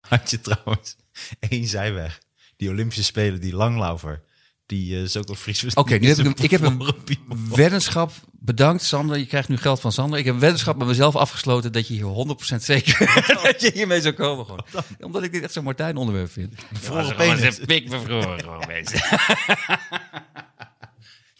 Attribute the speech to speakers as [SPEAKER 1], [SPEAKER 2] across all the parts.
[SPEAKER 1] had je trouwens één zijweg. Die Olympische Spelen, die langlaufer. Die eh, is ook al Fries. Oké,
[SPEAKER 2] nu heb ik hem- ik heb hem- Weddenschap, bedankt Sander. Je krijgt nu geld van Sander. Ik heb een weddenschap met mezelf afgesloten dat je hier 100% zeker dat je hiermee zou komen. Gewoon. Omdat ik dit echt zo'n Martijn onderwerp vind.
[SPEAKER 1] Vroeger penis.
[SPEAKER 2] pik bevroren gewoon mensen.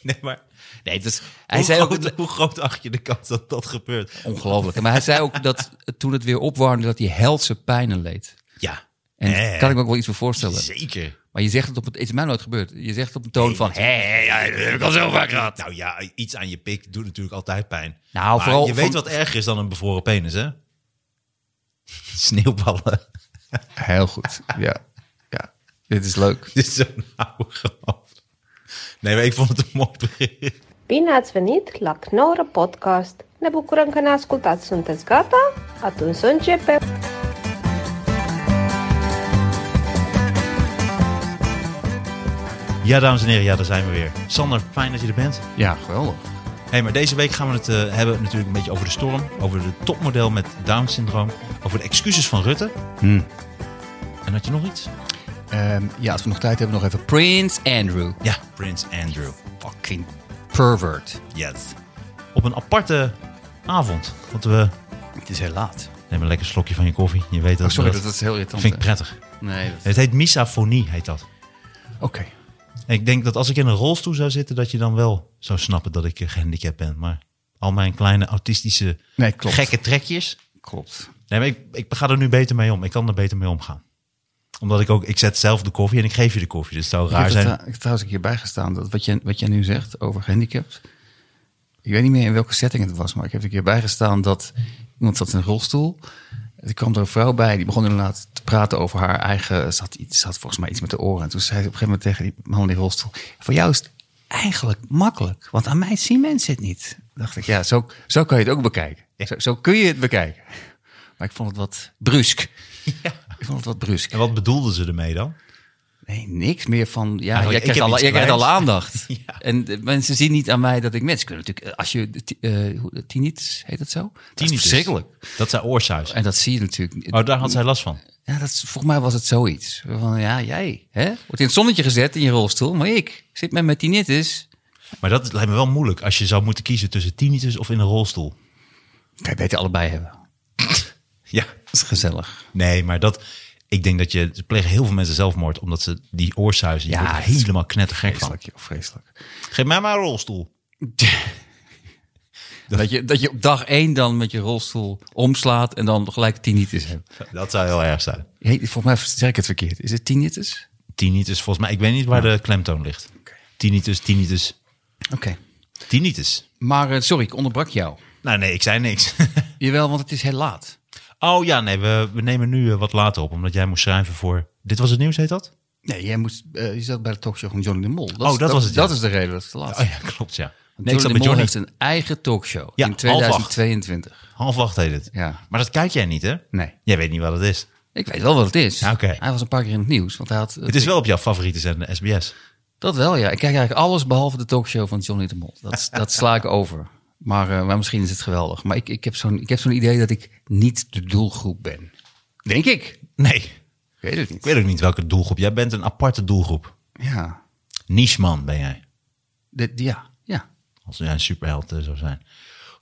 [SPEAKER 1] Nee, maar
[SPEAKER 2] Nee, het is, hij
[SPEAKER 1] hij hoe,
[SPEAKER 2] zei ook...
[SPEAKER 1] groot, hoe groot acht je de kans dat dat gebeurt?
[SPEAKER 2] Ongelooflijk. Maar hij zei ook dat toen het weer opwarmde, dat hij helse pijnen leed.
[SPEAKER 1] Ja.
[SPEAKER 2] En
[SPEAKER 1] Eh,
[SPEAKER 2] daar kan ik me ook wel iets voor voorstellen.
[SPEAKER 1] Zeker.
[SPEAKER 2] Maar je zegt het op het... Het is mij nooit gebeurd. Je zegt het op een toon van... Hé, hé, ja, dat heb ik al zo vaak gehad.
[SPEAKER 1] Nou ja, iets aan je pik doet natuurlijk altijd pijn.
[SPEAKER 2] Nou,
[SPEAKER 1] Maar
[SPEAKER 2] vooral
[SPEAKER 1] je
[SPEAKER 2] van-
[SPEAKER 1] weet wat erger is dan een bevroren penis, hè? Sneeuwballen.
[SPEAKER 2] Heel goed. Ja. ja. Dit is leuk.
[SPEAKER 1] Dit is zo'n oude grap. Nee, maar ik vond het een mooi bericht.
[SPEAKER 3] Bine ați venit la Knorr Podcast! Ne bucurăm că ne ascultați! Sunteți gata? Atunci să începem!
[SPEAKER 1] Ja, dames en heren, ja, daar zijn we weer. Sander, fijn dat je er bent.
[SPEAKER 2] Ja, geweldig.
[SPEAKER 1] hey, maar deze week gaan we het eh, hebben natuurlijk een beetje over de storm. Over de topmodel met Down-syndroom. Over de excuses van Rutte.
[SPEAKER 2] Hmm.
[SPEAKER 1] En had je nog iets?
[SPEAKER 2] Ehm, ja, als we nog tijd hebben, nog even Prince Andrew.
[SPEAKER 1] Ja, Prins Andrew.
[SPEAKER 2] Fucking pervert.
[SPEAKER 1] Yes. Op een aparte avond. Want we
[SPEAKER 2] Het is heel laat.
[SPEAKER 1] nemen een lekker slokje van je koffie. Je weet dat.
[SPEAKER 2] Oh, sorry,
[SPEAKER 1] dat,
[SPEAKER 2] dat, dat is heel irritant.
[SPEAKER 1] vind ik
[SPEAKER 2] hè?
[SPEAKER 1] prettig.
[SPEAKER 2] Nee, dat-
[SPEAKER 1] Het heet misafonie, heet dat.
[SPEAKER 2] Oké.
[SPEAKER 1] En ik denk dat als ik in een rolstoel zou zitten, dat je dan wel zou snappen dat ik eh, gehandicapt ben. Maar al mijn kleine autistische
[SPEAKER 2] Nee, klopt.
[SPEAKER 1] gekke trekjes.
[SPEAKER 2] Klopt.
[SPEAKER 1] Nee, maar ik, ik ga er nu beter mee om. Ik kan er beter mee omgaan. Omdat ik ook, ik zet zelf de koffie en ik geef je de koffie. Dus het zou raar
[SPEAKER 2] eh, ik
[SPEAKER 1] zijn.
[SPEAKER 2] heb er tra- trouwens een keer bijgestaan dat wat jij, wat jij nu zegt over gehandicapt. Ik weet niet meer in welke setting het was, maar ik heb er een keer bijgestaan dat iemand zat in een rolstoel. Er kwam er een vrouw bij, die begon inderdaad te praten over haar eigen... Ze had, iets, ze had volgens mij iets met de oren. En toen zei ze op een gegeven moment tegen die man in die rolstoel... Voor jou is het eigenlijk makkelijk, want aan mij zien mensen het niet. Toen dacht ik, ja, zo, zo kan je het ook bekijken. Zo, zo kun je het bekijken. Maar ik vond het wat brusk. Ik vond het wat brusk.
[SPEAKER 1] En wat bedoelden ze ermee dan?
[SPEAKER 2] Nee, niks meer van. Ja,
[SPEAKER 1] Eigenlijk,
[SPEAKER 2] Ah, jij
[SPEAKER 1] ik
[SPEAKER 2] krijgt,
[SPEAKER 1] heb
[SPEAKER 2] al,
[SPEAKER 1] iets
[SPEAKER 2] jij krijgt al
[SPEAKER 1] kleins.
[SPEAKER 2] aandacht.
[SPEAKER 1] Ja.
[SPEAKER 2] En de mensen zien niet aan mij dat ik mensen kunnen natuurlijk. eh, Als je de ti- eh, hoe- tinnitus heet dat zo? Dat is
[SPEAKER 1] Tinnitus.
[SPEAKER 2] verschrikkelijk.
[SPEAKER 1] Dat zijn oorsuis.
[SPEAKER 2] En dat zie je natuurlijk.
[SPEAKER 1] Oh, daar had zij last van.
[SPEAKER 2] Ja, dat is, volgens mij was het zoiets. Van ja, jij hè? wordt in het zonnetje gezet in je rolstoel, maar ik zit met mijn tinnitus.
[SPEAKER 1] Maar dat lijkt me wel moeilijk als je zou moeten kiezen tussen tinnitus of in een rolstoel.
[SPEAKER 2] Kan je beter allebei hebben.
[SPEAKER 1] Ja,
[SPEAKER 2] Dat is gezellig.
[SPEAKER 1] Nee, maar dat. Ik denk dat je. Ze plegen heel veel mensen zelfmoord. omdat ze die oorsuizen.
[SPEAKER 2] Ja,
[SPEAKER 1] Ja,
[SPEAKER 2] het is
[SPEAKER 1] helemaal knettergek van.
[SPEAKER 2] Vreselijk, joh, vreselijk.
[SPEAKER 1] Geef mij maar een rolstoel.
[SPEAKER 2] Dat je, dat je op dag één dan met je rolstoel omslaat en dan gelijk tinnitus hebt.
[SPEAKER 1] Dat zou heel erg zijn.
[SPEAKER 2] Hey, volgens mij zeg ik het verkeerd. Is het tinnitus?
[SPEAKER 1] Tinnitus, volgens mij. Ik weet niet waar de klemtoon ligt. Tinnitus, tinnitus,
[SPEAKER 2] Oké.
[SPEAKER 1] tinnitus.
[SPEAKER 2] Maar eh, sorry, ik onderbrak jou.
[SPEAKER 1] Nou nee, ik zei niks.
[SPEAKER 2] Jawel, want het is heel laat.
[SPEAKER 1] oh ja, nee, we, we nemen nu eh, wat later op. Omdat jij moest schrijven voor. Dit was het nieuws, heet dat?
[SPEAKER 2] Nee, jij moest, eh, je zat bij de talkshow van Johnny de Mol. Dat
[SPEAKER 1] Oh,
[SPEAKER 2] is-
[SPEAKER 1] dat was het, ja.
[SPEAKER 2] Dat is de reden dat het te laat
[SPEAKER 1] Oh
[SPEAKER 2] is.
[SPEAKER 1] ja, klopt, ja. Nee,
[SPEAKER 2] Johnny
[SPEAKER 1] ik zat
[SPEAKER 2] de
[SPEAKER 1] met
[SPEAKER 2] Mol
[SPEAKER 1] Johnny.
[SPEAKER 2] heeft een eigen talkshow
[SPEAKER 1] Ja,
[SPEAKER 2] in 2022.
[SPEAKER 1] Half acht heet het.
[SPEAKER 2] Ja.
[SPEAKER 1] Maar dat kijk jij niet, hè?
[SPEAKER 2] Nee.
[SPEAKER 1] Jij weet niet wat het is.
[SPEAKER 2] Ik weet wel wat het is.
[SPEAKER 1] Ja, oké.
[SPEAKER 2] Hij was een paar keer in het nieuws. Want hij had, eh,
[SPEAKER 1] Het is wel op jouw favoriete zender, SBS.
[SPEAKER 2] Dat wel, ja. Ik kijk eigenlijk alles behalve de talkshow van Johnny de Mol. Dat, dat sla ik over. Maar, eh, maar misschien is het geweldig. Maar ik, ik heb zo'n ik heb zo'n idee dat ik niet de doelgroep ben. Denk ik.
[SPEAKER 1] Nee.
[SPEAKER 2] Ik weet het
[SPEAKER 1] Ik
[SPEAKER 2] niet.
[SPEAKER 1] weet ook niet welke doelgroep. Jij bent een aparte doelgroep.
[SPEAKER 2] Ja.
[SPEAKER 1] Nicheman ben jij.
[SPEAKER 2] De, ja. Ja.
[SPEAKER 1] Als jij een superheld eh, zou zijn.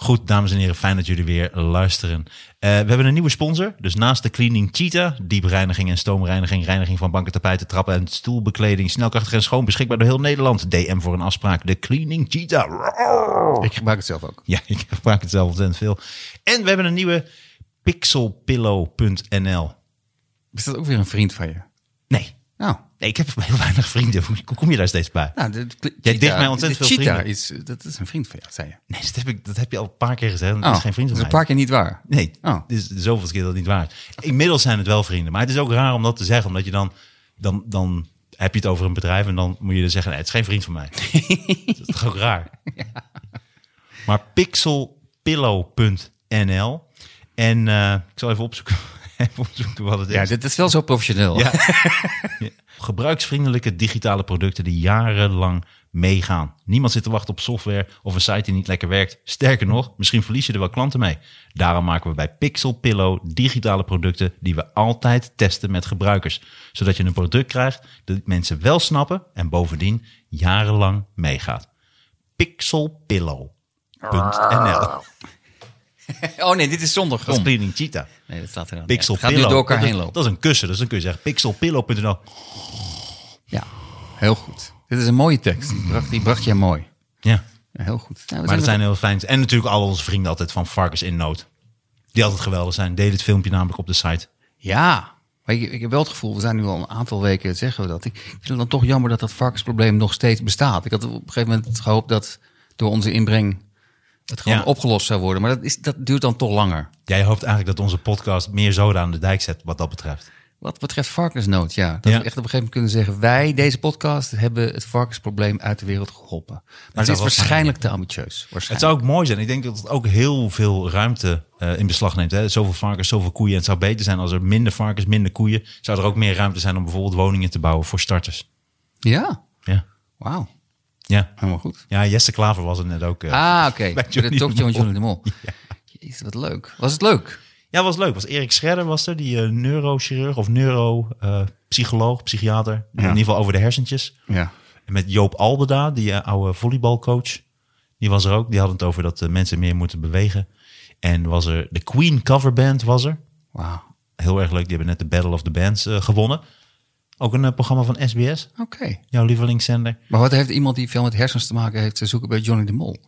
[SPEAKER 1] Goed, dames en heren, fijn dat jullie weer luisteren. Eh, we hebben een nieuwe sponsor. Dus naast de Cleaning Cheetah, diepreiniging en stoomreiniging, reiniging van banken, tapijten, trappen en stoelbekleding, snelkrachtig en schoon, beschikbaar door heel Nederland. DM voor een afspraak, de Cleaning Cheetah. Roar!
[SPEAKER 2] Ik gebruik het zelf ook.
[SPEAKER 1] Ja, ik gebruik het zelf ontzettend veel. En we hebben een nieuwe pixelpillow.nl.
[SPEAKER 2] Is dat ook weer een vriend van je?
[SPEAKER 1] Nee,
[SPEAKER 2] Nou,
[SPEAKER 1] nee, ik heb heel weinig vrienden. Hoe kom je daar steeds bij?
[SPEAKER 2] Nou, de, de-
[SPEAKER 1] Jij
[SPEAKER 2] cheetah-
[SPEAKER 1] dicht mij ontzettend
[SPEAKER 2] de
[SPEAKER 1] veel
[SPEAKER 2] cheetah
[SPEAKER 1] vrienden.
[SPEAKER 2] Is, eh, dat is een vriend van jou, zei je. Oh,
[SPEAKER 1] Nee, dat heb, ik, dat heb je al een paar keer gezegd. Dat is geen vriend van
[SPEAKER 2] dat is
[SPEAKER 1] mij.
[SPEAKER 2] een paar keer niet waar.
[SPEAKER 1] Nee,
[SPEAKER 2] Oh.
[SPEAKER 1] dus zoveel keer dat het niet waar is. Inmiddels zijn het wel vrienden. Maar het is ook raar om dat te zeggen. Omdat je dan, dan, dan heb je het over een bedrijf en dan moet je er zeggen... Nee, het is geen vriend van mij. dat is toch ook raar? Maar pixelpillow.nl En eh, ik zal even opzoeken, even opzoeken wat het
[SPEAKER 2] Ja,
[SPEAKER 1] is.
[SPEAKER 2] dit is wel zo professioneel.
[SPEAKER 1] Ja. Gebruiksvriendelijke digitale producten die jarenlang meegaan. Niemand zit te wachten op software of een site die niet lekker werkt. Sterker nog, misschien verlies je er wel klanten mee. Daarom maken we bij Pixel Pillow digitale producten die we altijd testen met gebruikers. Zodat je een product krijgt dat mensen wel snappen en bovendien jarenlang meegaat. Pixelpillow.nl
[SPEAKER 2] Oh nee, dit is zonder
[SPEAKER 1] Dat is
[SPEAKER 2] grond.
[SPEAKER 1] Cleaning Cheetah.
[SPEAKER 2] Nee, dat staat er dan.
[SPEAKER 1] Pixel
[SPEAKER 2] Gaat nu
[SPEAKER 1] Pillow.
[SPEAKER 2] door elkaar
[SPEAKER 1] dat, is-
[SPEAKER 2] heen lopen.
[SPEAKER 1] dat is een kussen, dus dan kun je zeggen pixelpillow.nl.
[SPEAKER 2] Ja, heel goed. Dit is een mooie tekst. Die bracht, die bracht je mooi.
[SPEAKER 1] Ja,
[SPEAKER 2] Ja, heel goed. Nou,
[SPEAKER 1] maar
[SPEAKER 2] we
[SPEAKER 1] dat
[SPEAKER 2] er-
[SPEAKER 1] zijn heel fijn. En natuurlijk al onze vrienden altijd van Varkens in Nood. Die altijd geweldig zijn. Deel het filmpje namelijk op de site.
[SPEAKER 2] Ja, maar ik, ik heb wel het gevoel, we zijn nu al een aantal weken, zeggen we dat. Ik, ik vind het dan toch jammer dat dat varkensprobleem nog steeds bestaat. Ik had op een gegeven moment gehoopt dat door onze inbreng het gewoon
[SPEAKER 1] Ja.
[SPEAKER 2] opgelost zou worden. Maar dat, is, dat duurt dan toch langer.
[SPEAKER 1] Jij hoopt eigenlijk dat onze podcast meer zoden aan de dijk zet wat dat betreft.
[SPEAKER 2] Wat betreft varkensnood, ja. Dat
[SPEAKER 1] Ja.
[SPEAKER 2] we echt op een gegeven moment kunnen zeggen... wij, deze podcast, hebben het varkensprobleem uit de wereld geholpen.
[SPEAKER 1] wel
[SPEAKER 2] Maar dit is
[SPEAKER 1] fijn
[SPEAKER 2] waarschijnlijk te ambitieus.
[SPEAKER 1] Het
[SPEAKER 2] Waarschijnlijk.
[SPEAKER 1] zou ook mooi zijn. Ik denk dat het ook heel veel ruimte eh, in beslag neemt. Hè? Zoveel varkens, zoveel koeien. En het zou beter zijn als er minder varkens, minder koeien. Zou er ook meer ruimte zijn om bijvoorbeeld woningen te bouwen voor starters.
[SPEAKER 2] Ja,
[SPEAKER 1] Ja,
[SPEAKER 2] wauw.
[SPEAKER 1] ja.
[SPEAKER 2] Helemaal goed.
[SPEAKER 1] ja Jesse Klaver was het net ook. eh.
[SPEAKER 2] Ah, oké.
[SPEAKER 1] Bij
[SPEAKER 2] Bij
[SPEAKER 1] Johnny
[SPEAKER 2] De talkshow
[SPEAKER 1] de
[SPEAKER 2] van
[SPEAKER 1] Mol.
[SPEAKER 2] Johnny de Mol. Jezus, wat leuk. Was het leuk?
[SPEAKER 1] Ja, was leuk. Was Erik Scherder was er, die eh, neurochirurg of neuropsycholoog, psychiater. In ieder geval over de hersentjes.
[SPEAKER 2] Ja.
[SPEAKER 1] En met Joop Albeda, die eh, oude volleybalcoach. Die was er ook. Die had het over dat eh, mensen meer moeten bewegen. En was er de Queen Cover Band was er.
[SPEAKER 2] Wauw.
[SPEAKER 1] Heel erg leuk. Die hebben net de Battle of the Bands eh, gewonnen. Ook een eh, programma van SBS,
[SPEAKER 2] Oké.
[SPEAKER 1] jouw lievelingszender.
[SPEAKER 2] Maar wat heeft iemand die veel met hersens te maken heeft te zoeken bij Johnny de Mol?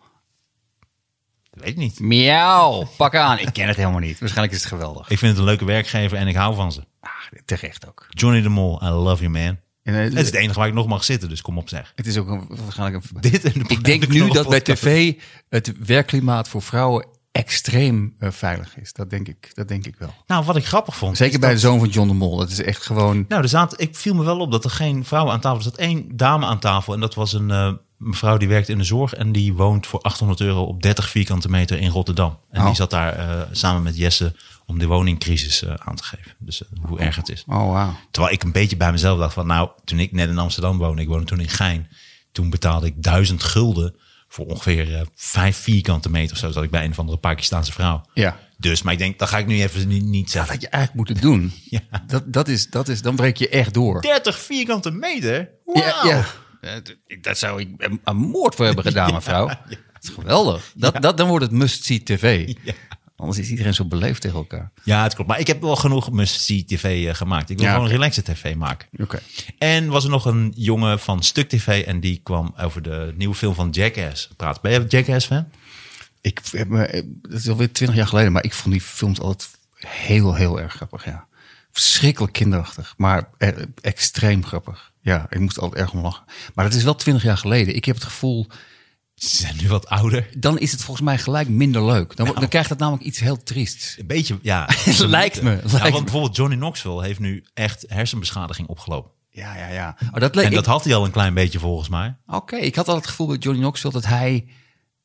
[SPEAKER 1] Dat weet ik niet.
[SPEAKER 2] Miauw, pak aan. Ik ken het helemaal niet. Waarschijnlijk is het geweldig.
[SPEAKER 1] Ik vind het een leuke werkgever en ik hou van ze.
[SPEAKER 2] Ah, terecht ook.
[SPEAKER 1] Johnny de Mol, I love you man.
[SPEAKER 2] En, eh,
[SPEAKER 1] Het is het enige waar ik nog mag zitten, dus kom op zeg.
[SPEAKER 2] Het is ook een, waarschijnlijk een...
[SPEAKER 1] Dit en de-
[SPEAKER 2] ik denk
[SPEAKER 1] de
[SPEAKER 2] nu dat bij
[SPEAKER 1] knollenpodcast.
[SPEAKER 2] tv het werkklimaat voor vrouwen extreem eh, veilig is. Dat denk, ik, dat denk ik wel.
[SPEAKER 1] Nou, wat ik grappig vond.
[SPEAKER 2] Zeker bij de zoon van John de Mol. Dat is echt gewoon...
[SPEAKER 1] Nou, er zaten, ik viel me wel op dat er geen vrouwen aan tafel Er zat één dame aan tafel. En dat was een eh, mevrouw die werkt in de zorg. En die woont voor 800 euro op 30 vierkante meter in Rotterdam. En
[SPEAKER 2] Oh.
[SPEAKER 1] die zat daar eh, samen met Jesse om de woningcrisis eh, aan te geven. Dus eh, hoe erg het is.
[SPEAKER 2] Oh, wauw.
[SPEAKER 1] Terwijl ik een beetje bij mezelf dacht van... Nou, toen ik net in Amsterdam woonde, ik woonde toen in Gein. Toen betaalde ik 1000 gulden voor ongeveer eh, vijf vierkante meter of zo. Zat ik bij een of andere Pakistaanse vrouw.
[SPEAKER 2] Ja.
[SPEAKER 1] Dus, maar ik denk, dat ga ik nu even niet, niet zeggen.
[SPEAKER 2] Wat je eigenlijk moet doen.
[SPEAKER 1] Ja.
[SPEAKER 2] Dat, dat is, dat is, dan breek je echt door.
[SPEAKER 1] 30 vierkante meter? Wauw.
[SPEAKER 2] Ja, ja. Eh, d- Dat zou ik een, een moord voor hebben gedaan, mevrouw. Dat is geweldig. Dat, dat, dan wordt het must-see tv.
[SPEAKER 1] Ja.
[SPEAKER 2] Anders is iedereen zo beleefd tegen elkaar.
[SPEAKER 1] Ja, het klopt. Maar ik heb wel genoeg must-see tv eh, gemaakt. Ik wil
[SPEAKER 2] Ja,
[SPEAKER 1] gewoon
[SPEAKER 2] oké.
[SPEAKER 1] een relaxed tv maken.
[SPEAKER 2] Oké.
[SPEAKER 1] En was er nog een jongen van Stuk TV en die kwam over de nieuwe film van Jackass praten. Ben je een Jackass-fan?
[SPEAKER 2] Ik heb me, eh, dat is alweer twintig jaar geleden, maar ik vond die films altijd heel, heel erg grappig. Ja. Verschrikkelijk kinderachtig, maar eh, extreem grappig. Ja, ik moest altijd erg om lachen. Maar dat is wel twintig jaar geleden. Ik heb het gevoel,
[SPEAKER 1] Ze zijn nu wat ouder.
[SPEAKER 2] dan is het volgens mij gelijk minder leuk. Dan,
[SPEAKER 1] Nou.
[SPEAKER 2] wordt- dan krijgt het namelijk iets heel triests.
[SPEAKER 1] Een beetje, ja.
[SPEAKER 2] Lijkt me,
[SPEAKER 1] Ja,
[SPEAKER 2] lijkt me.
[SPEAKER 1] want bijvoorbeeld Johnny Knoxville heeft nu echt hersenbeschadiging opgelopen.
[SPEAKER 2] Ja, ja, ja. Oh, dat leek,
[SPEAKER 1] En dat had hij al een klein beetje volgens mij.
[SPEAKER 2] Oké, ik had al het gevoel bij Johnny Knoxville dat hij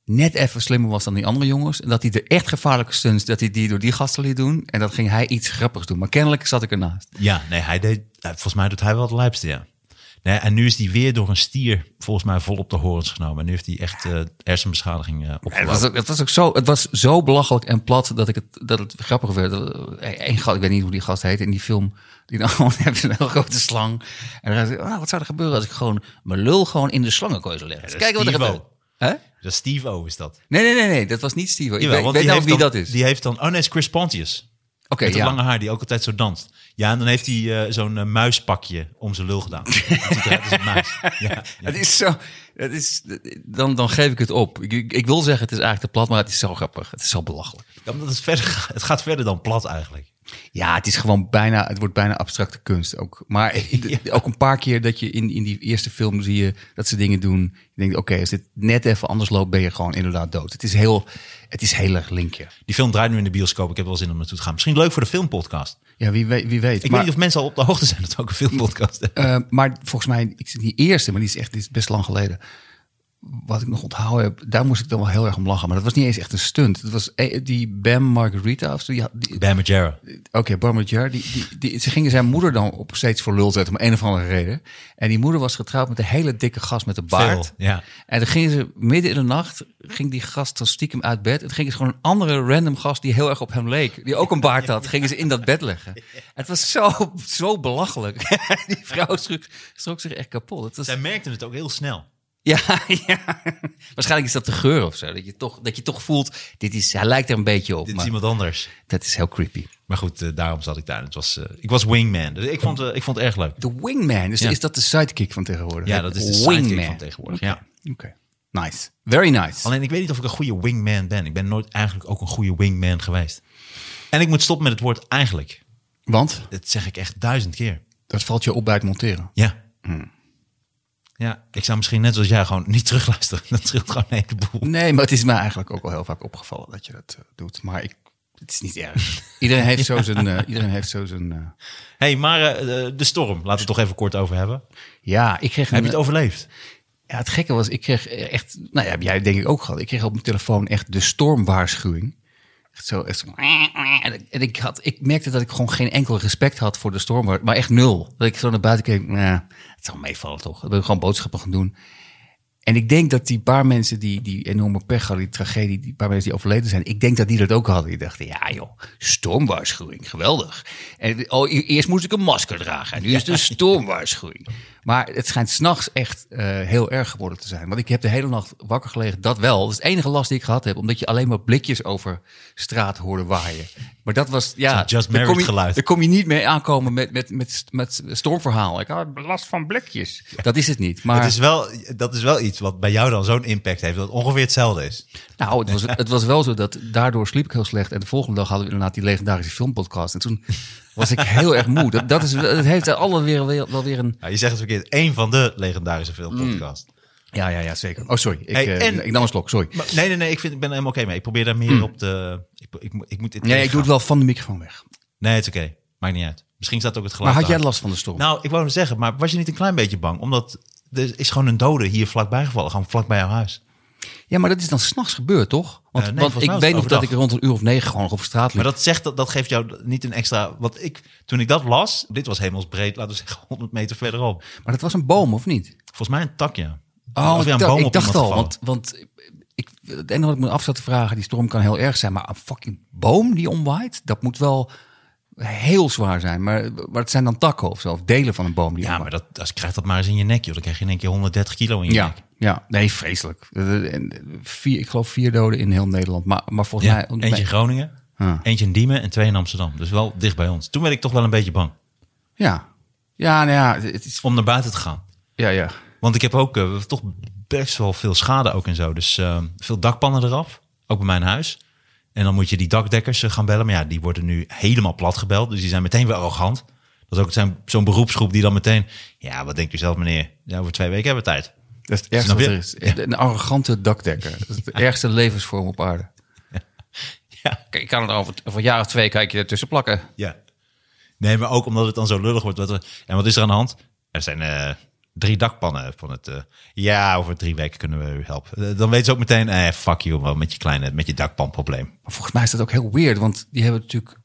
[SPEAKER 2] net even slimmer was dan die andere jongens. En dat hij de echt gevaarlijke stunts, dat hij die door die gasten liet doen. En dat ging hij iets grappigs doen. Maar kennelijk zat ik ernaast.
[SPEAKER 1] Ja, nee, hij deed, eh, volgens mij doet hij wel het lijpste, ja. Nee, en nu is hij weer door een stier volgens mij vol op de horens genomen. En nu heeft hij echt eh, hersenbeschadiging eh,
[SPEAKER 2] Het
[SPEAKER 1] opgelopen.
[SPEAKER 2] was, ook, het, was ook zo, het was zo belachelijk en plat dat, ik het, dat het grappig werd. Eén gast, ik weet niet hoe die gast heet in die film. Die dan gewoon heeft een heel grote slang. En dan zei hij, ah, wat zou er gebeuren als ik gewoon mijn lul gewoon in de slangenkooi zou leggen?
[SPEAKER 1] Ja, dat is
[SPEAKER 2] Kijken wat er
[SPEAKER 1] Steve-O.
[SPEAKER 2] gebeurt. Hè?
[SPEAKER 1] Dat is Steve-O is dat.
[SPEAKER 2] Nee, nee, nee, nee, dat was niet Steve. Ik
[SPEAKER 1] Jawel,
[SPEAKER 2] weet, ik
[SPEAKER 1] want
[SPEAKER 2] weet
[SPEAKER 1] die
[SPEAKER 2] nou
[SPEAKER 1] heeft
[SPEAKER 2] wie
[SPEAKER 1] dan-
[SPEAKER 2] dat is.
[SPEAKER 1] Die heeft dan... Oh nee, is Chris Pontius.
[SPEAKER 2] Oké,
[SPEAKER 1] met
[SPEAKER 2] ja.
[SPEAKER 1] dat lange haar die ook altijd zo danst. Ja, en dan heeft hij eh, zo'n eh, muispakje om zijn lul gedaan. Dat ziet eruit als een muis. Ja, ja.
[SPEAKER 2] Het is zo. Het is, dan, dan geef ik het op. Ik, ik, ik wil zeggen, het is eigenlijk te plat, maar het is zo grappig. Het is zo belachelijk.
[SPEAKER 1] Ja, omdat het, verder, gaat- het gaat verder dan plat eigenlijk.
[SPEAKER 2] Ja, het is gewoon bijna. Het wordt bijna abstracte kunst ook. Maar ook een paar keer dat je in, in die eerste film zie je dat ze dingen doen. Je denkt, oké, als dit net even anders loopt, ben je gewoon inderdaad dood. Het is heel, het is heel erg linkje.
[SPEAKER 1] Die film draait nu in de bioscoop. Ik heb wel zin om naartoe te gaan. Misschien leuk voor de filmpodcast.
[SPEAKER 2] Ja, wie weet. Wie weet.
[SPEAKER 1] Ik
[SPEAKER 2] maar,
[SPEAKER 1] weet niet of mensen al op de hoogte zijn dat we ook een filmpodcast hebben.
[SPEAKER 2] eh, maar volgens mij, ik zit die eerste, maar die is echt die is best lang geleden. wat ik nog onthouden heb, daar moest ik dan wel heel erg om lachen. Maar dat was niet eens echt een stunt. Dat was eh, die Bam Margarita of zo. die had- die-
[SPEAKER 1] Bam Margera.
[SPEAKER 2] Oké, Bam Margera, die, die, die, ze gingen zijn moeder dan op steeds voor lul zetten, om een of andere reden. En die moeder was getrouwd met een hele dikke gast met een baard.
[SPEAKER 1] Phil, ja.
[SPEAKER 2] En dan gingen ze midden in de nacht, ging die gast dan stiekem uit bed. En toen gingen ze gewoon een andere random gast die heel erg op hem leek, die ook een baard had, gingen ze in dat bed leggen. Het was zo, zo belachelijk. die vrouw schrok, schrok zich echt kapot. Het was,
[SPEAKER 1] Zij merkten het ook heel snel.
[SPEAKER 2] ja, ja, waarschijnlijk is dat de geur of zo. Dat je toch, dat je toch voelt, dit is, hij lijkt er een beetje op,
[SPEAKER 1] Dit
[SPEAKER 2] maar
[SPEAKER 1] is iemand anders.
[SPEAKER 2] dat is heel creepy.
[SPEAKER 1] Maar goed, eh, daarom zat ik daar. Het was, eh, ik was wingman. Dus ik vond, eh, ik vond het erg leuk.
[SPEAKER 2] De wingman, dus
[SPEAKER 1] Ja.
[SPEAKER 2] is dat de sidekick van tegenwoordig?
[SPEAKER 1] Ja,
[SPEAKER 2] hè?
[SPEAKER 1] dat is de sidekick van tegenwoordig.
[SPEAKER 2] Oké.
[SPEAKER 1] Ja.
[SPEAKER 2] Oké. Nice. Very nice.
[SPEAKER 1] Alleen ik weet niet of ik een goede wingman ben. Ik ben nooit eigenlijk ook een goede wingman geweest. En ik moet stoppen met het woord eigenlijk.
[SPEAKER 2] Want
[SPEAKER 1] Dat zeg ik echt duizend keer.
[SPEAKER 2] dat valt je op bij het monteren.
[SPEAKER 1] Ja.
[SPEAKER 2] Hmm.
[SPEAKER 1] Ja, ik zou misschien net zoals jij gewoon niet terugluisteren. Dat scheelt gewoon een heleboel.
[SPEAKER 2] Nee, maar het is mij eigenlijk ook al heel vaak opgevallen dat je dat eh, doet. Maar ik, het is niet erg. Iedereen heeft zo zijn... eh, iedereen heeft zo zijn eh,
[SPEAKER 1] hey, maar eh, de storm. Laten we het toch even kort over hebben.
[SPEAKER 2] ja, ik kreeg een,
[SPEAKER 1] Heb je het overleefd?
[SPEAKER 2] Ja, het gekke was, ik kreeg echt, nou ja, heb jij denk ik ook gehad. Ik kreeg op mijn telefoon echt de stormwaarschuwing. Echt zo, echt zo. En ik- En ik, had, ik merkte dat ik gewoon geen enkel respect had voor de storm, maar echt nul. Dat ik zo naar buiten keek, nou, het zal meevallen toch. Ik ben gewoon boodschappen gaan doen. En ik denk dat die paar mensen die die enorme pech hadden, die tragedie, die paar mensen die overleden zijn, ik denk dat die dat ook hadden. Die dachten, ja joh, stormwaarschuwing, geweldig. En oh, e- eerst moest ik een masker dragen en nu is het een stormwaarschuwing. Maar het schijnt s'nachts echt eh, heel erg geworden te zijn. Want ik heb de hele nacht wakker gelegen, dat wel. Dat is het enige last die ik gehad heb, omdat je alleen maar blikjes over straat hoorde waaien. Maar dat was, ja,
[SPEAKER 1] Zo'n Just
[SPEAKER 2] daar kom
[SPEAKER 1] Married
[SPEAKER 2] je-
[SPEAKER 1] geluid.
[SPEAKER 2] daar kom je niet mee aankomen met, met, met, met stormverhaal. Ik had last van blikjes. Dat is het niet. Maar...
[SPEAKER 1] Dat, is wel, dat is wel iets wat bij jou dan zo'n impact heeft. Dat het ongeveer hetzelfde is.
[SPEAKER 2] Nou, het was, het was wel zo dat daardoor sliep ik heel slecht. En de volgende dag hadden we inderdaad die legendarische filmpodcast. En toen was ik heel erg moe. Dat, dat, is, wel- dat heeft alle weer, weer- wel weer een...
[SPEAKER 1] Ja, Nou, je zegt het verkeerd. Eén van de legendarische
[SPEAKER 2] Hmm.
[SPEAKER 1] filmpodcasts.
[SPEAKER 2] Ja, ja, ja, zeker. Oh, sorry. Ik,
[SPEAKER 1] Hey,
[SPEAKER 2] eh,
[SPEAKER 1] en-
[SPEAKER 2] ik nam een slok, sorry.
[SPEAKER 1] Maar, nee, nee, nee. Ik, vind, ik ben er helemaal oké mee. Ik probeer daar meer op de... Ik, ik, moet- ik moet dit
[SPEAKER 2] Hmm. Nee, ik doe het wel van de microfoon weg.
[SPEAKER 1] Nee, het is oké. Maakt niet uit. Misschien staat ook het
[SPEAKER 2] Maar
[SPEAKER 1] geluid
[SPEAKER 2] had jij
[SPEAKER 1] aan.
[SPEAKER 2] last van de storm?
[SPEAKER 1] Nou, ik wou hem zeggen, maar was je niet een klein beetje bang? Omdat er is gewoon een dode hier vlakbij gevallen. Gewoon vlakbij jouw huis.
[SPEAKER 2] ja, maar dat is dan s'nachts gebeurd, toch? Want,
[SPEAKER 1] Eh, nee,
[SPEAKER 2] want
[SPEAKER 1] volgens
[SPEAKER 2] ik
[SPEAKER 1] mij was
[SPEAKER 2] weet
[SPEAKER 1] het
[SPEAKER 2] nog dat ik
[SPEAKER 1] overdag.
[SPEAKER 2] rond een uur of negen gewoon nog op straat liep.
[SPEAKER 1] Maar dat zegt dat, dat geeft jou niet een extra. Wat ik toen ik dat las, dit was hemelsbreed, laten we zeggen 100 meter verderop.
[SPEAKER 2] maar dat was een boom, of niet?
[SPEAKER 1] Volgens mij een takje.
[SPEAKER 2] Oh, ik, dacht- ik dacht al,
[SPEAKER 1] gevallen.
[SPEAKER 2] want, want ik, het enige wat ik me af zat te vragen, die storm kan heel erg zijn, maar een fucking boom die omwaait, dat moet wel heel zwaar zijn. Maar, maar het zijn dan takken of zo, of delen van een boom die
[SPEAKER 1] ja, maar
[SPEAKER 2] omwaait.
[SPEAKER 1] dat als krijgt dat maar eens in je nek, joh. Dan krijg je in één keer 130 kilo in je
[SPEAKER 2] Ja,
[SPEAKER 1] nek.
[SPEAKER 2] ja, nee, vreselijk. Eh, en Vier, ik geloof vier doden in heel Nederland, maar, maar volgens
[SPEAKER 1] Ja,
[SPEAKER 2] mij...
[SPEAKER 1] eentje in Groningen,
[SPEAKER 2] Ah.
[SPEAKER 1] eentje in Diemen en twee in Amsterdam. Dus wel dicht bij ons. Toen werd ik toch wel een beetje bang
[SPEAKER 2] Ja, ja, nou ja, het is...
[SPEAKER 1] om naar buiten te gaan.
[SPEAKER 2] Ja, ja.
[SPEAKER 1] Want ik heb ook eh, toch best wel veel schade ook en zo. Dus eh, veel dakpannen eraf, ook bij mijn huis. En dan moet je die dakdekkers eh, gaan bellen. Maar ja, die worden nu helemaal plat gebeld. Dus die zijn meteen weer arrogant. Dat is ook zijn- zo'n beroepsgroep die dan meteen... Ja, wat denkt u zelf, meneer? Ja, over twee weken hebben we tijd.
[SPEAKER 2] Dat is het ergste
[SPEAKER 1] Snap
[SPEAKER 2] wat
[SPEAKER 1] je?
[SPEAKER 2] er is. Een arrogante dakdekker. Dat is de ergste levensvorm op aarde.
[SPEAKER 1] Ja.
[SPEAKER 2] Kijk, ik kan het over, over een jaar of twee kijk je ertussen plakken.
[SPEAKER 1] ja. Nee, maar ook omdat het dan zo lullig wordt. Wat we- en wat is er aan de hand? Er zijn eh, drie dakpannen van het... eh, ja, over drie weken kunnen we u helpen. Eh, dan weten ze ook meteen... Eh, fuck you, man, met je, kleine, met je dakpanprobleem.
[SPEAKER 2] Maar volgens mij is dat ook heel weird, want die hebben natuurlijk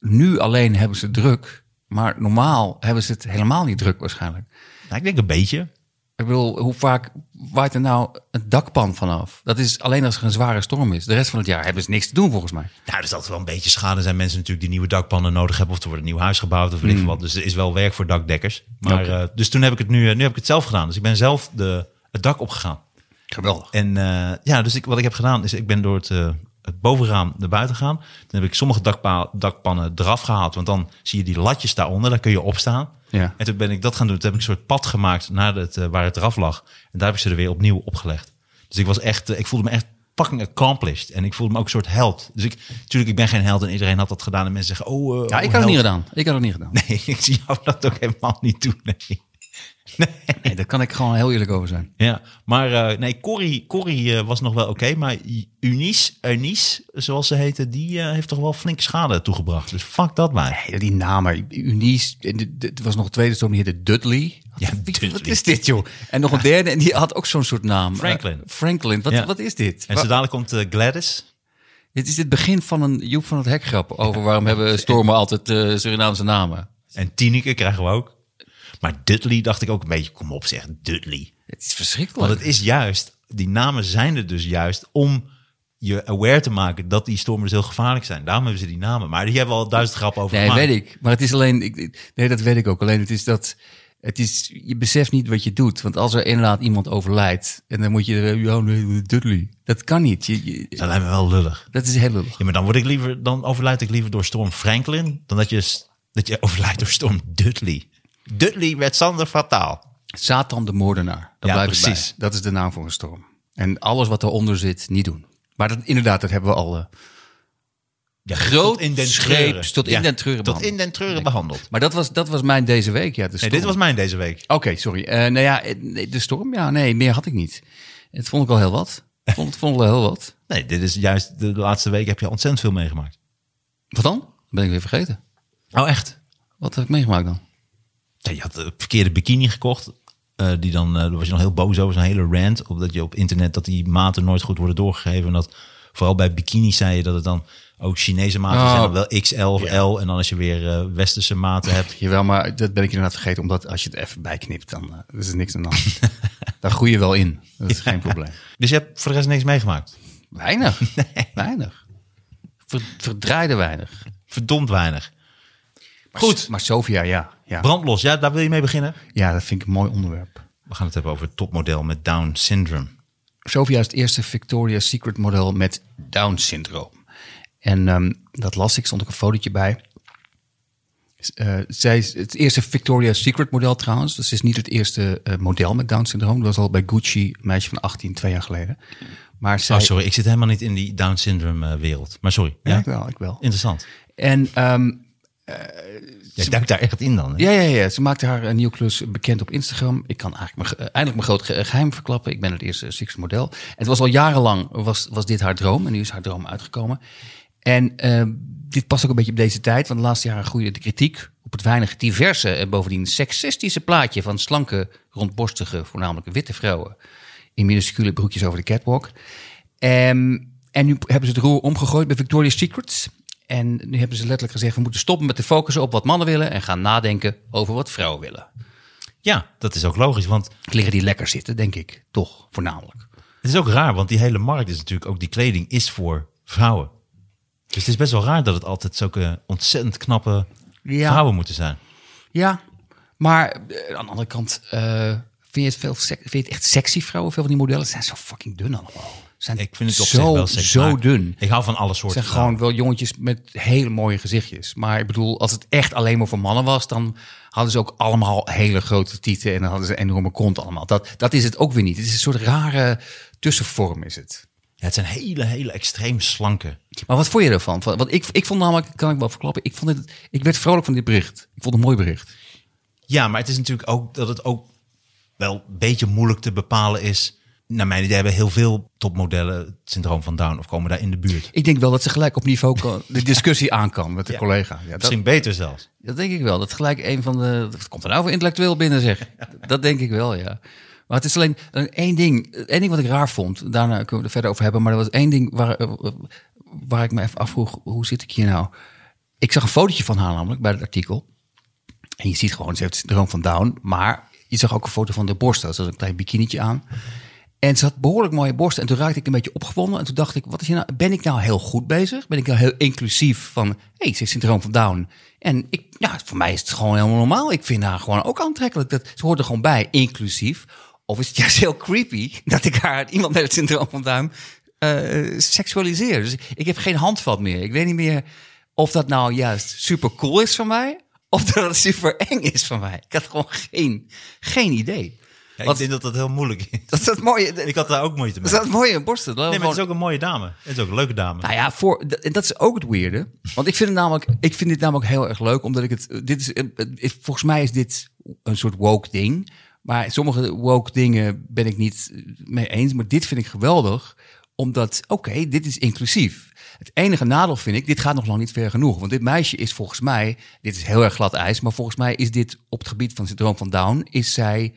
[SPEAKER 2] nu alleen hebben ze druk, maar normaal hebben ze het helemaal niet druk waarschijnlijk.
[SPEAKER 1] Nou, ik denk een beetje.
[SPEAKER 2] Ik bedoel, hoe vaak waait er nou een dakpan vanaf? Dat is alleen als er een zware storm is. De rest van het jaar hebben ze niks te doen volgens mij.
[SPEAKER 1] Nou, er is altijd wel een beetje schade. Er zijn mensen natuurlijk die nieuwe dakpannen nodig hebben. Of er wordt een nieuw huis gebouwd of weet ik veel wat. Dus er is wel werk voor dakdekkers. Maar,
[SPEAKER 2] Oké.
[SPEAKER 1] eh, dus toen heb ik het nu, eh, nu heb ik het zelf gedaan. Dus ik ben zelf de, het dak opgegaan.
[SPEAKER 2] Geweldig.
[SPEAKER 1] En eh, ja, dus ik, wat ik heb gedaan is ik ben door het, eh, het bovenraam naar buiten gegaan. Dan heb ik sommige dakpa- dakpannen eraf gehaald. Want dan zie je die latjes daaronder. Daar kun je op staan.
[SPEAKER 2] Ja.
[SPEAKER 1] En toen ben ik dat gaan doen. Toen heb ik een soort pad gemaakt naar het, eh, waar het eraf lag. En daar heb ik ze er weer opnieuw opgelegd. Dus ik was echt, eh, ik voelde me echt fucking accomplished. En ik voelde me ook een soort held. Dus ik, natuurlijk, ik ben geen held en iedereen had dat gedaan. En mensen zeggen, oh, eh,
[SPEAKER 2] Ja,
[SPEAKER 1] oh,
[SPEAKER 2] ik had het
[SPEAKER 1] held.
[SPEAKER 2] niet gedaan. Ik had het niet gedaan. Nee.
[SPEAKER 1] Nee, ik zie jou dat ook helemaal niet doen. Nee.
[SPEAKER 2] daar kan ik gewoon heel eerlijk over zijn.
[SPEAKER 1] Ja, maar eh, nee, Corrie, Corrie eh, was nog wel oké. maar Unice, Unice, zoals ze heette, die eh, heeft toch wel flink schade toegebracht. Dus fuck dat maar.
[SPEAKER 2] Hey, die namen, Unies, en dit- dit was nog een tweede storm, die heette Dudley.
[SPEAKER 1] Ja,
[SPEAKER 2] Wie-
[SPEAKER 1] Dudley.
[SPEAKER 2] Wat is dit, joh? En nog een derde, en die had ook zo'n soort naam.
[SPEAKER 1] Franklin.
[SPEAKER 2] Eh, Franklin, wat,
[SPEAKER 1] Ja.
[SPEAKER 2] wat is dit?
[SPEAKER 1] En
[SPEAKER 2] Wa-
[SPEAKER 1] zo dadelijk komt eh, Gladys.
[SPEAKER 2] Dit is het begin van een Joep van het Hek grap over waarom hebben stormen altijd eh, Surinaamse namen.
[SPEAKER 1] En Tineke krijgen we ook. Maar Dudley dacht ik ook een beetje, kom op zeg, Dudley.
[SPEAKER 2] Het is verschrikkelijk.
[SPEAKER 1] Want het is juist, die namen zijn er dus juist om je aware te maken dat die stormen dus heel gevaarlijk zijn. Daarom hebben ze die namen. Maar die hebben we al duizend grappen over
[SPEAKER 2] Nee,
[SPEAKER 1] gemaakt.
[SPEAKER 2] weet ik. Maar het is alleen. Ik, ik- nee, dat weet ik ook. Alleen het is dat. Het is, je beseft niet wat je doet. Want als er inderdaad iemand overlijdt. en dan moet je. eh, Ja, nee, Dudley. Dat kan niet. Je, je-
[SPEAKER 1] Dat lijkt me wel lullig.
[SPEAKER 2] dat is heel lullig.
[SPEAKER 1] Ja, maar dan, word ik liever, dan overlijd ik liever door storm Franklin dan dat je, s- dat je overlijdt door storm Dudley. Dudley werd Sander fataal.
[SPEAKER 2] Satan de moordenaar. Dat
[SPEAKER 1] Ja,
[SPEAKER 2] blijft het
[SPEAKER 1] precies.
[SPEAKER 2] bij. Dat is de naam voor een storm. En alles wat eronder zit, niet doen. Maar dat, inderdaad, dat hebben we al. eh,
[SPEAKER 1] Ja,
[SPEAKER 2] Groot
[SPEAKER 1] tot in den
[SPEAKER 2] scheeps,
[SPEAKER 1] treuren.
[SPEAKER 2] tot in
[SPEAKER 1] Ja,
[SPEAKER 2] den treuren
[SPEAKER 1] Tot in
[SPEAKER 2] behandeld.
[SPEAKER 1] den treuren behandeld.
[SPEAKER 2] maar dat was, dat was mijn deze week. Ja, de
[SPEAKER 1] Nee,
[SPEAKER 2] storm.
[SPEAKER 1] dit was mijn deze week.
[SPEAKER 2] Oké, sorry. Eh, nou ja, eh, nee, de storm. Ja, nee, meer had ik niet. Het vond ik al heel wat. Vond, het vond ik al heel wat.
[SPEAKER 1] Nee, dit is juist de, de laatste week heb je ontzettend veel meegemaakt.
[SPEAKER 2] Wat dan? Ben ik weer vergeten.
[SPEAKER 1] Oh, echt?
[SPEAKER 2] Wat heb ik meegemaakt dan?
[SPEAKER 1] Ja, je had een verkeerde bikini gekocht. eh, die dan, eh, daar was je nog heel boos over, zo'n hele rant. Op dat je op internet dat die maten nooit goed worden doorgegeven. En dat vooral bij bikinis zei je dat het dan ook Chinese maten
[SPEAKER 2] Oh.
[SPEAKER 1] zijn. Dan wel XL of L. En dan als je weer eh, westerse maten hebt.
[SPEAKER 2] Jawel, maar dat ben ik inderdaad vergeten. Omdat als je het even bijknipt, dan eh, is er niks aan de hand. Daar groei je wel in. Dat is geen probleem.
[SPEAKER 1] Dus je hebt voor de rest niks meegemaakt.
[SPEAKER 2] Weinig. Weinig. Ver- verdraaide weinig.
[SPEAKER 1] Verdomd weinig.
[SPEAKER 2] Maar
[SPEAKER 1] Goed.
[SPEAKER 2] S- Maar Sofia, ja. Ja.
[SPEAKER 1] Brandlos, ja, daar wil je mee beginnen.
[SPEAKER 2] ja, dat vind ik een mooi onderwerp.
[SPEAKER 1] We gaan het hebben over het topmodel met Down syndrome. Oh,
[SPEAKER 2] Sofia is het eerste Victoria's Secret model met Down-syndroom. En ehm, dat las ik, stond ook een fotootje bij. S- eh, zij is het eerste Victoria's Secret model trouwens. Dus ze is niet het eerste eh, model met Down-syndroom. Dat was al bij Gucci, een meisje van 18, twee jaar geleden. Maar zij...
[SPEAKER 1] Oh, sorry, ik zit helemaal niet in die Down syndrome eh, wereld. Maar sorry.
[SPEAKER 2] Ja,
[SPEAKER 1] Ja?
[SPEAKER 2] ik wel, ik wel.
[SPEAKER 1] Interessant.
[SPEAKER 2] En ehm,
[SPEAKER 1] Jij duikt daar echt in dan. hè?
[SPEAKER 2] ja, ja, ja, ze maakte haar eh, nieuwe klus bekend op Instagram. Ik kan eigenlijk mijn, ge- eh, eindelijk mijn groot ge- eh, geheim verklappen. Ik ben het eerste Six model. Het was al jarenlang was, was dit haar droom. En nu is haar droom uitgekomen. En ehm, dit past ook een beetje op deze tijd. Want de laatste jaren groeide de kritiek op het weinig diverse... en bovendien seksistische plaatje van slanke, rondborstige... voornamelijk witte vrouwen in minuscule broekjes over de catwalk. Ehm, en nu hebben ze het roer omgegooid bij Victoria's Secret. En nu hebben ze letterlijk gezegd: we moeten stoppen met te focussen op wat mannen willen en gaan nadenken over wat vrouwen willen.
[SPEAKER 1] ja, dat is ook logisch. Want
[SPEAKER 2] Kleren die lekker zitten, denk ik, toch voornamelijk.
[SPEAKER 1] Het is ook raar, want die hele markt is natuurlijk ook die kleding is voor vrouwen. Dus het is best wel raar dat het altijd zulke ontzettend knappe
[SPEAKER 2] Ja.
[SPEAKER 1] vrouwen moeten zijn.
[SPEAKER 2] Ja, maar eh, aan de andere kant eh, vind, je het veel sec- vind je het echt sexy vrouwen, veel van die modellen Ze zijn zo fucking dun allemaal. Ze Zijn
[SPEAKER 1] Ik vind het op
[SPEAKER 2] zo,
[SPEAKER 1] zich wel seks,
[SPEAKER 2] zo
[SPEAKER 1] maar
[SPEAKER 2] dun.
[SPEAKER 1] Ik hou van alle soorten.
[SPEAKER 2] Het zijn gewoon wel jongetjes met hele mooie gezichtjes. Maar ik bedoel, als het echt alleen maar voor mannen was, dan hadden ze ook allemaal hele grote tieten en dan hadden ze een enorme kont allemaal. Dat, dat is het ook weer niet. Het is een soort rare tussenvorm is het.
[SPEAKER 1] vrouwen. Ja, het zijn hele, hele extreem slanke.
[SPEAKER 2] Maar wat vond je ervan? Van- Want ik, ik vond namelijk, kan ik wel verklappen, ik, vond het, ik werd vrolijk van dit bericht. Ik vond het een mooi bericht.
[SPEAKER 1] Ja, maar het is natuurlijk ook dat het ook wel een beetje moeilijk te bepalen is. Naar mijn idee hebben heel veel topmodellen het syndroom van Down of komen daar in de buurt.
[SPEAKER 2] Ik denk wel dat ze gelijk op niveau kan, de discussie aan kan met de collega. Ja, dat,
[SPEAKER 1] Misschien beter zelfs.
[SPEAKER 2] Dat denk ik wel. Dat gelijk een van de. Wat komt er nou voor intellectueel binnen, zeg? Dat denk ik wel, ja. Maar het is alleen eh, één ding. Eén ding wat ik raar vond. Daarna kunnen we het er verder over hebben. Maar er was één ding waar, eh, waar ik me even afvroeg. Hoe zit ik hier nou? Ik zag een fotootje van haar namelijk bij het artikel. En je ziet gewoon, ze heeft het syndroom van Down. Maar je zag ook een foto van de borst. Ze had een klein bikinietje aan. En ze had behoorlijk mooie borsten. En toen raakte ik een beetje opgewonden. En toen dacht ik, wat is hier nou, ben ik nou heel goed bezig? Ben ik nou heel inclusief van, hé, hey, ze heeft syndroom van Down. En ik, ja, voor mij is het gewoon helemaal normaal. Ik vind haar gewoon ook aantrekkelijk. Dat, ze hoort er gewoon bij, inclusief. Of is het juist heel creepy dat ik haar, iemand met het syndroom van Down, eh, seksualiseer. Dus ik heb geen handvat meer. Ik weet niet meer of dat nou juist super cool is van mij. Of dat het super eng is van mij. Ik had gewoon geen, geen idee.
[SPEAKER 1] Ja, ik
[SPEAKER 2] Wat-
[SPEAKER 1] denk dat dat heel moeilijk is.
[SPEAKER 2] Dat is dat mooie.
[SPEAKER 1] Ik had daar ook moeite mee.
[SPEAKER 2] Dat is dat mooie aan borsten.
[SPEAKER 1] Nee, maar het is ook een mooie dame. Het is ook een leuke dame.
[SPEAKER 2] Nou ja, voor, dat, en dat is ook het weirde. Want ik vind, het namelijk, ik vind dit namelijk heel erg leuk. Omdat ik het... Dit is, eh, het is- volgens mij is dit een soort woke ding. Maar sommige woke dingen ben ik niet mee eens. Maar dit vind ik geweldig. Omdat, oké, dit is inclusief. Het enige nadeel vind ik, dit gaat nog lang niet ver genoeg. Want dit meisje is volgens mij, dit is heel erg glad ijs, maar volgens mij is dit op het gebied van syndroom van Down, is zij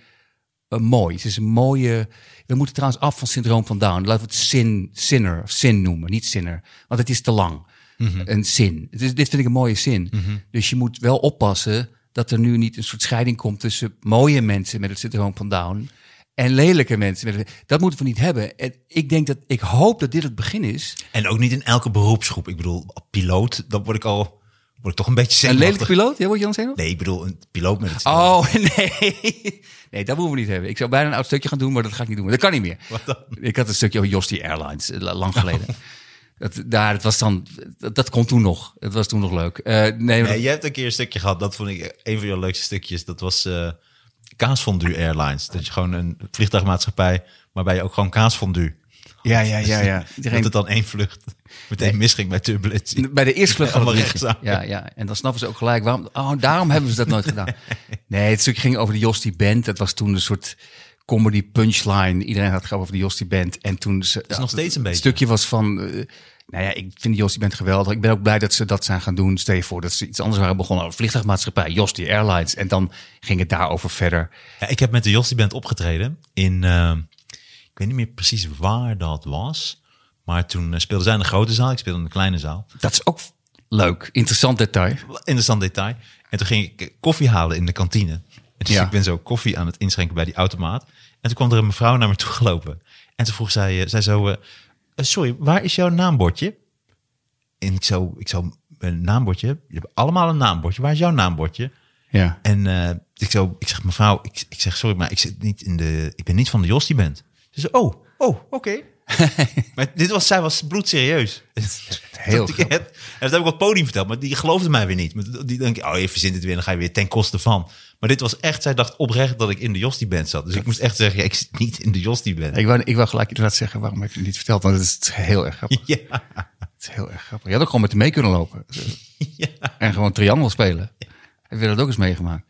[SPEAKER 2] eh, mooi. Ze is een mooie. We moeten trouwens af van syndroom van Down. Laten we het sin, sinner of sin noemen, niet sinner. Want het is te lang. Een zin. Het is, dit vind ik een mooie zin. Dus je moet wel oppassen dat er nu niet een soort scheiding komt tussen mooie mensen met het syndroom van Down en lelijke mensen. Met het, dat moeten we niet hebben. En ik denk dat ik hoop dat dit het begin is.
[SPEAKER 1] En ook niet in elke beroepsgroep. Ik bedoel, piloot, dan word ik al word ik toch een beetje
[SPEAKER 2] Een lelijke
[SPEAKER 1] zenuwachtig.
[SPEAKER 2] piloot, ja, word je dan zeggen?
[SPEAKER 1] Nee, ik bedoel, een piloot met het
[SPEAKER 2] Oh, nee. Nee, dat hoeven we niet hebben. Ik zou bijna een oud stukje gaan doen, maar dat ga ik niet doen. Dat kan niet meer.
[SPEAKER 1] Wat dan?
[SPEAKER 2] Ik had een stukje over Josti Airlines, eh, la- lang geleden.
[SPEAKER 1] Oh.
[SPEAKER 2] Dat, daar, dat, was dan, dat, dat kon toen nog. Dat was toen nog leuk. Eh, nee, maar-
[SPEAKER 1] Nee, je hebt een keer een stukje gehad, dat vond ik een van jouw leukste stukjes. Dat was eh kaasfondue airlines. Dat je gewoon een vliegtuigmaatschappij, waarbij je ook gewoon kaasfondue.
[SPEAKER 2] ja, ja, ja. ja.
[SPEAKER 1] Dat
[SPEAKER 2] Iedereen,
[SPEAKER 1] het dan één vlucht meteen misging bij turbulentie.
[SPEAKER 2] bij de eerste vlucht van het
[SPEAKER 1] Allemaal
[SPEAKER 2] liedje.
[SPEAKER 1] rechtszaak.
[SPEAKER 2] Ja, ja. En dan snappen ze ook gelijk waarom. Oh, daarom hebben ze dat nooit gedaan. Nee, het stuk ging over de Josti Band. Dat was toen een soort comedy punchline. Iedereen had het over de Josti Band. En toen ze,
[SPEAKER 1] is nog steeds een
[SPEAKER 2] het
[SPEAKER 1] beetje.
[SPEAKER 2] stukje was van. eh, nou ja, ik vind Josti Band geweldig. Ik ben ook blij dat ze dat zijn gaan doen. Stel je voor dat ze iets anders waren begonnen. Een vliegtuigmaatschappij, Josti Airlines. En dan ging het daarover verder.
[SPEAKER 1] Ja, ik heb met de Jostie Band opgetreden in, eh, ik weet niet meer precies waar dat was. Maar toen eh, speelden zij in een grote zaal, ik speelde in een kleine zaal.
[SPEAKER 2] Dat is ook leuk. Interessant detail.
[SPEAKER 1] Wel Interessant detail. En toen ging ik koffie halen in de kantine. Dus
[SPEAKER 2] Ja.
[SPEAKER 1] ik ben zo koffie aan het inschenken bij die automaat. En toen kwam er een mevrouw naar me toe gelopen. En toen vroeg zij, eh, zij zo, eh, eh, sorry, waar is jouw naambordje? En ik zo, ik zo, een naambordje? Je hebt allemaal een naambordje. Waar is jouw naambordje?
[SPEAKER 2] Ja.
[SPEAKER 1] En eh, ik, zo, ik zeg, mevrouw, ik, ik zeg, sorry, maar ik, zit niet in de, ik ben niet van de Jos die bent. Ze zei, oh, oh, oké. maar dit was, zij was bloedserieus.
[SPEAKER 2] Heel
[SPEAKER 1] dat, ik-
[SPEAKER 2] grappig.
[SPEAKER 1] het, en dat heb ik op het podium verteld, maar die geloofde mij weer niet. Maar die denk ik, oh, je verzint het weer, dan ga je weer ten koste van. Maar dit was echt, zij dacht oprecht dat ik in de Jos die band zat. Dus ik moest echt zeggen, ja, ik zit niet in de Jos die band.
[SPEAKER 2] Ik wou, ik wou gelijk inderdaad zeggen waarom heb je het niet verteld. Want het is heel erg grappig.
[SPEAKER 1] Ja,
[SPEAKER 2] Het is heel erg grappig. Je had ook gewoon met hem mee kunnen lopen. En gewoon triangel spelen. Heb je dat ook eens meegemaakt?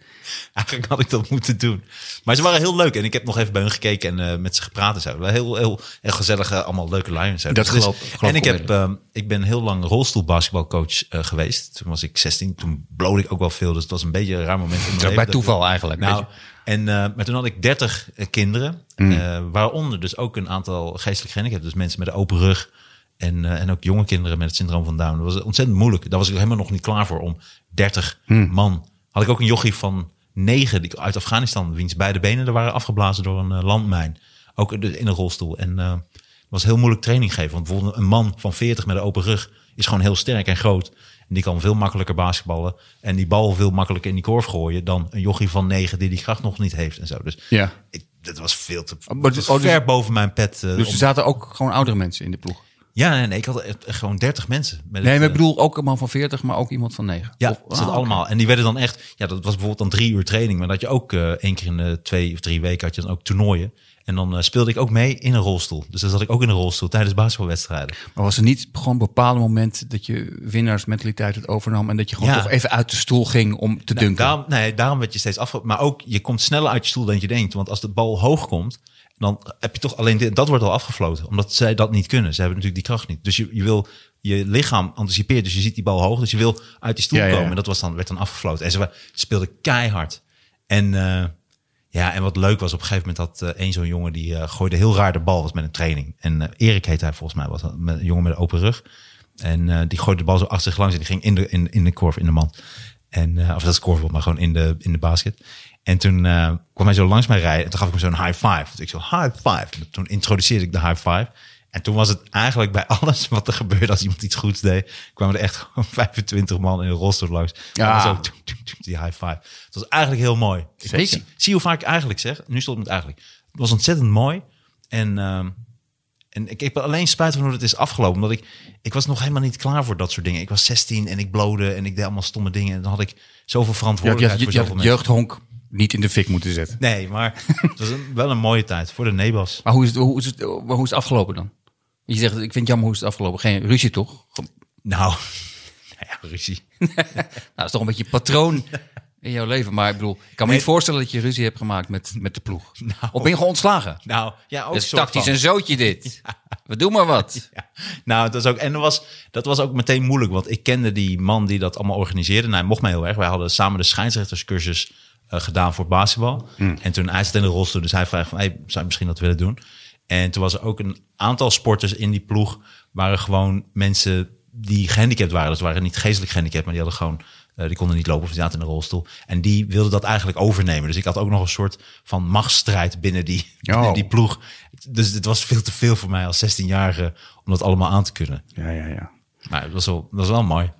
[SPEAKER 1] eigenlijk had ik dat moeten doen. Maar ze waren heel leuk en ik heb nog even bij hun gekeken en eh, met ze gepraat en zo. Wel Heel, heel, heel gezellig, eh, allemaal leuke lui en zo.
[SPEAKER 2] Dat
[SPEAKER 1] het is-
[SPEAKER 2] geloof- geloof
[SPEAKER 1] En ik,
[SPEAKER 2] ik
[SPEAKER 1] heb, ehm, ik ben heel lang rolstoelbasketbalcoach eh, geweest. Toen was ik 16, toen blode ik ook wel veel. Dus het was een beetje een raar moment. in mijn
[SPEAKER 2] ook
[SPEAKER 1] leven
[SPEAKER 2] bij
[SPEAKER 1] dat-
[SPEAKER 2] toeval eigenlijk,
[SPEAKER 1] Nou,
[SPEAKER 2] weet
[SPEAKER 1] en, eh, maar toen had ik 30 kinderen, eh, waaronder dus ook een aantal geestelijk gehandicapten. Dus mensen met een open rug en, eh, en ook jonge kinderen met het syndroom van Down. Dat was ontzettend moeilijk. Daar was ik helemaal nog niet klaar voor om 30 man. Had ik ook een jochie van 9 die, uit Afghanistan, wiens beide benen er waren afgeblazen door een eh, landmijn. Ook in de- in een rolstoel. En eh, het was heel moeilijk training geven. Want bijvoorbeeld een man van 40 met een open rug is gewoon heel sterk en groot. En die kan veel makkelijker basketballen. En die bal veel makkelijker in die korf gooien dan een jochie van 9 die die kracht nog niet heeft en zo. Dus
[SPEAKER 2] Ja.
[SPEAKER 1] ik, dat was veel te
[SPEAKER 2] maar
[SPEAKER 1] dat
[SPEAKER 2] dus-
[SPEAKER 1] was
[SPEAKER 2] oh, dus-
[SPEAKER 1] ver boven mijn pet. eh,
[SPEAKER 2] Dus
[SPEAKER 1] om-
[SPEAKER 2] er zaten ook gewoon oudere mensen in de ploeg.
[SPEAKER 1] ja, nee, nee, ik had echt gewoon 30 mensen. Met
[SPEAKER 2] Nee,
[SPEAKER 1] het,
[SPEAKER 2] maar ik
[SPEAKER 1] eh,
[SPEAKER 2] bedoel ook een man van 40, maar ook iemand van 9.
[SPEAKER 1] Ja,
[SPEAKER 2] Of-
[SPEAKER 1] dat zat
[SPEAKER 2] ah,
[SPEAKER 1] allemaal. En die werden dan echt, ja, dat was bijvoorbeeld dan drie uur training. Maar dat je ook eh, één keer in de twee of drie weken had je dan ook toernooien. En dan eh, speelde ik ook mee in een rolstoel. Dus dan zat ik ook in een rolstoel tijdens basketbalwedstrijden.
[SPEAKER 2] Maar was er niet gewoon een bepaald moment dat je winnaarsmentaliteit het overnam en dat je gewoon
[SPEAKER 1] Ja. Nou,
[SPEAKER 2] toch even uit de stoel ging om te dunken?
[SPEAKER 1] Daarom, nee, daarom werd je steeds afge... Maar ook, je komt sneller uit je stoel dan je denkt. Want als de bal hoog komt, dan heb je toch alleen... dit- Dat wordt al afgefloten, omdat zij dat niet kunnen. Ze hebben natuurlijk die kracht niet. Dus je, je wil... Je lichaam anticipeert, dus je ziet die bal hoog. Dus je wil uit die stoel
[SPEAKER 2] Ja, ja, ja.
[SPEAKER 1] komen. En dat was dan, werd dan afgefloten. En ze wa- speelden keihard. En... eh, ja, en wat leuk was, op een gegeven moment had eh, één zo'n jongen die eh, gooide heel raar de bal, was met een training. En eh, Erik heet hij volgens mij, was dat, met, een jongen met een open rug. En eh, die gooide de bal zo achter zich langs en die ging in de, in, in de korf, in de man. En, eh, of dat is korfbal, maar gewoon in de, in de basket. En toen eh, kwam hij zo langs mij rijden en toen gaf ik hem zo'n high five. Dus ik zo, high five. En toen introduceerde ik de high five. En toen was het eigenlijk bij alles wat er gebeurde als iemand iets goeds deed, kwamen er echt gewoon 25 man in een rolstoel langs.
[SPEAKER 2] Ja.
[SPEAKER 1] Zo, toem, toem, toem, die high five. Het was eigenlijk heel mooi. Ik
[SPEAKER 2] Zeker.
[SPEAKER 1] zie- Zie hoe vaak ik eigenlijk zeg. Nu stond het met eigenlijk. Het was ontzettend mooi. En, ehm, en ik heb alleen spijt van hoe het is afgelopen. Omdat ik, ik was nog helemaal niet klaar voor dat soort dingen. Ik was 16 en ik blode en ik deed allemaal stomme dingen. En dan had ik zoveel
[SPEAKER 2] Je had je,
[SPEAKER 1] verantwoordelijkheid
[SPEAKER 2] je, je
[SPEAKER 1] voor
[SPEAKER 2] had
[SPEAKER 1] zoveel
[SPEAKER 2] het
[SPEAKER 1] mensen.
[SPEAKER 2] jeugdhonk niet in de fik moeten zetten.
[SPEAKER 1] Nee, maar het was een- wel een mooie tijd voor de Nebas.
[SPEAKER 2] Maar hoe is het, hoe is het, hoe is het afgelopen dan? Je zegt, ik vind het jammer hoe is het afgelopen. Geen ruzie toch?
[SPEAKER 1] Nou, nou ja, ruzie.
[SPEAKER 2] Nou, dat is toch een beetje een patroon in jouw leven. Maar ik bedoel, ik kan me
[SPEAKER 1] Nee.
[SPEAKER 2] niet voorstellen dat je ruzie hebt gemaakt met, met de ploeg.
[SPEAKER 1] Nou.
[SPEAKER 2] Of ben je gewoon ontslagen?
[SPEAKER 1] Nou, ja, ook
[SPEAKER 2] Dat is
[SPEAKER 1] soort
[SPEAKER 2] tactisch
[SPEAKER 1] van.
[SPEAKER 2] een zootje dit. We doen maar wat.
[SPEAKER 1] Ja. Nou, het was ook, en dat was, dat was ook meteen moeilijk, want ik kende die man die dat allemaal organiseerde. En hij mocht mij heel erg. Wij hadden samen de scheidsrechterscursus eh, gedaan voor basketbal. En toen hij zat in de rolstoel, dus hij vraagt van, hey, zou je misschien dat willen doen? En toen was er ook een aantal sporters in die ploeg, waren gewoon mensen die gehandicapt waren. Dus waren niet geestelijk gehandicapt, maar die hadden gewoon, eh, die konden niet lopen of die zaten in de rolstoel. En die wilden dat eigenlijk overnemen. Dus ik had ook nog een soort van machtsstrijd binnen die, binnen
[SPEAKER 4] Oh.
[SPEAKER 1] die ploeg. Dus het was veel te veel voor mij als 16-jarige om dat allemaal aan te kunnen.
[SPEAKER 4] Ja, ja, ja.
[SPEAKER 1] Maar het was wel, dat was wel mooi. Nou,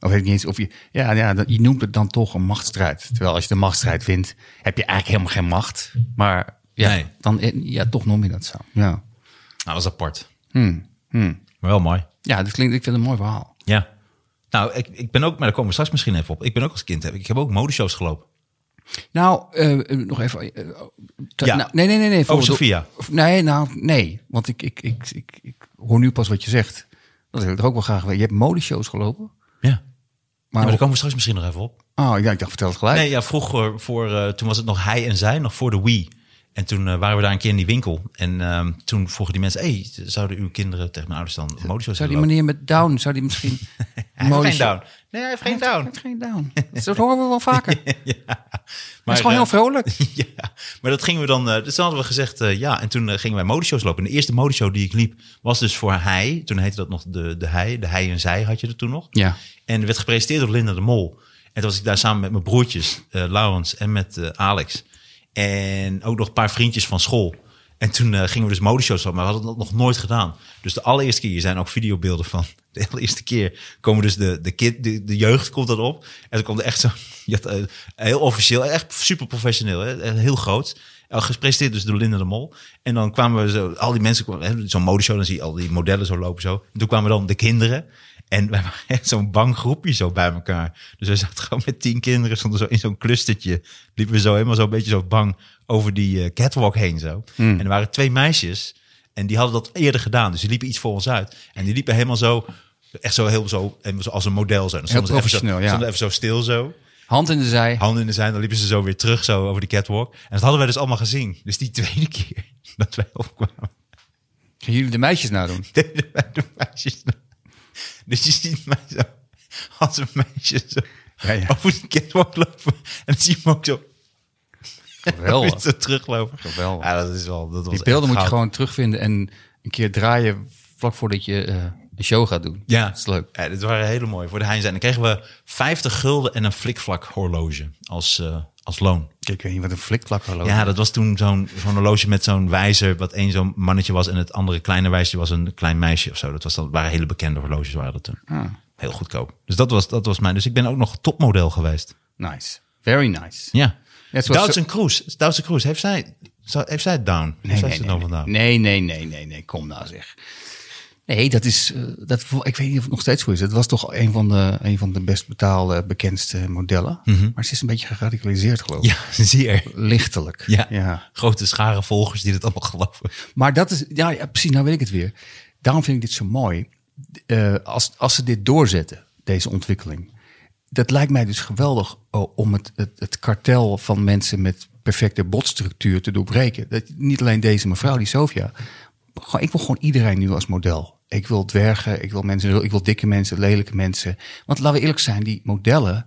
[SPEAKER 2] Of weet ik niet eens of je... Ja, nou ja dat- je noemt het dan toch een machtsstrijd. Terwijl als je de machtsstrijd wint, heb je eigenlijk helemaal geen macht. Maar ja,
[SPEAKER 1] Nee.
[SPEAKER 2] dan, ja toch noem je dat zo. Ja,
[SPEAKER 1] Nou, dat was apart.
[SPEAKER 2] Hmm,
[SPEAKER 1] Maar wel mooi.
[SPEAKER 2] ja dat klinkt, ik vind het een mooi verhaal.
[SPEAKER 1] Ja. Nou, ik, ik ben ook, maar daar komen we straks misschien even op. Ik ben ook als kind, heb ik ik heb ook modeshows gelopen.
[SPEAKER 2] Nou, eh, eh, nog even. eh, eh, te-
[SPEAKER 1] Ja.
[SPEAKER 2] nou, nee, nee, nee. nee voor-
[SPEAKER 1] Sophia.
[SPEAKER 2] of- Nee, nou, nee. Want ik, ik, ik, ik, ik hoor nu pas wat je zegt. Dat wil ik er ook wel graag weten. Je hebt modeshows gelopen.
[SPEAKER 1] Ja. Maar,
[SPEAKER 2] Maar,
[SPEAKER 1] maar daar komen we straks misschien nog even op.
[SPEAKER 2] Oh, ja, ik dacht, vertel het gelijk.
[SPEAKER 1] Nee, ja, vroeger, voor, eh, toen was het nog hij en zij, nog voor de Wii. En toen eh, waren we daar een keer in die winkel. En ehm, toen vroegen die mensen, hey, zouden uw kinderen tegen mijn ouders dan modeshows
[SPEAKER 2] Zou die
[SPEAKER 1] willen
[SPEAKER 2] meneer met down, zou die misschien...
[SPEAKER 1] lopen? Hij heeft geen
[SPEAKER 2] modeshow-
[SPEAKER 1] down. Nee, hij heeft geen
[SPEAKER 2] Hij
[SPEAKER 1] down.
[SPEAKER 2] heeft geen down. Dus Dat horen we wel vaker. Hij
[SPEAKER 1] Maar,
[SPEAKER 2] is gewoon
[SPEAKER 1] eh,
[SPEAKER 2] heel vrolijk.
[SPEAKER 1] ja, maar dat gingen we dan. eh, dus dan hadden we gezegd eh, ja. En toen eh, gingen wij modeshows lopen. En de eerste modeshow die ik liep was dus voor hij. Toen heette dat nog de, de hij. De hij en zij had je er toen nog.
[SPEAKER 2] Ja.
[SPEAKER 1] En werd gepresenteerd door Linda de Mol. En toen was ik daar samen met mijn broertjes, eh Laurens en met eh, Alex. En ook nog een paar vriendjes van school. En toen eh, gingen we dus modeshows lopen, maar we hadden dat nog nooit gedaan. Dus de allereerste keer, hier zijn ook videobeelden van. De allereerste keer komen dus de, de, kid, de, de jeugd komt dat op. En dan komt er echt zo, je had, eh, heel officieel, echt super professioneel, hè, echt heel groot. Eh, Gepresenteerd dus door Linda de Mol. En dan kwamen we zo, al die mensen, kwamen, hè, zo'n modeshow, dan zie je al die modellen zo lopen zo. En toen kwamen dan de kinderen. En wij waren echt zo'n bang groepje zo bij elkaar. Dus we zaten gewoon met tien kinderen, stonden zo in zo'n clustertje. Liepen we zo helemaal zo'n beetje zo bang over die eh, catwalk heen zo.
[SPEAKER 2] Hmm.
[SPEAKER 1] En er waren twee meisjes en die hadden dat eerder gedaan. Dus die liepen iets voor ons uit. En die liepen helemaal zo, echt zo heel zo, helemaal zo als een model zo. En dan
[SPEAKER 2] Heel
[SPEAKER 1] stonden ze even zo-
[SPEAKER 2] professioneel, ja.
[SPEAKER 1] stonden even zo stil zo
[SPEAKER 2] Hand in de zij.
[SPEAKER 1] handen in de zij. Dan liepen ze zo weer terug zo over die catwalk. En dat hadden wij dus allemaal gezien. Dus die tweede keer dat wij opkwamen,
[SPEAKER 2] Gaan jullie de meisjes nou doen?
[SPEAKER 1] deden wij de meisjes. na. Dus je ziet mij zo als een meisje zo
[SPEAKER 2] Ja, ja.
[SPEAKER 1] over die catwalk lopen. En dan zie je hem ook zo,
[SPEAKER 2] Geweldig.
[SPEAKER 1] zo teruglopen.
[SPEAKER 2] Geweldig.
[SPEAKER 1] Ja, dat is wel, dat was
[SPEAKER 2] Die beelden
[SPEAKER 1] echt
[SPEAKER 2] moet je
[SPEAKER 1] goud.
[SPEAKER 2] gewoon terugvinden en een keer draaien vlak voordat je eh, een show gaat doen.
[SPEAKER 1] Ja,
[SPEAKER 2] Dat is leuk.
[SPEAKER 1] Ja, dit waren hele mooie voor de Heinz. En dan kregen we 50 gulden en een flikvlak horloge als, eh, als loon.
[SPEAKER 2] Ik weet niet wat een flikklak hallo.
[SPEAKER 1] Ja, dat was toen zo'n zo'n horloge met zo'n wijzer. Wat één zo'n mannetje was en het andere kleine wijzertje was een klein meisje of zo. Dat was dan, waren hele bekende horloges waren dat toen. Heel goedkoop. Dus dat was, dat was mijn. Dus ik ben ook nog topmodel geweest.
[SPEAKER 2] Nice. Very nice.
[SPEAKER 1] Ja.
[SPEAKER 2] Ja, zoals-
[SPEAKER 1] Doutzen Kroes. Doutzen Kroes. Heeft zij, zou- heeft zij het down? Nee, zij is het nou vandaan?
[SPEAKER 2] nee, nee, nee, nee, nee, kom nou zeg. Nee, dat is, eh, dat, ik weet niet of het nog steeds zo is. Het was toch een van de, een van de best betaalde, bekendste modellen. Maar ze is een beetje geradicaliseerd geloof ik.
[SPEAKER 1] Mhm. Ja, zeer.
[SPEAKER 2] Lichtelijk.
[SPEAKER 1] Ja. Grote schare volgers die dat allemaal geloven.
[SPEAKER 2] Maar dat is, ja, ja, precies, nou weet ik het weer. Daarom vind ik dit zo mooi. Eh, als, als ze dit doorzetten, deze ontwikkeling. Dat lijkt mij dus geweldig oh, om het, het, het kartel van mensen met perfecte botstructuur te doorbreken. Dat, niet alleen deze mevrouw, die Sofia. Maar gewoon- Ik wil gewoon iedereen nu als model. Ik wil dwergen, ik wil, mensen, ik wil dikke mensen, lelijke mensen. Want laten we eerlijk zijn, die modellen.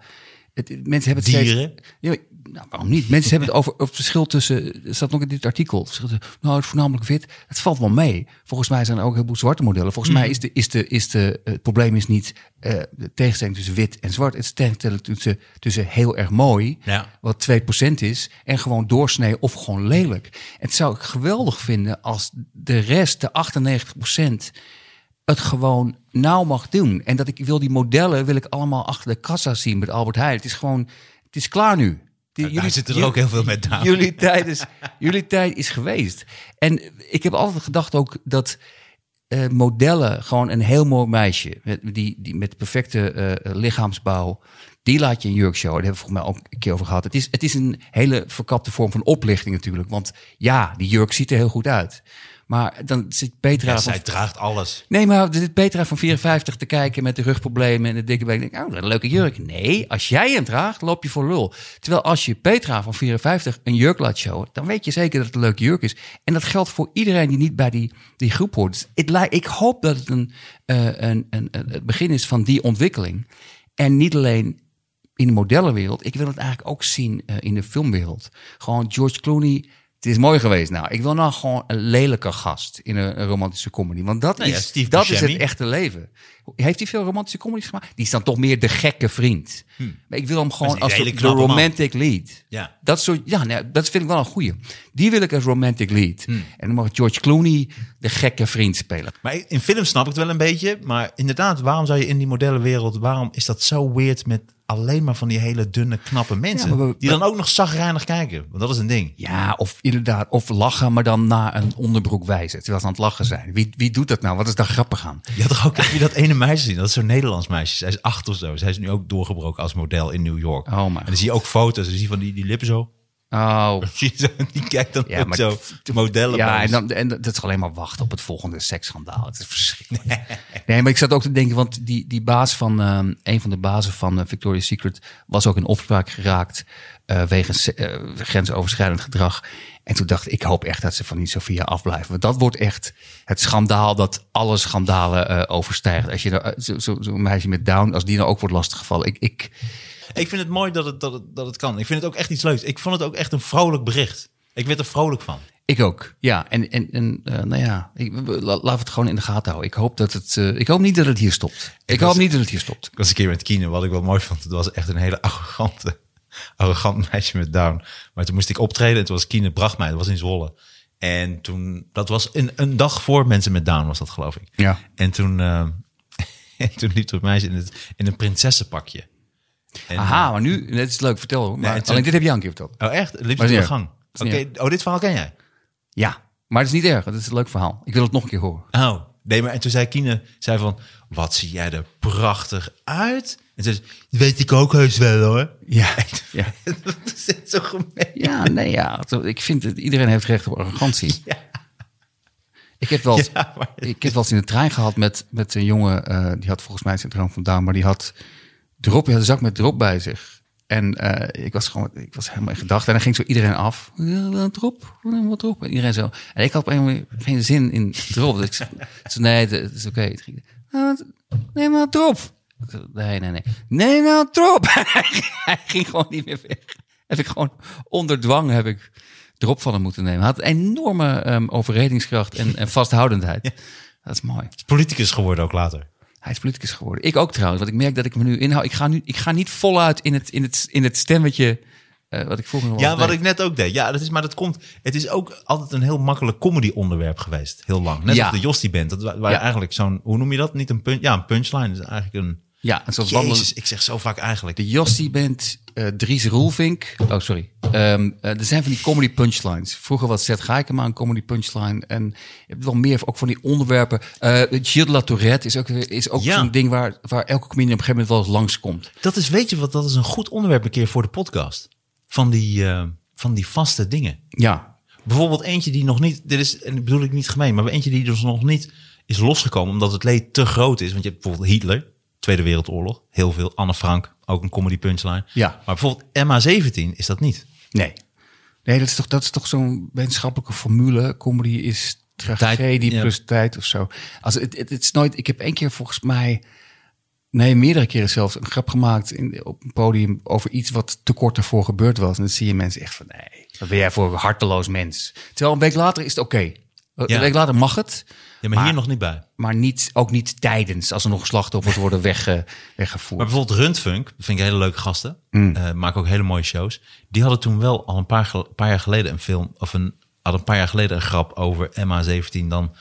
[SPEAKER 2] Het, het- mensen hebben het
[SPEAKER 1] Dieren.
[SPEAKER 2] Steeds, ja, maar- nou, waarom niet? Mensen hebben het over, over het verschil tussen. Er staat nog in dit artikel. Het verschil tussen, nou, het is voornamelijk wit. Het valt wel mee. Volgens mij zijn er ook een heleboel zwarte modellen. Volgens mij is, de, is, de, is de, het probleem is niet eh, de tegenstelling tussen wit en zwart. Het is de tegenstelling tussen, tussen heel erg mooi,
[SPEAKER 1] Ja.
[SPEAKER 2] wat 2% is, en gewoon doorsnee of gewoon lelijk. Het zou ik geweldig vinden als de rest, de 98%, het gewoon nauw mag doen. En dat ik wil die modellen wil ik allemaal achter de kassa zien met Albert Heijn. Het is gewoon, het is klaar nu. Die,
[SPEAKER 1] Daar zitten er ook heel veel met dames.
[SPEAKER 2] Jullie tijd is, jullie tijd is geweest. En ik heb altijd gedacht ook dat eh, modellen gewoon een heel mooi meisje met, die, die met perfecte eh, eh, lichaamsbouw. Die laat je in jurkshow. Daar hebben we volgens mij ook een keer over gehad. Het is, het is een hele verkapte vorm van oplichting natuurlijk. Want ja, die jurk ziet er heel goed uit. Maar dan zit Petra...
[SPEAKER 1] Ja,
[SPEAKER 2] van-
[SPEAKER 1] zij draagt alles.
[SPEAKER 2] Nee, maar dit Petra van 54 te kijken met de rugproblemen en de dikke bek. Ik Denk, oh, wat een leuke jurk. Nee, als jij hem draagt, loop je voor lul. Terwijl als je Petra van 54 een jurk laat showen, dan weet je zeker dat het een leuke jurk is. En dat geldt voor iedereen die niet bij die, die groep hoort. Dus Het lij- ik hoop dat het een, eh, een, een, een- het begin is van die ontwikkeling. En niet alleen in de modellenwereld. Ik wil het eigenlijk ook zien eh, in de filmwereld. Gewoon George Clooney. Het is mooi geweest. Nou, ik wil nou gewoon een lelijke gast in een, een romantische comedy. Want dat,
[SPEAKER 1] Nou ja,
[SPEAKER 2] is,
[SPEAKER 1] Steve
[SPEAKER 2] dat is het
[SPEAKER 1] Buscemi.
[SPEAKER 2] echte leven. Heeft hij veel romantische comedies gemaakt? Die is dan toch meer de gekke vriend.
[SPEAKER 1] Hmm.
[SPEAKER 2] Maar ik wil hem gewoon
[SPEAKER 1] een
[SPEAKER 2] als de,
[SPEAKER 1] hele
[SPEAKER 2] de
[SPEAKER 1] knappe man.
[SPEAKER 2] romantic lead.
[SPEAKER 1] Ja.
[SPEAKER 2] Dat, soort, ja nou, dat vind ik wel een goeie. Die wil ik als romantic lead.
[SPEAKER 1] Hmm.
[SPEAKER 2] En dan mag George Clooney de gekke vriend spelen.
[SPEAKER 1] Maar in film snap ik het wel een beetje. Maar inderdaad, waarom zou je in die modellenwereld... waarom is dat zo weird met alleen maar van die hele dunne, knappe mensen...
[SPEAKER 2] Ja, maar we-
[SPEAKER 1] die dan ook nog zagrijnig kijken? Want dat is een ding.
[SPEAKER 2] Ja, of inderdaad, of lachen, maar dan naar een onderbroek wijzen. Terwijl ze aan het lachen zijn. Wie, wie doet dat nou? Wat is daar grappig aan?
[SPEAKER 1] Je had toch ook heb je dat ene meisje zien? Dat is zo'n Nederlands meisje. Zij is acht of zo. Zij is nu ook doorgebroken als model in New York.
[SPEAKER 2] Oh mijn
[SPEAKER 1] en dan
[SPEAKER 2] God.
[SPEAKER 1] zie je ook foto's. Dan zie je van die, die lippen zo.
[SPEAKER 2] Oh.
[SPEAKER 1] Zie je zo, Die kijkt dan
[SPEAKER 2] Ja,
[SPEAKER 1] ook
[SPEAKER 2] maar-
[SPEAKER 1] zo modellen.
[SPEAKER 2] Ja,
[SPEAKER 1] bij.
[SPEAKER 2] en, dan, en dat is alleen maar wachten op het volgende seksschandaal. Het is verschrikkelijk. Nee, maar ik zat ook te denken, want die, die baas van, ehm, een van de bazen van eh, Victoria's Secret was ook in opspraak geraakt eh, wegens eh, grensoverschrijdend gedrag. En toen dacht ik, ik hoop echt dat ze van die Sofia afblijven. Want dat wordt echt het schandaal dat alle schandalen eh, overstijgt. Als je nou, eh, zo- zo- zo'n meisje met Down, als die nou ook wordt lastiggevallen. Ik, ik,
[SPEAKER 1] Ik vind het mooi dat het, dat, het, dat het kan. Ik vind het ook echt iets leuks. Ik vond het ook echt een vrolijk bericht. Ik werd er vrolijk van.
[SPEAKER 2] Ik ook, ja. En, en, en eh, nou ja, ik, la- laten we het gewoon in de gaten houden. Ik hoop, dat het, eh, ik hoop niet dat het hier stopt. Ik, hoop niet dat het hier stopt.
[SPEAKER 1] Ik was een keer met Kine, wat ik wel mooi vond. Het was echt een hele arrogante, arrogant meisje met Down. Maar toen moest ik optreden en toen was Kine bracht mij. Dat was in Zwolle. En toen, dat was een, een dag voor mensen met Down was dat geloof ik.
[SPEAKER 2] Ja.
[SPEAKER 1] En toen, eh, en toen liep er een meisje in, het, in een prinsessenpakje. En,
[SPEAKER 2] Aha, maar nu, dit is leuk, vertel. hoor. Maar
[SPEAKER 1] het is-
[SPEAKER 2] alleen dit heb je al een keer verteld.
[SPEAKER 1] Oh echt? Liep
[SPEAKER 2] Maar
[SPEAKER 1] ze door de
[SPEAKER 2] ja.
[SPEAKER 1] gang? Oké,
[SPEAKER 2] Ja.
[SPEAKER 1] oh dit verhaal ken jij?
[SPEAKER 2] Ja, maar het is niet erg. Het is een leuk verhaal. Ik wil het nog een keer horen.
[SPEAKER 1] Oh, nee, maar en toen zei Kine, zei van, wat zie jij er prachtig uit. En ze zei, dat weet ik ook heus wel hoor.
[SPEAKER 2] Ja, ja.
[SPEAKER 1] dat is echt zo gemeen.
[SPEAKER 2] ja nee, ja. Het- Ik vind dat iedereen heeft recht op arrogantie. Ik heb wel eens-
[SPEAKER 1] Ja, maar-
[SPEAKER 2] ik heb wel eens in de trein gehad met, met een jongen, eh, die had volgens mij het syndroom van Down, maar die had drop, die had een zak met drop bij zich. En eh, ik was gewoon, ik was helemaal in gedachten. En dan ging zo iedereen af. Ja, wel een drop, wel wat drop. En iedereen zo. En ik had op een of andere manier geen zin in drop. Dus ik zei, zo, nee, het het is oké. Het ging, "Nou, wat- Neem maar een drop. Ik zo, Nee, nee, nee. Neem nou een drop. Hij ging gewoon niet meer weg. Heb ik gewoon onder dwang heb ik drop van hem moeten nemen. Hij had enorme ehm, overredingskracht en, en vasthoudendheid. Dat is mooi.
[SPEAKER 1] Is politicus geworden ook later.
[SPEAKER 2] Hij is politicus geworden. Ik ook trouwens, want ik merk dat ik me nu inhoud. Ik ga, nu, ik ga niet voluit in het, in het, in het stemmetje eh, wat ik vroeger nog
[SPEAKER 1] Ja,
[SPEAKER 2] wel
[SPEAKER 1] wat
[SPEAKER 2] deed.
[SPEAKER 1] ik net ook deed. Ja, dat is, maar dat komt. Het is ook altijd een heel makkelijk comedy onderwerp geweest. Heel lang. Net
[SPEAKER 2] Ja.
[SPEAKER 1] als de Jostie bent. Dat wa- waar je
[SPEAKER 2] Ja. eigenlijk
[SPEAKER 1] eigenlijk zo'n. Hoe noem je dat? Niet een punch. Ja, een punchline is eigenlijk een.
[SPEAKER 2] Ja, een soort wandelen.
[SPEAKER 1] Jezus, ik zeg zo vaak eigenlijk.
[SPEAKER 2] De Jossie bent eh, Dries Roelvink. Oh, sorry. Ehm, eh, er zijn van die comedy punchlines. Vroeger was Seth Gaikema een comedy punchline. En je hebt wel meer ook van die onderwerpen. Eh Gilles de La Tourette is ook, weer- is ook
[SPEAKER 1] Ja.
[SPEAKER 2] zo'n ding waar, waar elke comedian op een gegeven moment wel eens langskomt.
[SPEAKER 1] Dat is, weet je wat, dat is een goed onderwerp een keer voor de podcast. Van die, eh, van die vaste dingen.
[SPEAKER 2] Ja.
[SPEAKER 1] Bijvoorbeeld eentje die nog niet, dit is, en dat bedoel ik niet gemeen, maar eentje die dus nog niet is losgekomen omdat het leed te groot is. Want je hebt bijvoorbeeld Hitler, Tweede Wereldoorlog, heel veel. Anne Frank, ook een comedy punchline.
[SPEAKER 2] Ja.
[SPEAKER 1] Maar bijvoorbeeld MH17 is dat niet.
[SPEAKER 2] Nee. Nee, dat is toch, dat is toch zo'n wetenschappelijke formule. Comedy is tragedie
[SPEAKER 1] Tijd, ja.
[SPEAKER 2] plus tijd of zo. Als, het, het, het is nooit, ik heb één keer volgens mij... Nee, meerdere keren zelfs een grap gemaakt in, op een podium over iets wat te kort ervoor gebeurd was. En dan zie je mensen echt van, nee, wat ben jij voor een harteloos mens. Terwijl een week later is het oké.
[SPEAKER 1] Ja.
[SPEAKER 2] Een week later mag het,
[SPEAKER 1] Ja, maar, hier nog niet bij.
[SPEAKER 2] maar niet, ook niet tijdens als er nog slachtoffers worden wegge, weggevoerd.
[SPEAKER 1] Maar bijvoorbeeld Rundfunk, dat vind ik hele leuke gasten.
[SPEAKER 2] Mm.
[SPEAKER 1] eh, maken ook hele mooie shows. Die hadden toen wel al een paar, gel- paar jaar geleden een film, of een, hadden een paar jaar geleden een grap over MH17. Dan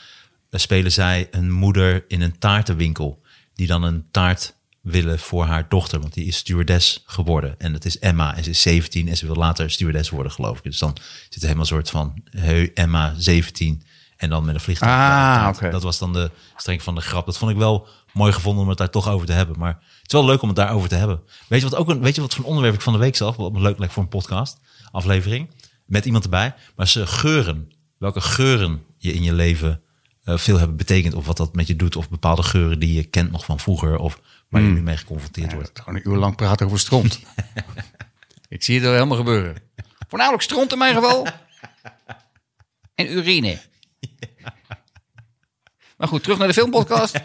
[SPEAKER 1] eh, spelen zij een moeder in een taartenwinkel. Die dan een taart willen voor haar dochter. Want die is stewardess geworden. En dat is Emma. En ze is 17 en ze wil later stewardess worden, geloof ik. Dus dan zit er helemaal een soort van heu, Emma 17. En dan met een vliegtuig.
[SPEAKER 2] Ah,
[SPEAKER 1] naar de taart.
[SPEAKER 2] oké.
[SPEAKER 1] Dat was dan de streng van de grap. Dat vond ik wel mooi gevonden om het daar toch over te hebben. Maar het is wel leuk om het daarover te hebben. Weet je wat, ook een, weet je wat voor een onderwerp ik van de week zag? Wat me leuk lijkt voor een podcast, aflevering. Met iemand erbij. Maar ze geuren. Welke geuren je in je leven eh, veel hebben betekend. Of wat dat met je doet. Of bepaalde geuren die je kent nog van vroeger. Of waar je nu mee geconfronteerd wordt.
[SPEAKER 2] Gewoon een uur lang praten over stront. ik zie het al helemaal gebeuren. Voornamelijk stront in mijn geval. en urine. Maar goed, terug naar de filmpodcast.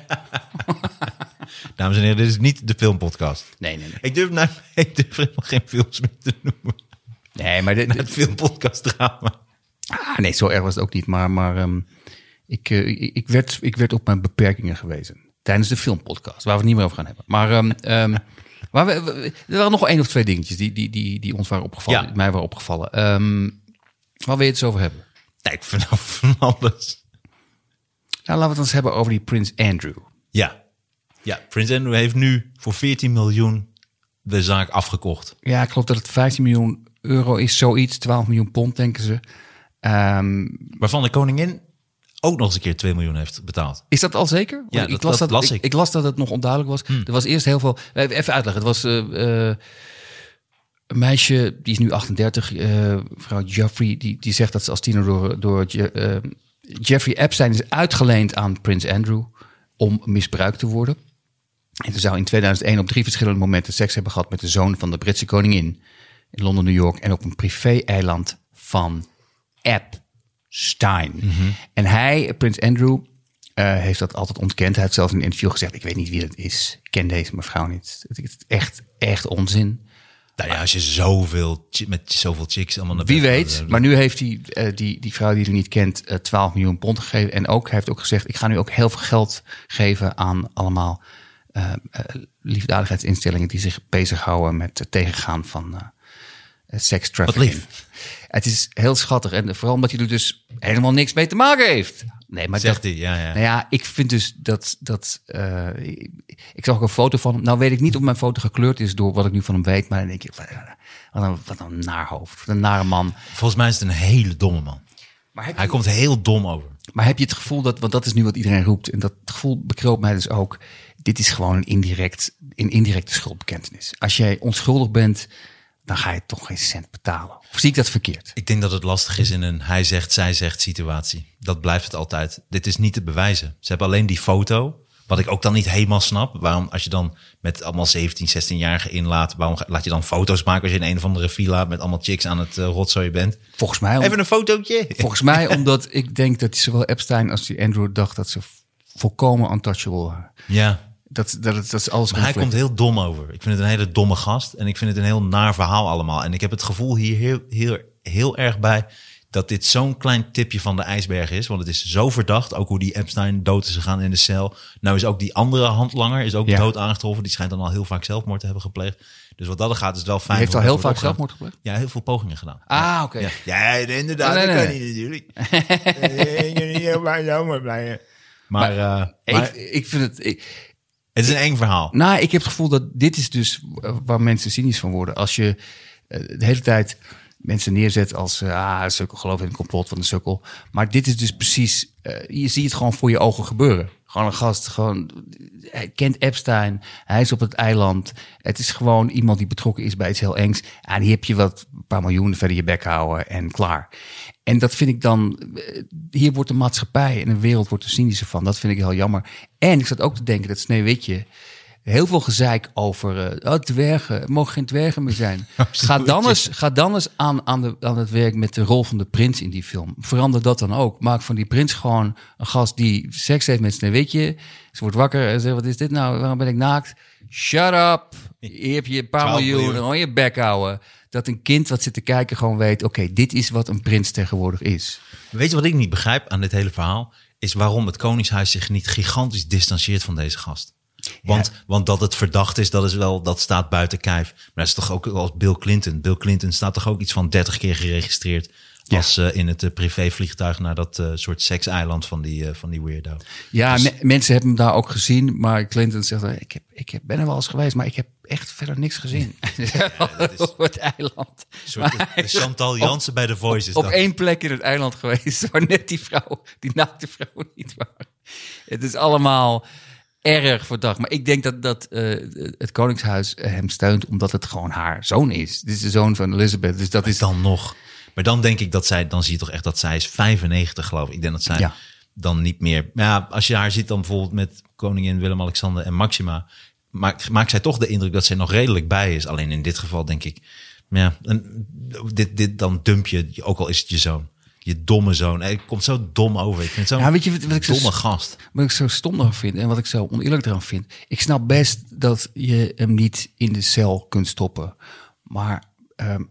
[SPEAKER 1] Dames en heren, dit is niet de filmpodcast.
[SPEAKER 2] Nee, nee, nee.
[SPEAKER 1] Ik durf, nou, ik durf helemaal geen films meer te noemen.
[SPEAKER 2] Nee, maar dit,
[SPEAKER 1] Het filmpodcast drama.
[SPEAKER 2] Ah, nee, zo erg was het ook niet. Maar, maar ehm, ik, eh, ik, ik werd, ik werd op mijn beperkingen gewezen. Tijdens de filmpodcast, waar we het niet meer over gaan hebben. Maar ehm, ehm, waar we, we- er waren nog één of twee dingetjes die, die, die, die ons waren opgevallen.
[SPEAKER 1] Ja.
[SPEAKER 2] die Mij waren opgevallen. Ehm, waar wil je het eens over hebben?
[SPEAKER 1] Tijd vanaf van alles.
[SPEAKER 2] Nou, laten we het eens hebben over die Prins Andrew.
[SPEAKER 1] Ja. Ja, Prins Andrew heeft nu voor 14 miljoen de zaak afgekocht.
[SPEAKER 2] Ja, ik geloof dat het 15 miljoen euro is, zoiets. 12 miljoen pond, denken ze. Ehm,
[SPEAKER 1] Waarvan de koningin ook nog eens een keer 2 miljoen heeft betaald.
[SPEAKER 2] Is dat al zeker? Want
[SPEAKER 1] Ja,
[SPEAKER 2] ik
[SPEAKER 1] dat-
[SPEAKER 2] las
[SPEAKER 1] dat
[SPEAKER 2] dat,
[SPEAKER 1] las ik.
[SPEAKER 2] ik,
[SPEAKER 1] Hmm.
[SPEAKER 2] ik las dat het nog onduidelijk was. Er was eerst heel veel. Even even uitleggen. Het was eh, eh, een meisje, die is nu 38, eh mevrouw Jeffrey, die, die zegt dat ze als tiener door, door Je- eh, Jeffrey Epstein is uitgeleend aan Prins Andrew om misbruikt te worden. En ze zou in 2001 op drie verschillende momenten seks hebben gehad met de zoon van de Britse koningin in Londen, New York en op een privé-eiland van Epstein. En hij, Prins Andrew, eh, heeft dat altijd ontkend. Hij heeft zelfs in een interview gezegd: Ik weet niet wie dat is. Ik ken deze mevrouw niet. Het is echt, echt onzin.
[SPEAKER 1] Nou ja, als je zoveel chi- met zoveel chicks allemaal naar
[SPEAKER 2] Wie
[SPEAKER 1] bed gaat,
[SPEAKER 2] weet.
[SPEAKER 1] eh,
[SPEAKER 2] Maar nu heeft die, eh, die, die vrouw die hij niet kent eh, 12 miljoen pond gegeven. En ook, hij heeft ook gezegd, ik ga nu ook heel veel geld geven aan allemaal eh, eh, liefdadigheidsinstellingen die zich bezighouden met het tegengaan van eh sex trafficking.
[SPEAKER 1] Wat lief.
[SPEAKER 2] Het is heel schattig. En vooral omdat hij er dus helemaal niks mee te maken heeft. Nee, maar
[SPEAKER 1] eh, Zegt
[SPEAKER 2] dat-
[SPEAKER 1] hij, ja, ja.
[SPEAKER 2] Nou ja, ik vind dus dat... dat eh, ik- ik zag ook een foto van hem. Nou weet ik niet of mijn foto gekleurd is door wat ik nu van hem weet. Maar dan denk ik, wat wat een, wat een naar hoofd. Wat een nare man.
[SPEAKER 1] Volgens mij is het een hele domme man.
[SPEAKER 2] Maar heb,
[SPEAKER 1] Hij
[SPEAKER 2] je,
[SPEAKER 1] komt heel dom over.
[SPEAKER 2] maar heb je het gevoel dat, want dat is nu wat iedereen roept, en dat gevoel bekroop mij dus ook, dit is gewoon een, indirect, een indirecte schuldbekentenis. Als jij onschuldig bent, dan ga je toch geen cent betalen. Of zie ik dat verkeerd?
[SPEAKER 1] Ik denk dat het lastig is in een hij zegt, zij zegt situatie. Dat blijft het altijd. Dit is niet te bewijzen. Ze hebben alleen die foto. Wat ik ook dan niet helemaal snap. Waarom, als je dan met allemaal 17, 16-jarigen inlaat, waarom ga- laat je dan foto's maken als je in een of andere villa met allemaal chicks aan het eh, rotzooien bent?
[SPEAKER 2] Volgens mij, om-
[SPEAKER 1] Even een fotootje.
[SPEAKER 2] volgens mij omdat ik denk dat zowel Epstein als die Andrew dacht dat ze volkomen untouchable waren.
[SPEAKER 1] Ja.
[SPEAKER 2] Dat, dat, dat, is alles
[SPEAKER 1] Maar hij
[SPEAKER 2] conflict.
[SPEAKER 1] komt heel dom over. Ik vind het een hele domme gast. En ik vind het een heel naar verhaal allemaal. En ik heb het gevoel hier heel, heel, heel erg bij dat dit zo'n klein tipje van de ijsberg is. Want het is zo verdacht. Ook hoe die Epstein dood is gegaan in de cel. Nou is ook die andere handlanger is ook
[SPEAKER 2] Ja.
[SPEAKER 1] dood aangetroffen. Die schijnt dan al heel vaak zelfmoord te hebben gepleegd. Dus wat dat gaat is het wel fijn.
[SPEAKER 2] heeft
[SPEAKER 1] dat
[SPEAKER 2] al heel
[SPEAKER 1] dat wordt
[SPEAKER 2] vaak
[SPEAKER 1] opgeruimd.
[SPEAKER 2] zelfmoord gepleegd?
[SPEAKER 1] Ja, heel veel pogingen gedaan.
[SPEAKER 2] Ah, oké.
[SPEAKER 1] Ja, ja inderdaad.
[SPEAKER 2] Oh, nee,
[SPEAKER 1] dat
[SPEAKER 2] nee,
[SPEAKER 1] kan
[SPEAKER 2] nee.
[SPEAKER 1] niet natuurlijk. Eh, jullie heel maar zomaar blijven. Maar, eh, maar
[SPEAKER 2] Ik, ik vind het... ik-
[SPEAKER 1] het is een eng verhaal.
[SPEAKER 2] Nou, ik heb het gevoel dat dit is dus eh, waar mensen cynisch van worden. Als je eh, de hele tijd mensen neerzet als eh, ah, een sukkel, geloof in het complot van een sukkel. Maar dit is dus precies, eh, je ziet het gewoon voor je ogen gebeuren. Gewoon een gast, gewoon, hij kent Epstein, hij is op het eiland. Het is gewoon iemand die betrokken is bij iets heel engs. En die heb je wat, een paar miljoenen verder je bek houden en klaar. En dat vind ik dan, eh, hier wordt de maatschappij en de wereld wordt er cynischer van. Dat vind ik heel jammer. En ik zat ook te denken, dat Sneeuwwitje, Heel veel gezeik over eh, oh, dwergen. Er mogen geen dwergen meer zijn. ga, dan eens, ga dan eens aan, aan, de, aan het werk met de rol van de prins in die film. Verander dat dan ook. Maak van die prins gewoon een gast die seks heeft met Sneeuwwitje. Ze wordt wakker en zegt, wat is dit nou? Waarom ben ik naakt? Shut up. Hier heb je een paar
[SPEAKER 1] 12
[SPEAKER 2] miljoen.
[SPEAKER 1] miljoen.
[SPEAKER 2] Gewoon je bek houden. Dat een kind wat zit te kijken gewoon weet... oké, dit is wat een prins tegenwoordig is.
[SPEAKER 1] Weet je wat ik niet begrijp aan dit hele verhaal? Is waarom het Koningshuis zich niet gigantisch distancieert van deze gast. Want, want dat het verdacht is, dat, is wel, dat staat buiten kijf. Maar dat is toch ook als Bill Clinton. Bill Clinton staat toch ook iets van 30 keer geregistreerd.
[SPEAKER 2] Ja.
[SPEAKER 1] Als eh, in het eh, privévliegtuig naar dat eh, soort sekseiland van die, eh, van die weirdo.
[SPEAKER 2] Ja,
[SPEAKER 1] Dus-
[SPEAKER 2] me- mensen hebben hem daar ook gezien, maar Clinton zegt: eh, ik, heb, ik heb, ben er wel eens geweest, maar ik heb echt verder niks gezien.
[SPEAKER 1] dat is-
[SPEAKER 2] op het eiland.
[SPEAKER 1] Een soort de- de Chantal Jansen bij The Voice is
[SPEAKER 2] Op
[SPEAKER 1] dat.
[SPEAKER 2] één plek in het eiland geweest, waar net die vrouw, die naakte vrouw niet waren. Het is allemaal erg verdacht. Maar ik denk dat, dat eh, het Koningshuis hem steunt, omdat het gewoon haar zoon is. Dit is de zoon van Elizabeth, dus dat is
[SPEAKER 1] dan nog. Maar dan denk ik dat zij, dan zie je toch echt dat zij is 95 geloof ik. Ik denk dat zij
[SPEAKER 2] Ja.
[SPEAKER 1] dan niet meer. Maar ja, als je haar ziet dan bijvoorbeeld met koningin Willem-Alexander en Maxima, maakt, maakt zij toch de indruk dat zij nog redelijk bij is. Alleen in dit geval denk ik, ja, en dit, dit dan dump je, ook al is het je zoon. Je domme zoon. Hij komt zo dom over. Ik vind het zo'n
[SPEAKER 2] Ja, weet je wat- wat ik zo-
[SPEAKER 1] domme gast.
[SPEAKER 2] Wat ik zo stom eraan vind en wat ik zo oneerlijk eraan vind. Ik snap best dat je hem niet in de cel kunt stoppen. Maar ehm,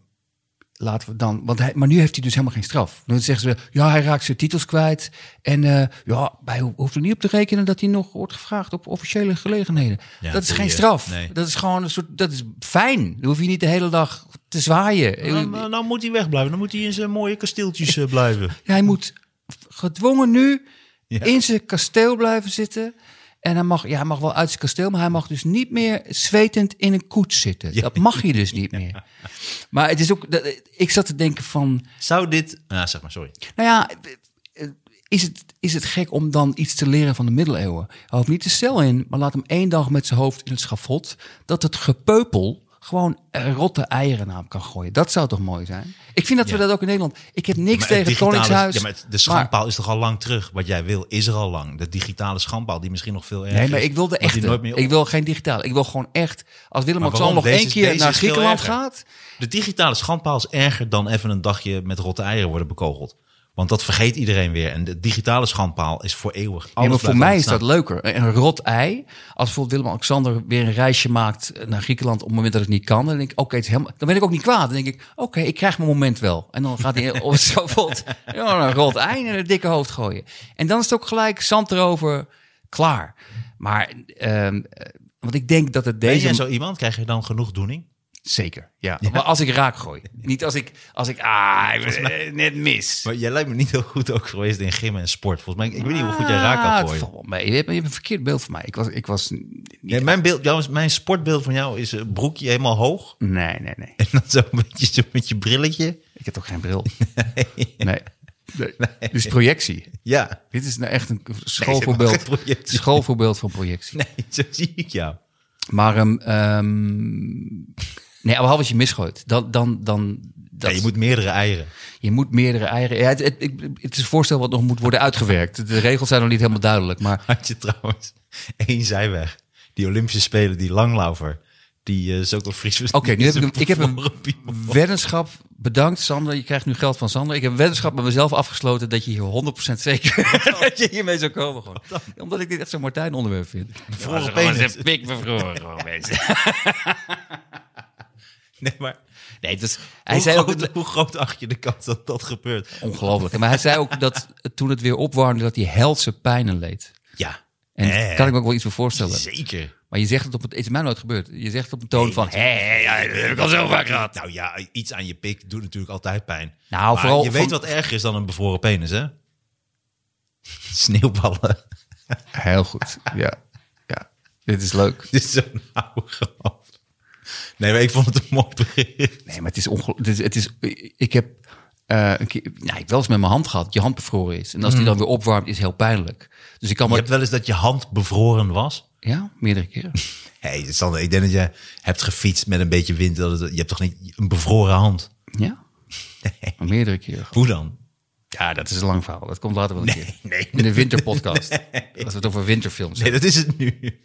[SPEAKER 2] laten we dan. Want hij, maar nu heeft hij dus helemaal geen straf. Dan zeggen ze: ja, hij raakt zijn titels kwijt. En eh, ja, wij ho- hoeven er niet op te rekenen dat hij nog wordt gevraagd op officiële gelegenheden.
[SPEAKER 1] Ja,
[SPEAKER 2] dat is
[SPEAKER 1] doe
[SPEAKER 2] geen
[SPEAKER 1] je.
[SPEAKER 2] straf.
[SPEAKER 1] Nee.
[SPEAKER 2] Dat is gewoon een soort. Dat is fijn. Dan hoef je niet de hele dag te zwaaien.
[SPEAKER 1] Nou, nou, nou moet hij wegblijven. Dan moet hij in zijn mooie kasteeltjes eh, blijven.
[SPEAKER 2] Ja, hij moet gedwongen nu
[SPEAKER 1] Ja.
[SPEAKER 2] in zijn kasteel blijven zitten. En hij mag, ja, hij mag wel uit zijn kasteel, maar hij mag dus niet meer zwetend in een koets zitten.
[SPEAKER 1] Ja.
[SPEAKER 2] Dat mag je dus niet meer. Maar het is ook, dat- ik zat te denken van,
[SPEAKER 1] Zou dit... Nou, zeg maar, sorry.
[SPEAKER 2] nou ja, eh, is het, is het gek om dan iets te leren van de middeleeuwen? Hij hoeft niet de cel in, maar laat hem één dag met zijn hoofd in het schafot. Dat het gepeupel gewoon eh, rotte eieren naar hem kan gooien. Dat zou toch mooi zijn? Ik vind dat we
[SPEAKER 1] Ja.
[SPEAKER 2] dat ook in Nederland... Ik heb niks
[SPEAKER 1] Maar
[SPEAKER 2] tegen het
[SPEAKER 1] digitale-
[SPEAKER 2] Koningshuis.
[SPEAKER 1] Ja, maar het- de schandpaal is toch al lang terug? Wat jij wil, is er al lang. De digitale schandpaal, die misschien nog veel erger
[SPEAKER 2] Nee, maar
[SPEAKER 1] is,
[SPEAKER 2] ik wil de
[SPEAKER 1] want die
[SPEAKER 2] echte.
[SPEAKER 1] nooit meer op-
[SPEAKER 2] Ik wil geen digitaal. Ik wil gewoon echt. Als
[SPEAKER 1] waarom?
[SPEAKER 2] Willem-Alexander nog
[SPEAKER 1] Deze
[SPEAKER 2] één
[SPEAKER 1] is-
[SPEAKER 2] keer
[SPEAKER 1] deze
[SPEAKER 2] naar
[SPEAKER 1] is veel
[SPEAKER 2] Griekenland
[SPEAKER 1] erger.
[SPEAKER 2] gaat.
[SPEAKER 1] De digitale schandpaal is erger dan even een dagje met rotte eieren worden bekogeld. Want dat vergeet iedereen weer. En de digitale schandpaal is voor eeuwig.
[SPEAKER 2] Ja, maar
[SPEAKER 1] Alles
[SPEAKER 2] voor
[SPEAKER 1] blijft
[SPEAKER 2] mij is
[SPEAKER 1] ontstaan.
[SPEAKER 2] dat leuker. Een een rot ei. Als bijvoorbeeld Willem-Alexander weer een reisje maakt naar Griekenland op het moment dat het niet kan. Dan denk ik, oké, het is helemaal. dan ben ik ook niet kwaad. Dan denk ik, oké, ik krijg mijn moment wel. En dan gaat hij op het schafot ja, een rot ei en een dikke hoofd gooien. En dan is het ook gelijk zand erover, klaar. Maar, ehm, eh, want ik denk dat het
[SPEAKER 1] Ben
[SPEAKER 2] deze...
[SPEAKER 1] jij zo iemand? Krijg je dan genoegdoening?
[SPEAKER 2] Zeker, ja. Maar als ik raak gooi. Niet als ik, als ik ah, ik, eh, net mis.
[SPEAKER 1] Maar jij lijkt me niet heel goed ook geweest in gym en sport. Volgens mij, ik weet niet hoe goed jij raak kan
[SPEAKER 2] Ah, het
[SPEAKER 1] gooien.
[SPEAKER 2] valt wel mee. Je hebt, je hebt een verkeerd beeld van mij. Ik was, ik was
[SPEAKER 1] Ja, mijn, beeld, jouw, mijn sportbeeld van jou is een broekje helemaal hoog.
[SPEAKER 2] nee, nee, nee.
[SPEAKER 1] En dan zo een beetje zo met je brilletje.
[SPEAKER 2] Ik heb toch geen bril? Nee. nee. Dit is projectie.
[SPEAKER 1] Ja.
[SPEAKER 2] Dit is nou echt een
[SPEAKER 1] dit
[SPEAKER 2] schoolvoorbeeld,
[SPEAKER 1] is geen projectie.
[SPEAKER 2] schoolvoorbeeld van projectie.
[SPEAKER 1] Nee, zo zie ik jou.
[SPEAKER 2] Maar ehm, ehm, nee, behalve als je misgooit. Dan, dan, dan, dat,
[SPEAKER 1] Ja, je moet meerdere eieren.
[SPEAKER 2] Je moet meerdere eieren. Ja, het, het, ik- het is een voorstel wat nog moet worden uitgewerkt. De regels zijn nog niet helemaal duidelijk. Maar
[SPEAKER 1] Had je trouwens één zijweg. Die Olympische Spelen, die langlaufer. Die eh, is ook een Fries.
[SPEAKER 2] Oké, nu heb ik hem- ik heb hem-
[SPEAKER 1] hem.
[SPEAKER 2] weddenschap, bedankt Sander. Je krijgt nu geld van Sander. Ik heb een weddenschap met mezelf afgesloten dat je hier 100% zeker dat je hiermee zou komen. Gewoon. Omdat ik dit echt zo'n Martijn onderwerp vind.
[SPEAKER 1] Vroege penis.
[SPEAKER 2] pik bevroren gewoon mensen.
[SPEAKER 1] Nee, maar
[SPEAKER 2] Nee, dus, hij
[SPEAKER 1] hij hoe,
[SPEAKER 2] zei ook...
[SPEAKER 1] groot, hoe groot acht je de kans dat dat gebeurt?
[SPEAKER 2] Ongelooflijk. Maar hij zei ook dat toen het weer opwarmde dat hij helse pijnen leed.
[SPEAKER 1] Ja.
[SPEAKER 2] En
[SPEAKER 1] Eh,
[SPEAKER 2] daar kan ik me ook wel iets voor voorstellen.
[SPEAKER 1] Zeker.
[SPEAKER 2] Maar je zegt het op het... Het is mij nooit gebeurd. Je zegt het op een toon van... Hé, hé, Eh, ja, dat heb ik al zo vaak gehad.
[SPEAKER 1] Nou ja, iets aan je pik doet natuurlijk altijd pijn.
[SPEAKER 2] Nou,
[SPEAKER 1] Maar
[SPEAKER 2] vooral
[SPEAKER 1] je
[SPEAKER 2] van-
[SPEAKER 1] weet wat erger is dan een bevroren penis, hè? Sneeuwballen.
[SPEAKER 2] Heel goed, ja. ja. Dit is leuk.
[SPEAKER 1] Dit is zo'n oude grap. Nee, maar ik vond het een mooi bericht.
[SPEAKER 2] Nee, maar het is ongelooflijk. Het is, ik heb eh, een keer, nou, ik heb wel eens met mijn hand gehad, dat je hand bevroren is. En als die dan weer opwarmt, is heel pijnlijk. Dus ik kan
[SPEAKER 1] Mm. Je
[SPEAKER 2] maar.
[SPEAKER 1] hebt wel eens dat je hand bevroren was?
[SPEAKER 2] Ja, meerdere keren.
[SPEAKER 1] Hey, Sander, ik denk dat je hebt gefietst met een beetje wind. Dat het- je hebt toch niet een bevroren hand?
[SPEAKER 2] Ja? Maar Meerdere keren.
[SPEAKER 1] Hoe dan?
[SPEAKER 2] Ja, dat is een lang verhaal. Dat komt later wel een keer.
[SPEAKER 1] nee,
[SPEAKER 2] In de winterpodcast. Als we het over winterfilms
[SPEAKER 1] Nee,
[SPEAKER 2] hebben.
[SPEAKER 1] dat is het nu. Nee,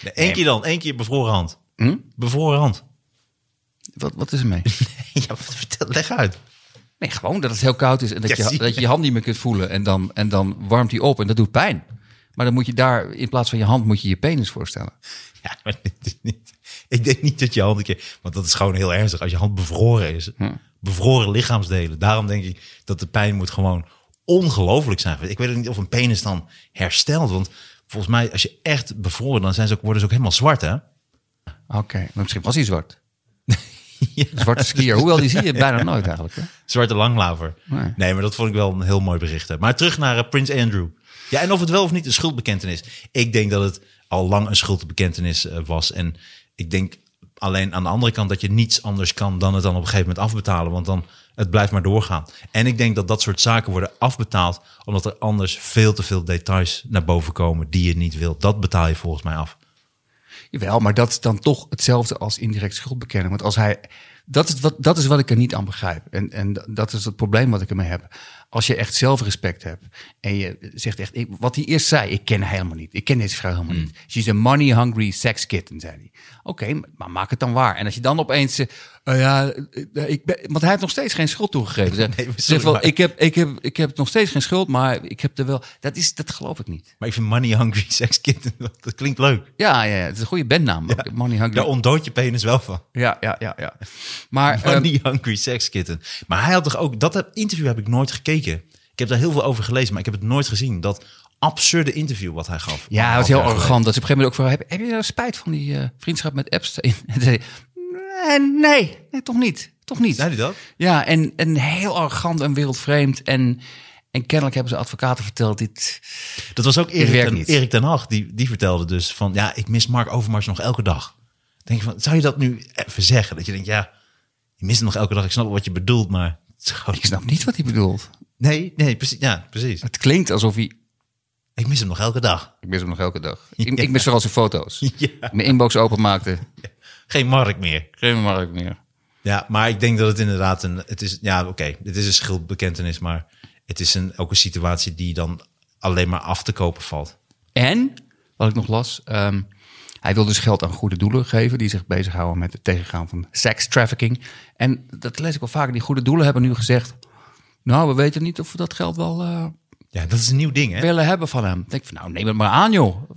[SPEAKER 1] Hm? Eén keer dan, één keer bevroren hand. Bevroren hand.
[SPEAKER 2] Wat, wat is er mee?
[SPEAKER 1] Ja, wat- vertel, leg uit.
[SPEAKER 2] Nee, gewoon dat het heel koud is en dat,
[SPEAKER 1] Ja,
[SPEAKER 2] je,
[SPEAKER 1] zie je.
[SPEAKER 2] dat je je hand niet meer kunt voelen. En dan, en dan warmt die op en dat doet pijn. Maar dan moet je daar, in plaats van je hand, moet je je penis voorstellen.
[SPEAKER 1] Ja, maar dit is niet. Ik denk niet dat je hand een keer. Want dat is gewoon heel ernstig. Als je hand bevroren is, bevroren lichaamsdelen. Daarom denk ik dat de pijn moet gewoon ongelooflijk zijn. Ik weet ook niet of een penis dan herstelt. Want volgens mij, als je echt bevroren, dan zijn ze ook, worden ze ook helemaal zwart, hè?
[SPEAKER 2] Oké, maar misschien was hij zwart. Zwarte skier. Hoewel, die zie je bijna nooit eigenlijk. Hè?
[SPEAKER 1] Zwarte langlaver.
[SPEAKER 2] Nee.
[SPEAKER 1] Nee. maar dat vond ik wel een heel mooi bericht. hè. Maar terug naar eh, Prins Andrew. Ja, en of het wel of niet een schuldbekentenis. Ik denk dat het al lang een schuldbekentenis eh, was. En ik denk alleen aan de andere kant dat je niets anders kan dan het dan op een gegeven moment afbetalen. Want dan het blijft maar doorgaan. En ik denk dat dat soort zaken worden afbetaald omdat er anders veel te veel details naar boven komen die je niet wilt. Dat betaal je volgens mij af.
[SPEAKER 2] Jawel, maar dat is dan toch hetzelfde als indirect schuldbekennen. Want als hij Dat is, wat, dat is wat ik er niet aan begrijp. En, en da- dat is het probleem wat ik ermee heb. Als je echt zelfrespect hebt en je zegt echt, ik- wat hij eerst zei, ik ken haar helemaal niet. Ik ken deze vrouw helemaal
[SPEAKER 1] Hmm.
[SPEAKER 2] niet. She's a money hungry sex kitten, zei hij. Oké, maar maak het dan waar. En als je dan opeens, eh, eh, ja, eh, ik ben, want hij heeft nog steeds geen schuld toegegeven. Zeg,
[SPEAKER 1] Nee, sorry,
[SPEAKER 2] zeg wel,
[SPEAKER 1] maar-
[SPEAKER 2] ik heb, ik heb, ik heb nog steeds geen schuld, maar ik heb er wel, dat is, dat geloof ik niet.
[SPEAKER 1] Maar ik vind Money Hungry Sex Kitten, dat klinkt leuk.
[SPEAKER 2] Ja, ja, ja, het is een goede bandnaam. ook. Money hungry.
[SPEAKER 1] Daar ontdood je penis wel van.
[SPEAKER 2] Ja, ja, ja, ja. Maar ehm,
[SPEAKER 1] Money Hungry Sex Kitten. Maar hij had toch ook, dat heb- interview heb ik nooit gekeken. Ik heb daar heel veel over gelezen, maar ik heb het nooit gezien. Dat absurde interview wat hij gaf.
[SPEAKER 2] ja, het
[SPEAKER 1] Anderhalf
[SPEAKER 2] is heel
[SPEAKER 1] jaar geleden.
[SPEAKER 2] arrogant. Dat ze op een gegeven moment ook voor heb, heb je nou spijt van die eh, vriendschap met Epstein? En toen zei hij, nee, nee, nee, toch niet, toch niet.
[SPEAKER 1] Zei hij dat?
[SPEAKER 2] Ja, en, en heel arrogant en wereldvreemd en en kennelijk hebben ze advocaten verteld dit.
[SPEAKER 1] Dat was ook
[SPEAKER 2] Het
[SPEAKER 1] Erik
[SPEAKER 2] werkt
[SPEAKER 1] ten,
[SPEAKER 2] niet.
[SPEAKER 1] Erik ten Hag, die, die vertelde dus van... ja, ik mis Mark Overmars nog elke dag. Denk je van, zou je dat nu even zeggen? Dat je denkt, ja, je mist hem nog elke dag. Ik snap wel wat je bedoelt, maar... het is gewoon-
[SPEAKER 2] Ik snap niet wat hij bedoelt.
[SPEAKER 1] Nee, nee, precies. Ja, precies.
[SPEAKER 2] Het klinkt alsof hij.
[SPEAKER 1] Ik mis hem nog elke dag.
[SPEAKER 2] Ik mis hem nog elke dag. Ik,
[SPEAKER 1] Ja.
[SPEAKER 2] ik mis vooral zijn foto's.
[SPEAKER 1] Ja.
[SPEAKER 2] Mijn inbox openmaakte.
[SPEAKER 1] Geen Mark meer.
[SPEAKER 2] Geen markt meer.
[SPEAKER 1] Ja, maar ik denk dat het inderdaad een... Het is, ja, oké, dit is een schuldbekentenis, maar... het is een, ook een situatie die dan alleen maar af te kopen valt.
[SPEAKER 2] En, wat ik nog las, ehm, hij wil dus geld aan goede doelen geven... die zich bezighouden met het tegengaan van sekstrafficking. En dat lees ik wel vaker. Die goede doelen hebben nu gezegd... nou, we weten niet of we dat geld wel eh,
[SPEAKER 1] Ja, dat is een nieuw ding, hè?
[SPEAKER 2] willen hebben van hem. Ik denk van, nou, neem het maar aan, joh.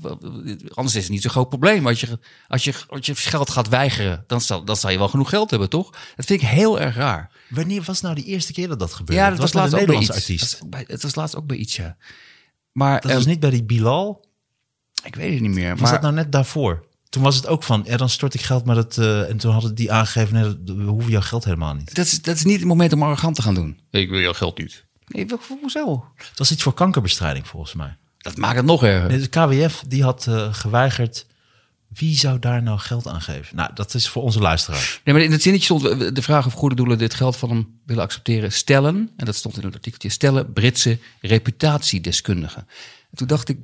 [SPEAKER 2] Anders is het niet zo'n groot probleem. Als je, als je, als je geld gaat weigeren, dan zal, dan zal je wel genoeg geld hebben, toch? Dat vind ik heel erg raar.
[SPEAKER 1] Wanneer was nou die eerste keer dat dat gebeurde?
[SPEAKER 2] Ja, dat was,
[SPEAKER 1] met
[SPEAKER 2] laatst
[SPEAKER 1] een
[SPEAKER 2] ook bij iets.
[SPEAKER 1] Nederlandse artiest.
[SPEAKER 2] Dat was ook bij- Het was laatst ook bij iets, ja. Maar
[SPEAKER 1] Dat
[SPEAKER 2] ehm,
[SPEAKER 1] was niet bij die Bilal...
[SPEAKER 2] ik weet het niet meer.
[SPEAKER 1] Was
[SPEAKER 2] maar,
[SPEAKER 1] dat nou net daarvoor? Toen was het ook van, ja, dan stort ik geld, maar dat... eh, en toen hadden die aangegeven, nee, dat- we hoeven jouw geld helemaal niet.
[SPEAKER 2] Dat is, dat is niet het moment om arrogant te gaan doen. Ik wil jouw geld niet. Nee, wel- hoezo?
[SPEAKER 1] Het was iets voor kankerbestrijding, volgens mij.
[SPEAKER 2] Dat maakt het nog erger.
[SPEAKER 1] Nee, de KWF, die had eh, geweigerd... Wie zou daar nou geld aan geven? Nou, dat is voor onze luisteraar.
[SPEAKER 2] Nee, maar in het zinnetje stond eh, de vraag of goede doelen dit geld van hem willen accepteren. Stellen, en dat stond in het artikeltje, stellen Britse reputatiedeskundigen. En toen dacht ik,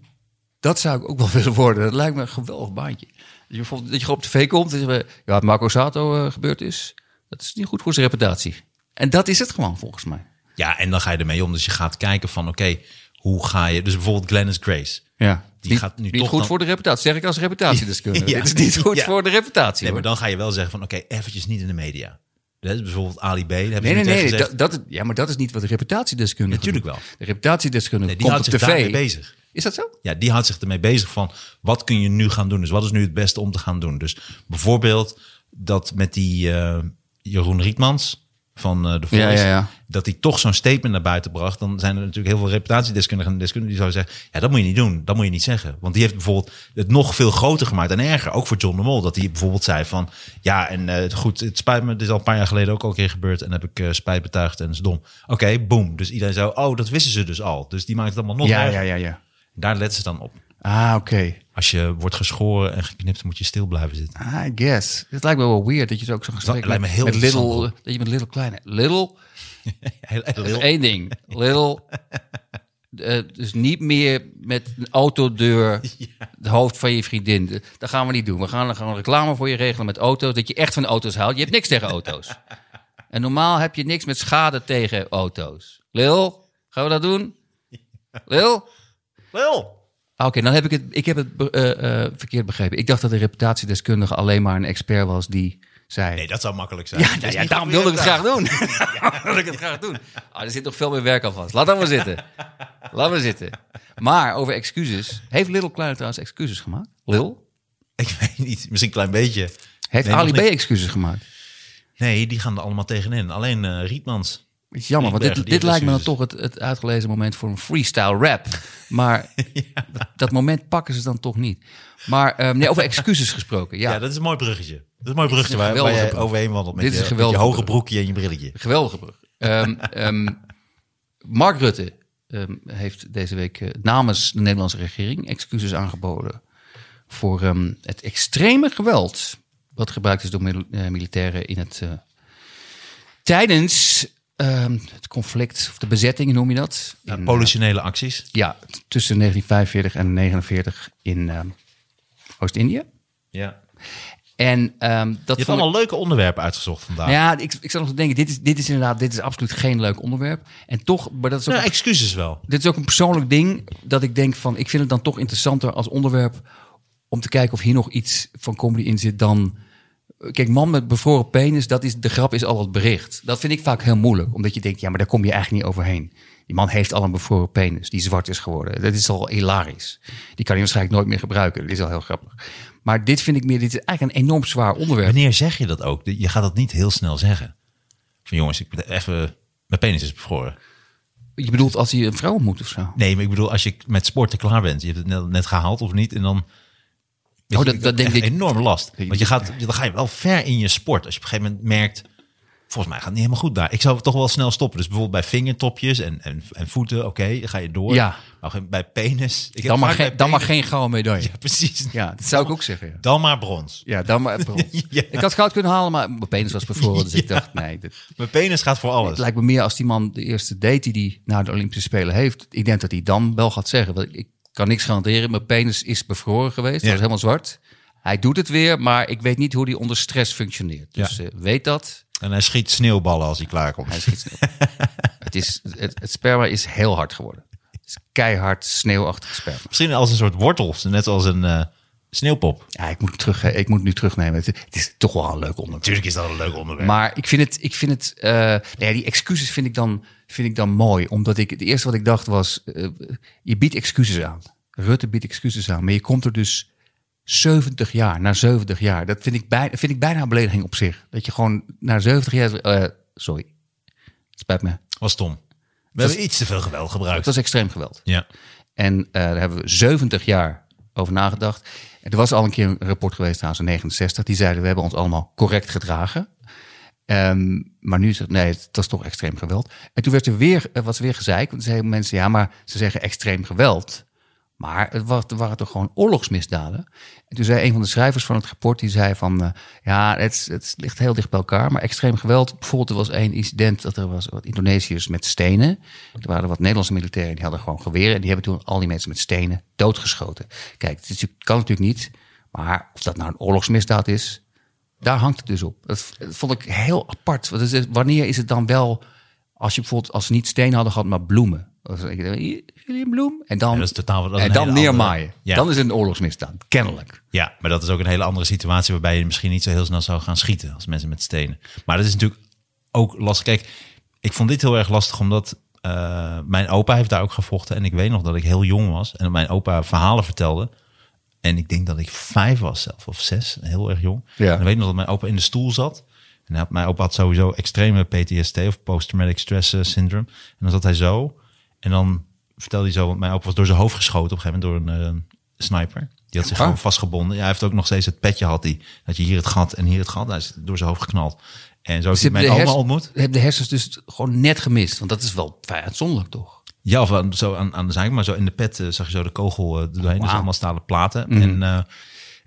[SPEAKER 2] dat zou ik ook wel willen worden. Dat lijkt me een geweldig baantje. Dat je, bijvoorbeeld, dat je gewoon op tv komt en zeggen, ja, wat Marco Sato eh, gebeurd is, dat is niet goed voor zijn reputatie. En dat is het gewoon volgens mij.
[SPEAKER 1] Ja, en dan ga je ermee om. Dus je gaat kijken van, oké, hoe ga je... Dus bijvoorbeeld Glennis Grace.
[SPEAKER 2] Ja.
[SPEAKER 1] Die
[SPEAKER 2] niet,
[SPEAKER 1] gaat nu
[SPEAKER 2] niet
[SPEAKER 1] toch
[SPEAKER 2] goed
[SPEAKER 1] dan-
[SPEAKER 2] voor de reputatie, zeg ik als reputatiedeskundige.
[SPEAKER 1] Ja.
[SPEAKER 2] Het is niet goed
[SPEAKER 1] Ja.
[SPEAKER 2] voor de reputatie.
[SPEAKER 1] Nee,
[SPEAKER 2] hoor.
[SPEAKER 1] maar dan ga je wel zeggen van, oké, eventjes niet in de media. Dat is bijvoorbeeld Ali B. daar hebben ze
[SPEAKER 2] Nee, nee,
[SPEAKER 1] niet tegen
[SPEAKER 2] nee.
[SPEAKER 1] gezegd.
[SPEAKER 2] Dat, dat, ja, maar dat is niet wat de reputatiedeskundige
[SPEAKER 1] Natuurlijk
[SPEAKER 2] doet.
[SPEAKER 1] wel.
[SPEAKER 2] De reputatiedeskundige
[SPEAKER 1] Nee, die
[SPEAKER 2] komt
[SPEAKER 1] houdt
[SPEAKER 2] op
[SPEAKER 1] zich
[SPEAKER 2] tv.
[SPEAKER 1] daarmee bezig.
[SPEAKER 2] Is dat zo?
[SPEAKER 1] ja, die houdt zich ermee bezig van wat kun je nu gaan doen? Dus wat is nu het beste om te gaan doen? Dus bijvoorbeeld dat met die eh, Jeroen Rietmans van eh, de Voice,
[SPEAKER 2] Ja, ja, ja.
[SPEAKER 1] dat hij toch zo'n statement naar buiten bracht. Dan zijn er natuurlijk heel veel reputatiedeskundigen en deskundigen die zouden zeggen, ja, dat moet je niet doen, dat moet je niet zeggen. Want die heeft bijvoorbeeld het nog veel groter gemaakt en erger, ook voor John de Mol, dat hij bijvoorbeeld zei van, ja, en eh, goed, het spijt me, dit is al een paar jaar geleden ook al een keer gebeurd en heb ik eh, spijt betuigd en dat is dom. Oké, boom. Dus iedereen zei, oh, dat wisten ze dus al. Dus die maakt het allemaal nog erger.
[SPEAKER 2] ja, ja.
[SPEAKER 1] Daar letten ze dan op.
[SPEAKER 2] Ah, oké.
[SPEAKER 1] Als je wordt geschoren en geknipt, moet je stil blijven zitten.
[SPEAKER 2] Ah, I guess. Het lijkt me wel weird dat je het ook zo'n gesprek
[SPEAKER 1] lijkt me heel
[SPEAKER 2] met little,
[SPEAKER 1] interessant.
[SPEAKER 2] dat je met little kleine. Little
[SPEAKER 1] Heel, heel,
[SPEAKER 2] is één ding. Little eh, dus niet meer met een autodeur het hoofd van je vriendin. Dat gaan we niet doen. We gaan gewoon reclame voor je regelen met auto's. Dat je echt van auto's houdt. Je hebt niks tegen auto's. En normaal heb je niks met schade tegen auto's. Lil, gaan we dat doen? Lil?
[SPEAKER 1] Lil!
[SPEAKER 2] Ah, Oké, dan heb ik het, ik heb het be- eh, eh, verkeerd begrepen. Ik dacht dat de reputatiedeskundige alleen maar een expert was die zei...
[SPEAKER 1] Nee, dat zou makkelijk zijn.
[SPEAKER 2] ja,
[SPEAKER 1] Dat
[SPEAKER 2] ja,
[SPEAKER 1] is
[SPEAKER 2] ja,
[SPEAKER 1] niet
[SPEAKER 2] daarom
[SPEAKER 1] goed
[SPEAKER 2] wilde ik het
[SPEAKER 1] voor je
[SPEAKER 2] graag doen. Daarom wilde ik het graag doen. Ah, er zit nog veel meer werk aan vast. Laat dat maar zitten. Laat maar zitten. Maar over excuses. Heeft Little Kleine trouwens excuses gemaakt? Lil?
[SPEAKER 1] Ik weet niet, misschien een klein beetje.
[SPEAKER 2] Heeft
[SPEAKER 1] Nee,
[SPEAKER 2] Ali B
[SPEAKER 1] nog niet.
[SPEAKER 2] excuses gemaakt?
[SPEAKER 1] Nee, die gaan er allemaal tegenin. Alleen eh, Rietmans.
[SPEAKER 2] Het is jammer, want
[SPEAKER 1] Bergen,
[SPEAKER 2] dit,
[SPEAKER 1] die
[SPEAKER 2] dit lijkt me dan toch
[SPEAKER 1] excuses.
[SPEAKER 2] het, het uitgelezen moment voor een freestyle rap. Maar dat, dat moment pakken ze dan toch niet. Maar ehm, nee, over excuses gesproken.
[SPEAKER 1] Ja.
[SPEAKER 2] Ja,
[SPEAKER 1] dat is een mooi bruggetje. Dat is een mooi bruggetje
[SPEAKER 2] een
[SPEAKER 1] waar, waar
[SPEAKER 2] geweldige
[SPEAKER 1] je
[SPEAKER 2] brug.
[SPEAKER 1] overheen wandelt met,
[SPEAKER 2] Dit
[SPEAKER 1] je,
[SPEAKER 2] is een
[SPEAKER 1] met je
[SPEAKER 2] geweldige
[SPEAKER 1] hoge
[SPEAKER 2] brug.
[SPEAKER 1] broekje en je brilletje.
[SPEAKER 2] geweldige brug. Ehm, ehm, Mark Rutte ehm, heeft deze week eh, namens de Nederlandse regering excuses aangeboden voor ehm, het extreme geweld wat gebruikt is door mil- eh, militairen in het eh, tijdens ehm, het conflict of de bezetting noem je dat?
[SPEAKER 1] Ja,
[SPEAKER 2] In,
[SPEAKER 1] Politionele acties.
[SPEAKER 2] Ja, t- tussen 1945 en 1949 in ehm, Oost-Indië.
[SPEAKER 1] Ja.
[SPEAKER 2] En ehm dat
[SPEAKER 1] Je hebt
[SPEAKER 2] vond ik-
[SPEAKER 1] allemaal leuke onderwerpen uitgezocht vandaag.
[SPEAKER 2] Ja, ik, ik zat nog te denken, dit is, dit is inderdaad, dit is absoluut geen leuk onderwerp. En toch, maar dat is ook
[SPEAKER 1] Nou,
[SPEAKER 2] een-
[SPEAKER 1] excuses wel.
[SPEAKER 2] dit is ook een persoonlijk ding dat ik denk van, ik vind het dan toch interessanter als onderwerp om te kijken of hier nog iets van comedy in zit dan. eh, Kijk, man met bevroren penis, dat is, de grap is al het bericht. Dat vind ik vaak heel moeilijk, omdat je denkt, ja, maar daar kom je eigenlijk niet overheen. Die man heeft al een bevroren penis, die zwart is geworden. Dat is al hilarisch. Die kan hij waarschijnlijk nooit meer gebruiken. Dat is al heel grappig. Maar dit vind ik meer, dit is eigenlijk een enorm zwaar onderwerp.
[SPEAKER 1] Wanneer zeg je dat ook? Je gaat dat niet heel snel zeggen. Van jongens, ik ben even... Mijn penis is bevroren.
[SPEAKER 2] Je bedoelt als hij een vrouw ontmoet of zo?
[SPEAKER 1] Nee, maar ik bedoel, als je met sporten klaar bent. Je hebt het net, net gehaald of niet. En dan...
[SPEAKER 2] Oh, dat-
[SPEAKER 1] je, ik
[SPEAKER 2] dat denk
[SPEAKER 1] echt
[SPEAKER 2] ik-
[SPEAKER 1] enorm last. Want je gaat, dan ga je wel ver in je sport. Als je op een gegeven moment merkt... Volgens mij gaat het niet helemaal goed daar. Ik zou toch wel snel stoppen. Dus bijvoorbeeld bij vingertopjes en, en, en voeten. Oké, dan ga je door.
[SPEAKER 2] Ja.
[SPEAKER 1] Maar bij penis... Ik heb
[SPEAKER 2] Dan maar,
[SPEAKER 1] vaak
[SPEAKER 2] geen,
[SPEAKER 1] bij
[SPEAKER 2] dan maar
[SPEAKER 1] penis-
[SPEAKER 2] geen gouden medaille.
[SPEAKER 1] Precies.
[SPEAKER 2] Ja, dat zou ik ook zeggen. Ja,
[SPEAKER 1] Dan maar brons.
[SPEAKER 2] ja dan maar brons.
[SPEAKER 1] Ja.
[SPEAKER 2] Ik had goud kunnen halen, maar mijn penis was bevroren. Dus ik dacht, nee, dit,
[SPEAKER 1] Mijn penis gaat voor alles.
[SPEAKER 2] het lijkt me meer als die man de eerste date die hij na de Olympische Spelen heeft. Ik denk dat hij dan wel gaat zeggen, want ik kan niks garanderen. Mijn penis is bevroren geweest,
[SPEAKER 1] Ja.
[SPEAKER 2] dat is helemaal zwart. Hij doet het weer, maar ik weet niet hoe hij onder stress functioneert. Dus
[SPEAKER 1] Ja.
[SPEAKER 2] eh, weet dat.
[SPEAKER 1] En hij schiet sneeuwballen als hij klaarkomt.
[SPEAKER 2] Hij schiet sneeuw. het, is, het, het sperma is heel hard geworden. Het is keihard sneeuwachtig sperma.
[SPEAKER 1] Misschien als een soort wortel, net als een eh, sneeuwpop.
[SPEAKER 2] Ja, ik moet, hem terug, ik moet hem nu terugnemen. Het, het is toch wel een leuk onderwerp.
[SPEAKER 1] Natuurlijk is dat een leuk onderwerp.
[SPEAKER 2] Maar ik vind het, ik vind het eh, nou ja, die excuses vind ik, dan, vind ik dan mooi. Omdat ik, het eerste wat ik dacht was, eh, je biedt excuses aan. Rutte biedt excuses aan. Maar je komt er dus 70 jaar, na 70 jaar. Dat vind ik bijna, vind ik bijna een belediging op zich. Dat je gewoon na 70 jaar, eh, sorry, spijt me.
[SPEAKER 1] was Tom. We
[SPEAKER 2] was-
[SPEAKER 1] hebben iets te veel geweld gebruikt.
[SPEAKER 2] Het was extreem geweld.
[SPEAKER 1] ja.
[SPEAKER 2] En eh, daar hebben we 70 jaar over nagedacht. En er was al een keer een rapport geweest, trouwens in 69. Die zeiden, we hebben ons allemaal correct gedragen. Ehm, maar nu is het, nee, het was toch extreem geweld. En toen werd er weer, eh, was er weer gezeik. Want er zeiden mensen, ja, maar ze zeggen extreem geweld. Maar het was, er waren toch gewoon oorlogsmisdaden. En toen zei een van de schrijvers van het rapport, die zei van... eh, ja, het, is- het ligt heel dicht bij elkaar, maar extreem geweld... Bijvoorbeeld, er was één incident dat er was wat Indonesiërs met stenen. Er waren wat Nederlandse militairen, die hadden gewoon geweren... en die hebben toen al die mensen met stenen doodgeschoten. Kijk, het is natuurlijk- kan natuurlijk niet, maar of dat nou een oorlogsmisdaad is... daar hangt het dus op. Dat, dat vond ik heel apart. Want het is- wanneer is het dan wel... als je bijvoorbeeld, als ze niet stenen hadden gehad, maar bloemen... Of, eh, jullie een bloem? En dan
[SPEAKER 1] Ja, dat is totaal- dat is
[SPEAKER 2] en
[SPEAKER 1] een
[SPEAKER 2] dan
[SPEAKER 1] hele andere-
[SPEAKER 2] neermaaien.
[SPEAKER 1] Ja.
[SPEAKER 2] Dan is het een oorlogsmisdaad, kennelijk.
[SPEAKER 1] ja, maar dat is ook een hele andere situatie waarbij je misschien niet zo heel snel zou gaan schieten als mensen met stenen. Maar dat is natuurlijk ook lastig. Kijk, ik vond dit heel erg lastig omdat eh, mijn opa heeft daar ook gevochten. En ik weet nog dat ik heel jong was en dat mijn opa verhalen vertelde. En ik denk dat ik vijf was zelf, of zes, heel erg jong.
[SPEAKER 2] Ja.
[SPEAKER 1] En ik weet nog dat mijn opa in de stoel zat. En hij had, mijn opa had sowieso extreme PTSD of post-traumatic stress eh, syndrome. En dan zat hij zo. En dan vertelde hij zo, want mijn opa was door zijn hoofd geschoten op een gegeven moment door een eh, sniper. Die had zich
[SPEAKER 2] Ah.
[SPEAKER 1] gewoon vastgebonden. Ja, hij heeft ook nog steeds het petje had hij. Dat je hier het gat en hier het gat. Hij is door zijn hoofd geknald. En zo is
[SPEAKER 2] Ze
[SPEAKER 1] hij
[SPEAKER 2] hebben
[SPEAKER 1] mijn
[SPEAKER 2] de
[SPEAKER 1] oma
[SPEAKER 2] hersen-
[SPEAKER 1] ontmoet.
[SPEAKER 2] Hebben de hersens dus gewoon net gemist. Want dat is wel vrij uitzonderlijk, toch?
[SPEAKER 1] Ja, of aan, zo aan, aan de zijkant, maar zo in de pet eh, zag je zo de kogel eh, er doorheen. Dus
[SPEAKER 2] Wauw.
[SPEAKER 1] allemaal stalen platen. En, eh,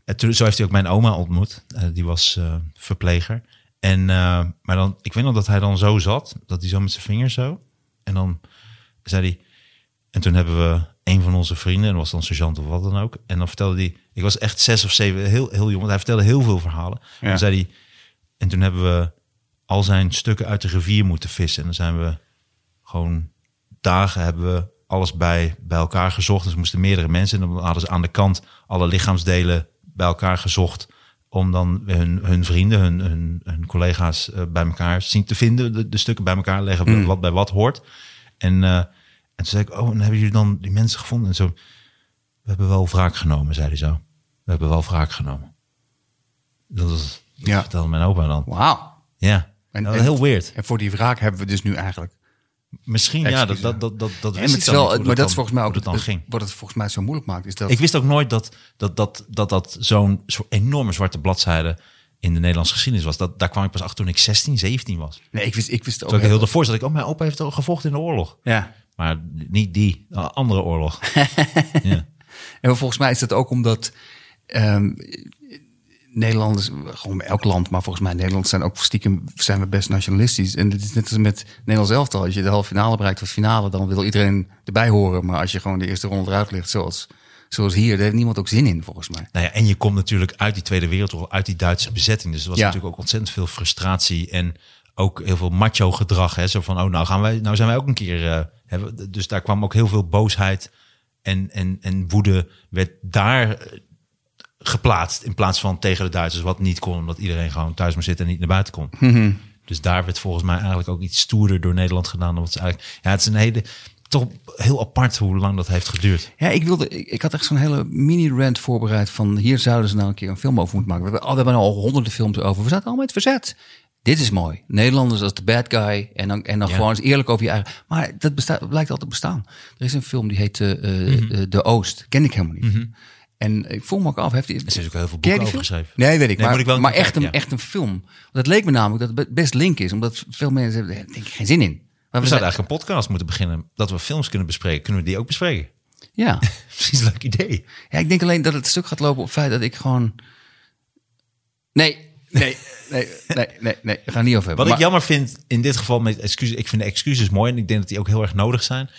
[SPEAKER 1] en toen, zo heeft hij ook mijn oma ontmoet. Eh, die was eh, verpleger. En, eh, maar dan, ik weet nog dat hij dan zo zat. Dat hij zo met zijn vingers zo. En dan zei hij... En toen hebben we een van onze vrienden, en dat was dan sergeant of wat dan ook. En dan vertelde hij, ik was echt zes of zeven, heel, heel jong, want hij vertelde heel veel verhalen. En dan zei hij, en toen hebben we al zijn stukken uit de rivier moeten vissen. En dan zijn we gewoon dagen hebben we alles bij, bij elkaar gezocht. Dus er moesten meerdere mensen. En dan hadden ze aan de kant alle lichaamsdelen bij elkaar gezocht. Om dan hun, hun vrienden, hun, hun, hun collega's eh, bij elkaar zien te vinden. De, de stukken bij elkaar leggen, wat bij wat hoort. En, eh, en toen zei ik, oh, en hebben jullie dan die mensen gevonden? En zo, we hebben wel wraak genomen, zei hij zo. We hebben wel wraak genomen. Dat, was, dat
[SPEAKER 2] Ja.
[SPEAKER 1] vertelde mijn opa dan.
[SPEAKER 2] Wauw.
[SPEAKER 1] Ja,
[SPEAKER 2] En-
[SPEAKER 1] dat was
[SPEAKER 2] en-
[SPEAKER 1] heel weird.
[SPEAKER 2] En voor die wraak hebben we dus nu eigenlijk.
[SPEAKER 1] Misschien, ja, dat,
[SPEAKER 2] Excuses.
[SPEAKER 1] dat, dat, dat, dat
[SPEAKER 2] En
[SPEAKER 1] wist
[SPEAKER 2] het
[SPEAKER 1] ik
[SPEAKER 2] is
[SPEAKER 1] dan
[SPEAKER 2] wel,
[SPEAKER 1] niet hoe
[SPEAKER 2] maar dat,
[SPEAKER 1] dan-
[SPEAKER 2] is volgens mij
[SPEAKER 1] hoe
[SPEAKER 2] ook
[SPEAKER 1] dat dan
[SPEAKER 2] het-
[SPEAKER 1] ging.
[SPEAKER 2] wat het volgens mij zo moeilijk maakt. Is dat,
[SPEAKER 1] Ik wist ook nooit dat dat, dat, dat, dat zo'n zo enorme zwarte bladzijde in de Nederlandse geschiedenis was. Dat, daar kwam ik pas achter toen ik 16, 17 was.
[SPEAKER 2] nee, ik wist, ik wist ook
[SPEAKER 1] Toen ik heel ervoor zat, ik, oh, mijn opa heeft al gevochten in de oorlog.
[SPEAKER 2] Ja.
[SPEAKER 1] Maar niet die, een andere oorlog. ja.
[SPEAKER 2] En volgens mij is dat ook omdat ehm, Nederlanders, gewoon elk land, maar volgens mij Nederlanders zijn ook stiekem zijn we best nationalistisch. En dit is net als met Nederlands elftal. Als je de halve finale bereikt of finale, dan wil iedereen erbij horen. Maar als je gewoon de eerste ronde eruit ligt, zoals zoals hier, daar heeft niemand ook zin in volgens mij.
[SPEAKER 1] Nou ja, en je komt natuurlijk uit die Tweede Wereldoorlog, uit die Duitse bezetting. Dus er was
[SPEAKER 2] Ja.
[SPEAKER 1] natuurlijk ook ontzettend veel frustratie en ook heel veel macho gedrag. Hè? Zo van, oh, nou, gaan wij, nou zijn wij ook een keer... eh, hebben, we- dus daar kwam ook heel veel boosheid en, en, en woede werd daar eh, geplaatst. In plaats van tegen de Duitsers, wat niet kon. Omdat iedereen gewoon thuis moest zitten en niet naar buiten kon. Dus daar werd volgens mij eigenlijk ook iets stoerder door Nederland gedaan. Dan wat ze eigenlijk, ja, het is een hele... Toch heel apart hoe lang dat heeft geduurd.
[SPEAKER 2] Ja, ik, wilde, ik, ik had echt zo'n hele mini-rant voorbereid van hier zouden ze nou een keer een film over moeten maken. We hebben, al- we hebben al honderden films over. We zaten allemaal in het verzet. Dit is mooi. Nederlanders als de bad guy en dan, en dan
[SPEAKER 1] Ja.
[SPEAKER 2] gewoon eens eerlijk over je eigen... Maar dat bestaat, blijkt altijd bestaan. Er is een film die heet eh, eh,
[SPEAKER 1] Mhm.
[SPEAKER 2] eh, De Oost. Ken ik helemaal niet. En ik voel me ook af, heeft die...
[SPEAKER 1] Er zijn ook heel veel
[SPEAKER 2] Ken jij
[SPEAKER 1] boeken
[SPEAKER 2] die
[SPEAKER 1] over
[SPEAKER 2] film?
[SPEAKER 1] geschreven.
[SPEAKER 2] Nee, weet ik.
[SPEAKER 1] Nee,
[SPEAKER 2] maar
[SPEAKER 1] moet ik wel een
[SPEAKER 2] maar
[SPEAKER 1] keer
[SPEAKER 2] echt, een,
[SPEAKER 1] kijken, ja.
[SPEAKER 2] echt een film. Dat leek me namelijk dat het best link is. Omdat veel mensen hebben daar denk ik, geen zin in. Maar
[SPEAKER 1] We zouden eigenlijk een podcast moeten beginnen. Dat we films kunnen bespreken. Kunnen we die ook bespreken?
[SPEAKER 2] Ja.
[SPEAKER 1] Precies, leuk idee.
[SPEAKER 2] Ja, ik denk alleen dat het stuk gaat lopen op het feit dat ik gewoon. Nee, nee, nee, nee, nee, nee. We gaan het niet over hebben.
[SPEAKER 1] Wat ik
[SPEAKER 2] Maar-
[SPEAKER 1] jammer vind in dit geval met excuses. Ik vind de excuses mooi en ik denk dat die ook heel erg nodig zijn.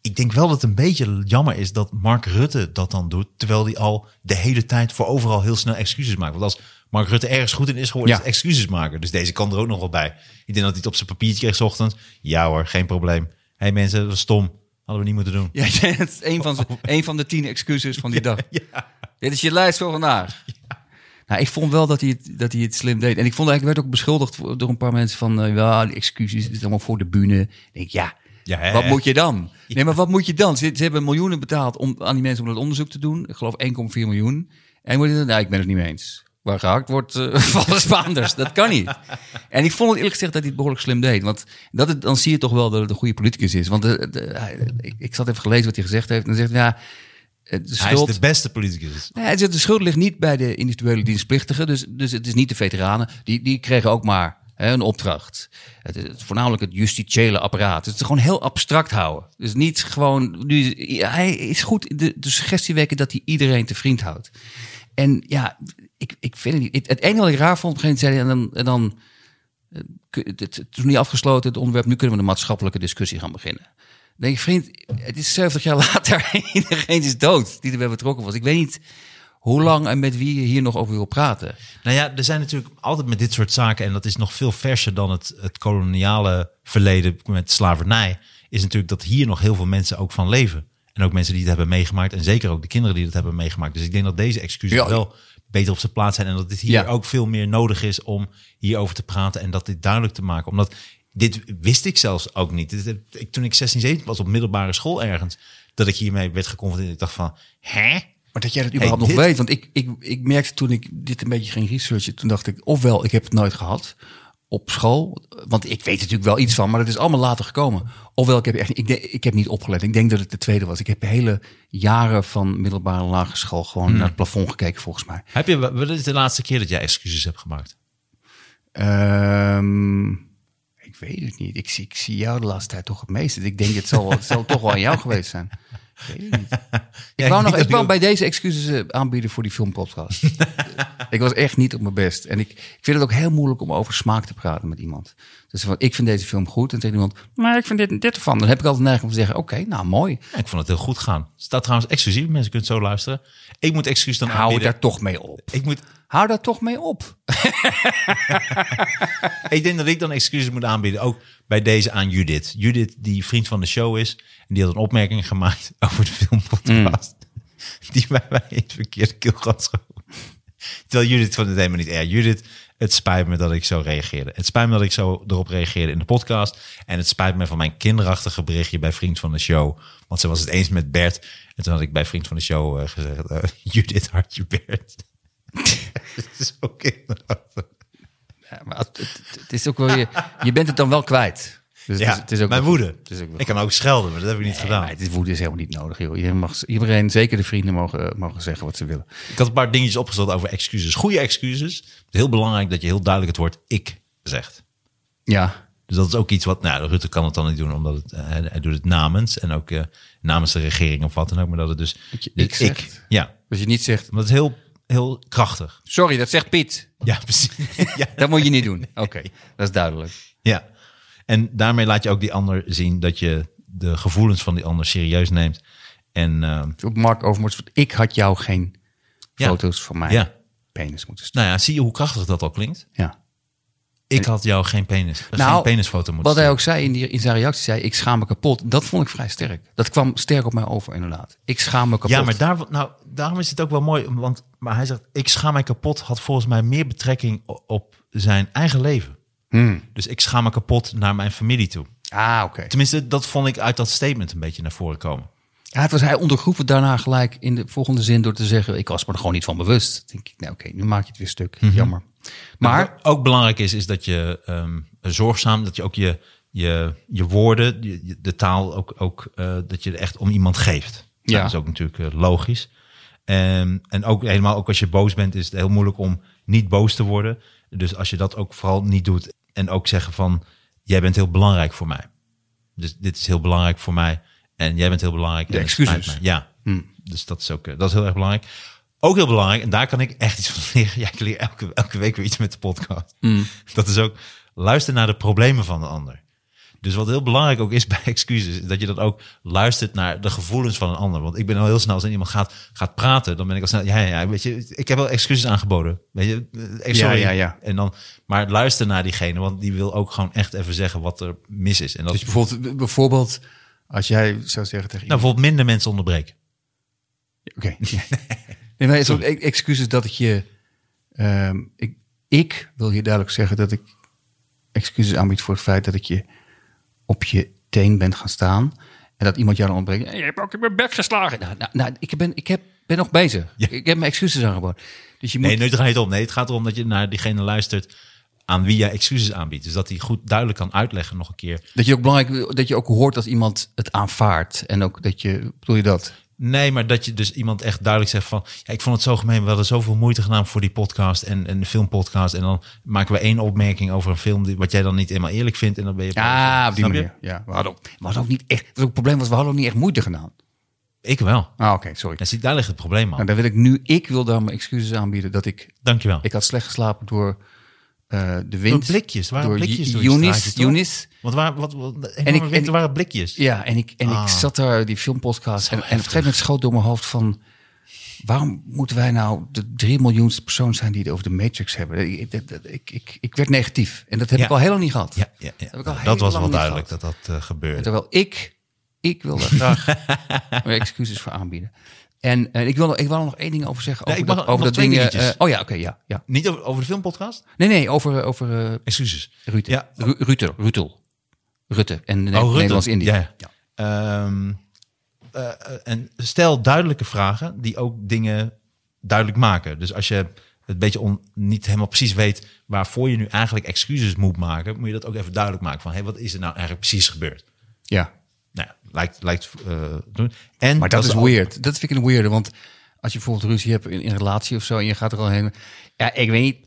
[SPEAKER 1] Ik denk wel dat het een beetje jammer is dat Mark Rutte dat dan doet. Terwijl hij al de hele tijd voor overal heel snel excuses maakt. Want als Mark Rutte ergens goed in is geworden,
[SPEAKER 2] Ja.
[SPEAKER 1] is het excuses maken. Dus deze kan er ook nog wel bij. Ik denk dat hij het op zijn papiertje kreeg 's ochtends. Ja hoor, geen probleem. Hé hey mensen, dat was stom. Hadden we niet moeten doen.
[SPEAKER 2] Ja, ja, het is een van,
[SPEAKER 1] Oh.
[SPEAKER 2] z'n- een van de tien excuses van die dag. Dit is je lijst voor vandaag. Nou, ik vond wel dat hij, het, dat hij het slim deed. En ik vond eigenlijk werd ook beschuldigd voor- door een paar mensen van... eh, ja, die excuses, dit is allemaal voor de bühne. Ik denk, ja,
[SPEAKER 1] Ja, hè?
[SPEAKER 2] wat moet je dan? Nee, maar wat moet je dan? Ze, ze hebben miljoenen betaald om, aan die mensen om dat onderzoek te doen. Ik geloof 1,4 miljoen. En moet je dan, nou, ik ben het niet mee eens. Waar gehakt wordt, eh, vallen Spaanders. Dat kan niet. En ik vond het eerlijk gezegd dat hij het behoorlijk slim deed. Want dat het, dan zie je toch wel dat het een goede politicus is. Want de, de- hij- ik, ik zat even gelezen wat hij gezegd heeft. En dan zegt hij, ja, eh, de
[SPEAKER 1] Hij is
[SPEAKER 2] schuld...
[SPEAKER 1] de beste politicus.
[SPEAKER 2] Nee, hij zegt, de schuld ligt niet bij de individuele dienstplichtigen. Dus, dus het is niet de veteranen. Die, die kregen ook maar hè, een opdracht. Het is het- voornamelijk het justitiële apparaat. Dus het is gewoon heel abstract houden. Dus niet gewoon... Nu, hij is goed in de, de suggestie wekken dat hij iedereen te vriend houdt. En ja, ik, ik vind het niet... Het, het enige wat ik raar vond, op een gegeven moment zei hij... En dan, en dan eh, Kun- het- het het is nog niet afgesloten, het onderwerp. Nu kunnen we de maatschappelijke discussie gaan beginnen. Dan denk ik, vriend, het is 70 jaar later. en Iedereen is dood die erbij betrokken was. Ik weet niet hoe lang en met wie je hier nog over wil praten.
[SPEAKER 1] Nou ja, er zijn natuurlijk altijd met dit soort zaken, en dat is nog veel verser dan het, het koloniale verleden met slavernij, is natuurlijk dat hier nog heel veel mensen ook van leven. En ook mensen die het hebben meegemaakt, en zeker ook de kinderen die het hebben meegemaakt. Dus ik denk dat deze excuses
[SPEAKER 2] Ja.
[SPEAKER 1] wel beter op zijn plaats zijn en dat dit hier
[SPEAKER 2] Ja.
[SPEAKER 1] ook veel meer nodig is om hierover te praten en dat dit duidelijk te maken. Omdat dit wist ik zelfs ook niet. Dit, heb ik, toen ik 16, 17 was op middelbare school ergens, dat ik hiermee werd geconfronteerd. Ik dacht van, hè?
[SPEAKER 2] Maar dat jij dat
[SPEAKER 1] überhaupt
[SPEAKER 2] überhaupt
[SPEAKER 1] nog
[SPEAKER 2] nog weet. Want ik, ik, ik merkte toen ik dit een beetje ging researchen. Toen dacht ik, ofwel, ik heb het nooit gehad op school. Want ik weet natuurlijk wel iets van, maar dat is allemaal later gekomen. Ofwel, ik heb, echt, ik, denk- ik heb niet opgelet. Ik denk dat het de tweede was. Ik heb hele jaren van middelbare en lagere school gewoon naar het plafond gekeken, volgens mij.
[SPEAKER 1] Heb je, wat is de laatste keer dat jij excuses hebt gemaakt?
[SPEAKER 2] Ehm, ik weet het niet. Ik zie, ik zie jou de laatste tijd toch het meest. Dus Ik denk, het zal, wel- het zal toch wel aan jou geweest zijn. Ik weet het niet. Ik wou, nog, ik wou bij deze excuses eh, aanbieden voor die filmpodcast. ik was echt niet op mijn best. En ik, ik vind het ook heel moeilijk om over smaak te praten met iemand. Dus van, ik vind deze film goed. En tegen iemand, maar ik vind dit, dit ervan. Dan heb ik altijd neiging om te zeggen, oké, nou mooi.
[SPEAKER 1] Ja, ik vond het heel goed gaan. Staat trouwens exclusief. Mensen kunnen het zo luisteren. Ik moet excuus dan
[SPEAKER 2] Hou
[SPEAKER 1] aanbieden.
[SPEAKER 2] daar toch mee op.
[SPEAKER 1] Ik, moet,
[SPEAKER 2] Hou daar toch mee op.
[SPEAKER 1] ik denk dat ik dan excuses moet aanbieden. Ook bij deze aan Judith. Judith, die vriend van de show is. En die had een opmerking gemaakt over de filmpodcast. Die bij mij in het verkeerde keelgat schoot. Terwijl Judith vond het helemaal niet erg. Judith, het spijt me dat ik zo reageerde. Het spijt me dat ik zo erop reageerde in de podcast. En het spijt me van mijn kinderachtige berichtje bij Vriend van de Show. Want ze was het eens met Bert. En toen had ik bij Vriend van de Show eh, gezegd... eh, Judith, hartje Bert. Het is ook kinderachtig.
[SPEAKER 2] Ja, maar het, het- het is ook wel weer, je bent het dan wel kwijt. Dus
[SPEAKER 1] Ja, mijn
[SPEAKER 2] wel-
[SPEAKER 1] woede.
[SPEAKER 2] het is ook wel-
[SPEAKER 1] ik kan ook schelden, maar dat heb ik niet
[SPEAKER 2] Nee,
[SPEAKER 1] gedaan.
[SPEAKER 2] maar het is woede is helemaal niet nodig, joh. Iedereen, mag, iedereen zeker de vrienden, mogen, mogen zeggen wat ze willen.
[SPEAKER 1] Ik had een paar dingetjes opgesteld over excuses. Goede excuses. Het is heel belangrijk dat je heel duidelijk het woord ik zegt.
[SPEAKER 2] Ja,
[SPEAKER 1] Dus dat is ook iets wat, nou, Rutte kan het dan niet doen, omdat het, eh, hij, hij doet het namens en ook eh, namens de regering of wat dan ook. Maar dat het dus
[SPEAKER 2] Dat je ik zegt.
[SPEAKER 1] ja,
[SPEAKER 2] als je niet zegt,
[SPEAKER 1] omdat het heel, heel krachtig.
[SPEAKER 2] sorry, dat zegt Piet.
[SPEAKER 1] Ja, precies. ja,
[SPEAKER 2] Dat moet je niet doen. Oké, dat is duidelijk.
[SPEAKER 1] ja. En daarmee laat je ook die ander zien dat je de gevoelens van die ander serieus neemt En eh,
[SPEAKER 2] Op Mark Overmars, ik had jou geen
[SPEAKER 1] Ja.
[SPEAKER 2] foto's van mijn
[SPEAKER 1] Ja.
[SPEAKER 2] penis moeten sturen.
[SPEAKER 1] nou ja, zie je hoe krachtig dat al klinkt?
[SPEAKER 2] Ja.
[SPEAKER 1] Ik had jou geen penis, geen
[SPEAKER 2] Nou,
[SPEAKER 1] penisfoto moeten
[SPEAKER 2] Wat
[SPEAKER 1] sturen.
[SPEAKER 2] hij ook zei in, die, in zijn reactie, zei ik schaam me kapot. Dat vond ik vrij sterk. Dat kwam sterk op mij over inderdaad. Ik schaam me kapot.
[SPEAKER 1] Ja, maar daar, nou, daarom is het ook wel mooi. Want, maar hij zegt, ik schaam mij kapot had volgens mij meer betrekking o- op zijn eigen leven.
[SPEAKER 2] Hmm.
[SPEAKER 1] Dus ik schaam me kapot naar mijn familie toe.
[SPEAKER 2] Ah, oké.
[SPEAKER 1] Tenminste, dat vond ik uit dat statement een beetje naar voren komen.
[SPEAKER 2] Ja, het was hij ondergroef het daarna gelijk in de volgende zin door te zeggen: Ik was me er gewoon niet van bewust. Dan Denk ik, nou oké, nu maak je het weer stuk. Jammer. Maar
[SPEAKER 1] Wat ook belangrijk is, is dat je ehm, zorgzaam, dat je ook je, je, je woorden, je- je- de taal ook, ook eh, dat je er echt om iemand geeft.
[SPEAKER 2] Ja.
[SPEAKER 1] Dat is ook natuurlijk eh, logisch. Ehm, en ook helemaal, ook als je boos bent, is het heel moeilijk om niet boos te worden. Dus als je dat ook vooral niet doet en ook zeggen van, jij bent heel belangrijk voor mij. Dus dit is heel belangrijk voor mij en jij bent heel belangrijk. en
[SPEAKER 2] De
[SPEAKER 1] het spijt
[SPEAKER 2] excuses. Hm.
[SPEAKER 1] mij. Ja, dus dat is ook eh, dat is heel erg belangrijk. Ook heel belangrijk, en daar kan ik echt iets van leren. Ja, ik leer elke, elke week weer iets met de podcast.
[SPEAKER 2] Hm.
[SPEAKER 1] Dat is ook luister naar de problemen van de ander. Dus wat heel belangrijk ook is bij excuses, is dat je dan ook luistert naar de gevoelens van een ander. Want ik ben al heel snel, als er iemand gaat, gaat praten, dan ben ik al snel, ja, ja, ja, weet je, ik heb wel excuses aangeboden. Weet je, eh, sorry.
[SPEAKER 2] Ja, ja, ja.
[SPEAKER 1] En dan, maar luister naar diegene, want die wil ook gewoon echt even zeggen wat er mis is. En dat
[SPEAKER 2] dus bijvoorbeeld, bijvoorbeeld, als jij zou zeggen tegen
[SPEAKER 1] nou,
[SPEAKER 2] iemand:
[SPEAKER 1] bijvoorbeeld minder mensen onderbreken.
[SPEAKER 2] Oké. nee, maar het is ook e- excuses dat ik je. ehm, ik, ik wil hier duidelijk zeggen dat ik excuses aanbied voor het feit dat ik je op je teen ben gaan staan. En dat iemand jou dan ontbreekt. "Hey, Je hebt ook in mijn bek geslagen. Nou, nou, nou, ik, ben, ik heb, ben nog bezig.
[SPEAKER 1] Ja.
[SPEAKER 2] Ik heb mijn excuses aangeboden. Dus je moet
[SPEAKER 1] Nee, nu draait het om. Nee, het gaat erom dat je naar diegene luistert aan wie jij excuses aanbiedt. Dus dat hij goed duidelijk kan uitleggen nog een keer.
[SPEAKER 2] Dat je ook belangrijk dat je ook hoort als iemand het aanvaardt. En ook dat je, bedoel je dat?
[SPEAKER 1] Nee, maar dat je dus iemand echt duidelijk zegt van... Ja, ik vond het zo gemeen, we hadden zoveel moeite gedaan voor die podcast en, en de filmpodcast. En dan maken we één opmerking over een film die, wat jij dan niet helemaal eerlijk vindt. En dan ben je...
[SPEAKER 2] Ja, op die
[SPEAKER 1] Snap je?
[SPEAKER 2] manier. Ja, we hadden ook, we hadden ook niet echt, dat is ook het probleem was, we hadden ook niet echt moeite gedaan.
[SPEAKER 1] Ik wel.
[SPEAKER 2] Ah, oké, sorry.
[SPEAKER 1] Ja, zie, daar ligt het probleem
[SPEAKER 2] Nou,
[SPEAKER 1] aan.
[SPEAKER 2] dan wil ik nu, ik wil daar mijn excuses aanbieden dat ik,
[SPEAKER 1] Dankjewel.
[SPEAKER 2] ik had slecht geslapen door eh, de wind.
[SPEAKER 1] Door blikjes. Er waren
[SPEAKER 2] Door
[SPEAKER 1] blikjes
[SPEAKER 2] Ju-
[SPEAKER 1] door die
[SPEAKER 2] Younis-
[SPEAKER 1] straatjes, toch?
[SPEAKER 2] Younis.
[SPEAKER 1] Want waar, wat, wat,
[SPEAKER 2] ik-
[SPEAKER 1] en ik,
[SPEAKER 2] en ik-
[SPEAKER 1] er waren blikjes.
[SPEAKER 2] Ja, en ik, en
[SPEAKER 1] Ah.
[SPEAKER 2] ik zat daar, die filmpodcast, en, en op een gegeven moment schoot door mijn hoofd van... Waarom moeten wij nou de drie miljoenste persoon zijn die het over de Matrix hebben? Ik, ik, ik, ik, ik werd negatief. En dat heb
[SPEAKER 1] Ja.
[SPEAKER 2] ik al heel lang niet gehad.
[SPEAKER 1] Ja, ja, ja.
[SPEAKER 2] heb ik al
[SPEAKER 1] Nou,
[SPEAKER 2] heel
[SPEAKER 1] dat was
[SPEAKER 2] lang
[SPEAKER 1] wel
[SPEAKER 2] niet
[SPEAKER 1] duidelijk dat
[SPEAKER 2] gehad.
[SPEAKER 1] dat eh, gebeurde.
[SPEAKER 2] Terwijl ik, ik wil daar graag mijn excuses voor aanbieden. En, eh, ik, wil, nog- ik wil er nog één ding over zeggen.
[SPEAKER 1] Nee, ik
[SPEAKER 2] over
[SPEAKER 1] mag
[SPEAKER 2] dat,
[SPEAKER 1] nog-
[SPEAKER 2] over
[SPEAKER 1] nog
[SPEAKER 2] dat
[SPEAKER 1] twee
[SPEAKER 2] ding,
[SPEAKER 1] dingetjes.
[SPEAKER 2] eh, oh ja, oké, ja, ja.
[SPEAKER 1] Niet over, over de filmpodcast?
[SPEAKER 2] Nee, nee, over, over eh
[SPEAKER 1] Excuses.
[SPEAKER 2] Ruud.
[SPEAKER 1] Ja.
[SPEAKER 2] Ru- Rutte, Rutel. Rutte en
[SPEAKER 1] Oh, Rutte.
[SPEAKER 2] Nederlands-Indië.
[SPEAKER 1] Ja. Ehm, eh, eh, en stel duidelijke vragen die ook dingen duidelijk maken. Dus als je het beetje on, niet helemaal precies weet waarvoor je nu eigenlijk excuses moet maken, moet je dat ook even duidelijk maken van hey, wat is er nou eigenlijk precies gebeurd?
[SPEAKER 2] ja.
[SPEAKER 1] Nou, ja, lijkt lijkt eh, doen. En
[SPEAKER 2] Maar dat,
[SPEAKER 1] is
[SPEAKER 2] is
[SPEAKER 1] al-
[SPEAKER 2] weird. Dat vind ik een weirde, want als je bijvoorbeeld ruzie hebt in, in een relatie of zo... en je gaat er al heen... Ja, ik weet niet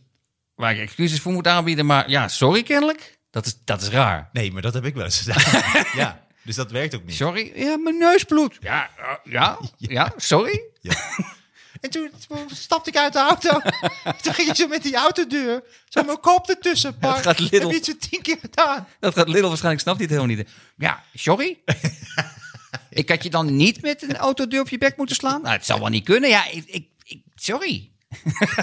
[SPEAKER 2] waar ik excuses voor moet aanbieden... maar ja, sorry kennelijk. Dat is, dat is raar.
[SPEAKER 1] Nee, maar dat heb ik wel eens gedaan. ja, dus dat werkt ook niet.
[SPEAKER 2] Sorry, ja, mijn neus bloedt. Ja, eh, ja, ja, sorry.
[SPEAKER 1] En toen stapte ik uit de auto. toen ging je zo met die autodeur. Zo mijn kop ertussen. Park.
[SPEAKER 2] gaat Lidl. Heb je het
[SPEAKER 1] zo tien keer gedaan.
[SPEAKER 2] Dat gaat Lidl waarschijnlijk, snapt hij het helemaal niet. Ja, sorry. ik had je dan niet met een autodeur op je bek moeten slaan? Nou, het zou wel niet kunnen. Ja, ik, ik, ik- sorry.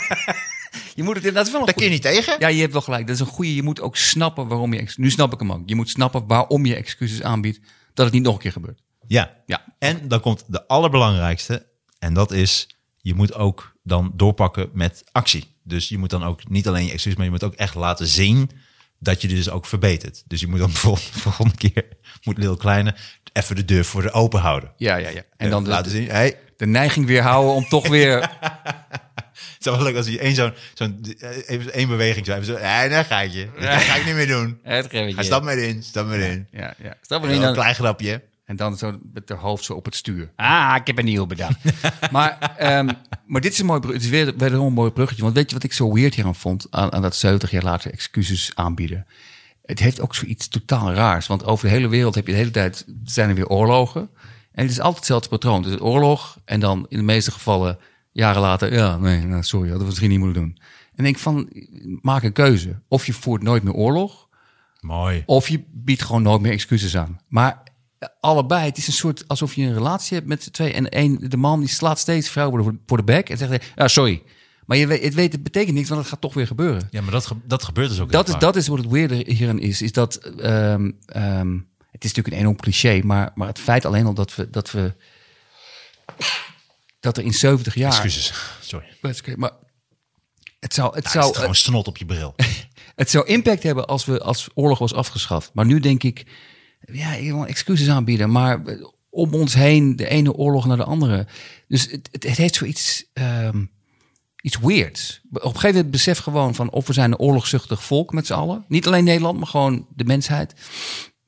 [SPEAKER 2] je moet het inderdaad dat is wel een
[SPEAKER 1] Daar kun je
[SPEAKER 2] goeie.
[SPEAKER 1] niet tegen.
[SPEAKER 2] Ja, je hebt wel gelijk. Dat is een goede. Je moet ook snappen waarom je... ex- Nu snap ik hem ook. Je moet snappen waarom je excuses aanbiedt. Dat het niet nog een keer gebeurt.
[SPEAKER 1] Ja.
[SPEAKER 2] Ja.
[SPEAKER 1] En dan komt de allerbelangrijkste. En dat is, je moet ook dan doorpakken met actie. Dus je moet dan ook niet alleen je excuus, maar je moet ook echt laten zien dat je dit dus ook verbetert. Dus je moet dan bijvoorbeeld de volgende keer, moet Lil Kleine even de deur voor de open houden. Eh,
[SPEAKER 2] Ja, ja, ja. En dan
[SPEAKER 1] laten
[SPEAKER 2] de,
[SPEAKER 1] zien, hey,
[SPEAKER 2] de neiging weer houden om toch weer...
[SPEAKER 1] het zou wel leuk als je één zo'n, zo'n eh, even één beweging zou hebben. Zo, hey, daar ga ik je. Dat ga ik niet meer doen.
[SPEAKER 2] het remmetje.
[SPEAKER 1] Ga stap maar in, stap maar in.
[SPEAKER 2] Ja, Eh, ja. Stap
[SPEAKER 1] Wel
[SPEAKER 2] erin.
[SPEAKER 1] Een
[SPEAKER 2] Dan,
[SPEAKER 1] klein grapje.
[SPEAKER 2] En dan zo met haar hoofd zo op het stuur. Ah, ik heb een nieuw bedacht. maar, ehm, maar dit is, een mooi, bru- het is weer, wederom een mooi bruggetje. Want weet je wat ik zo weird hier aan vond? Aan, aan dat 70 jaar later excuses aanbieden. Het heeft ook zoiets totaal raars. Want over de hele wereld heb je de hele tijd, zijn er weer oorlogen. En het is altijd hetzelfde patroon. Dus oorlog en dan in de meeste gevallen jaren later... Ja, nee, nou, sorry, hadden we misschien niet moeten doen. En ik denk van, maak een keuze. Of je voert nooit meer oorlog...
[SPEAKER 1] Mooi.
[SPEAKER 2] Of je biedt gewoon nooit meer excuses aan. Maar eh, allebei. Het is een soort alsof je een relatie hebt met z'n twee. En één, de man die slaat steeds vrouwen voor, voor de bek en zegt: ja, sorry. Maar je weet, het, weet, het betekent niks, want het gaat toch weer gebeuren.
[SPEAKER 1] Ja, maar dat, ge- dat gebeurt dus ook
[SPEAKER 2] Dat is,
[SPEAKER 1] heel
[SPEAKER 2] dat is wat het weirde hierin is. Is dat ehm, ehm, het is natuurlijk een enorm cliché, maar, maar het feit alleen al dat we dat we dat er in 70 jaar.
[SPEAKER 1] vaak.
[SPEAKER 2] Ah,
[SPEAKER 1] Excuses, sorry. Het
[SPEAKER 2] Dat is oké, Maar het zou, het,
[SPEAKER 1] is
[SPEAKER 2] zou,
[SPEAKER 1] gewoon snot op je bril.
[SPEAKER 2] het zou impact hebben als, we, als oorlog was afgeschaft. Maar nu denk ik, ja, je wil excuses aanbieden. Maar eh, om ons heen, de ene oorlog naar de andere. Dus het, het, het heeft zoiets ehm, iets weirds. Op een gegeven moment besef gewoon van of we zijn een oorlogzuchtig volk met z'n allen. Niet alleen Nederland, maar gewoon de mensheid.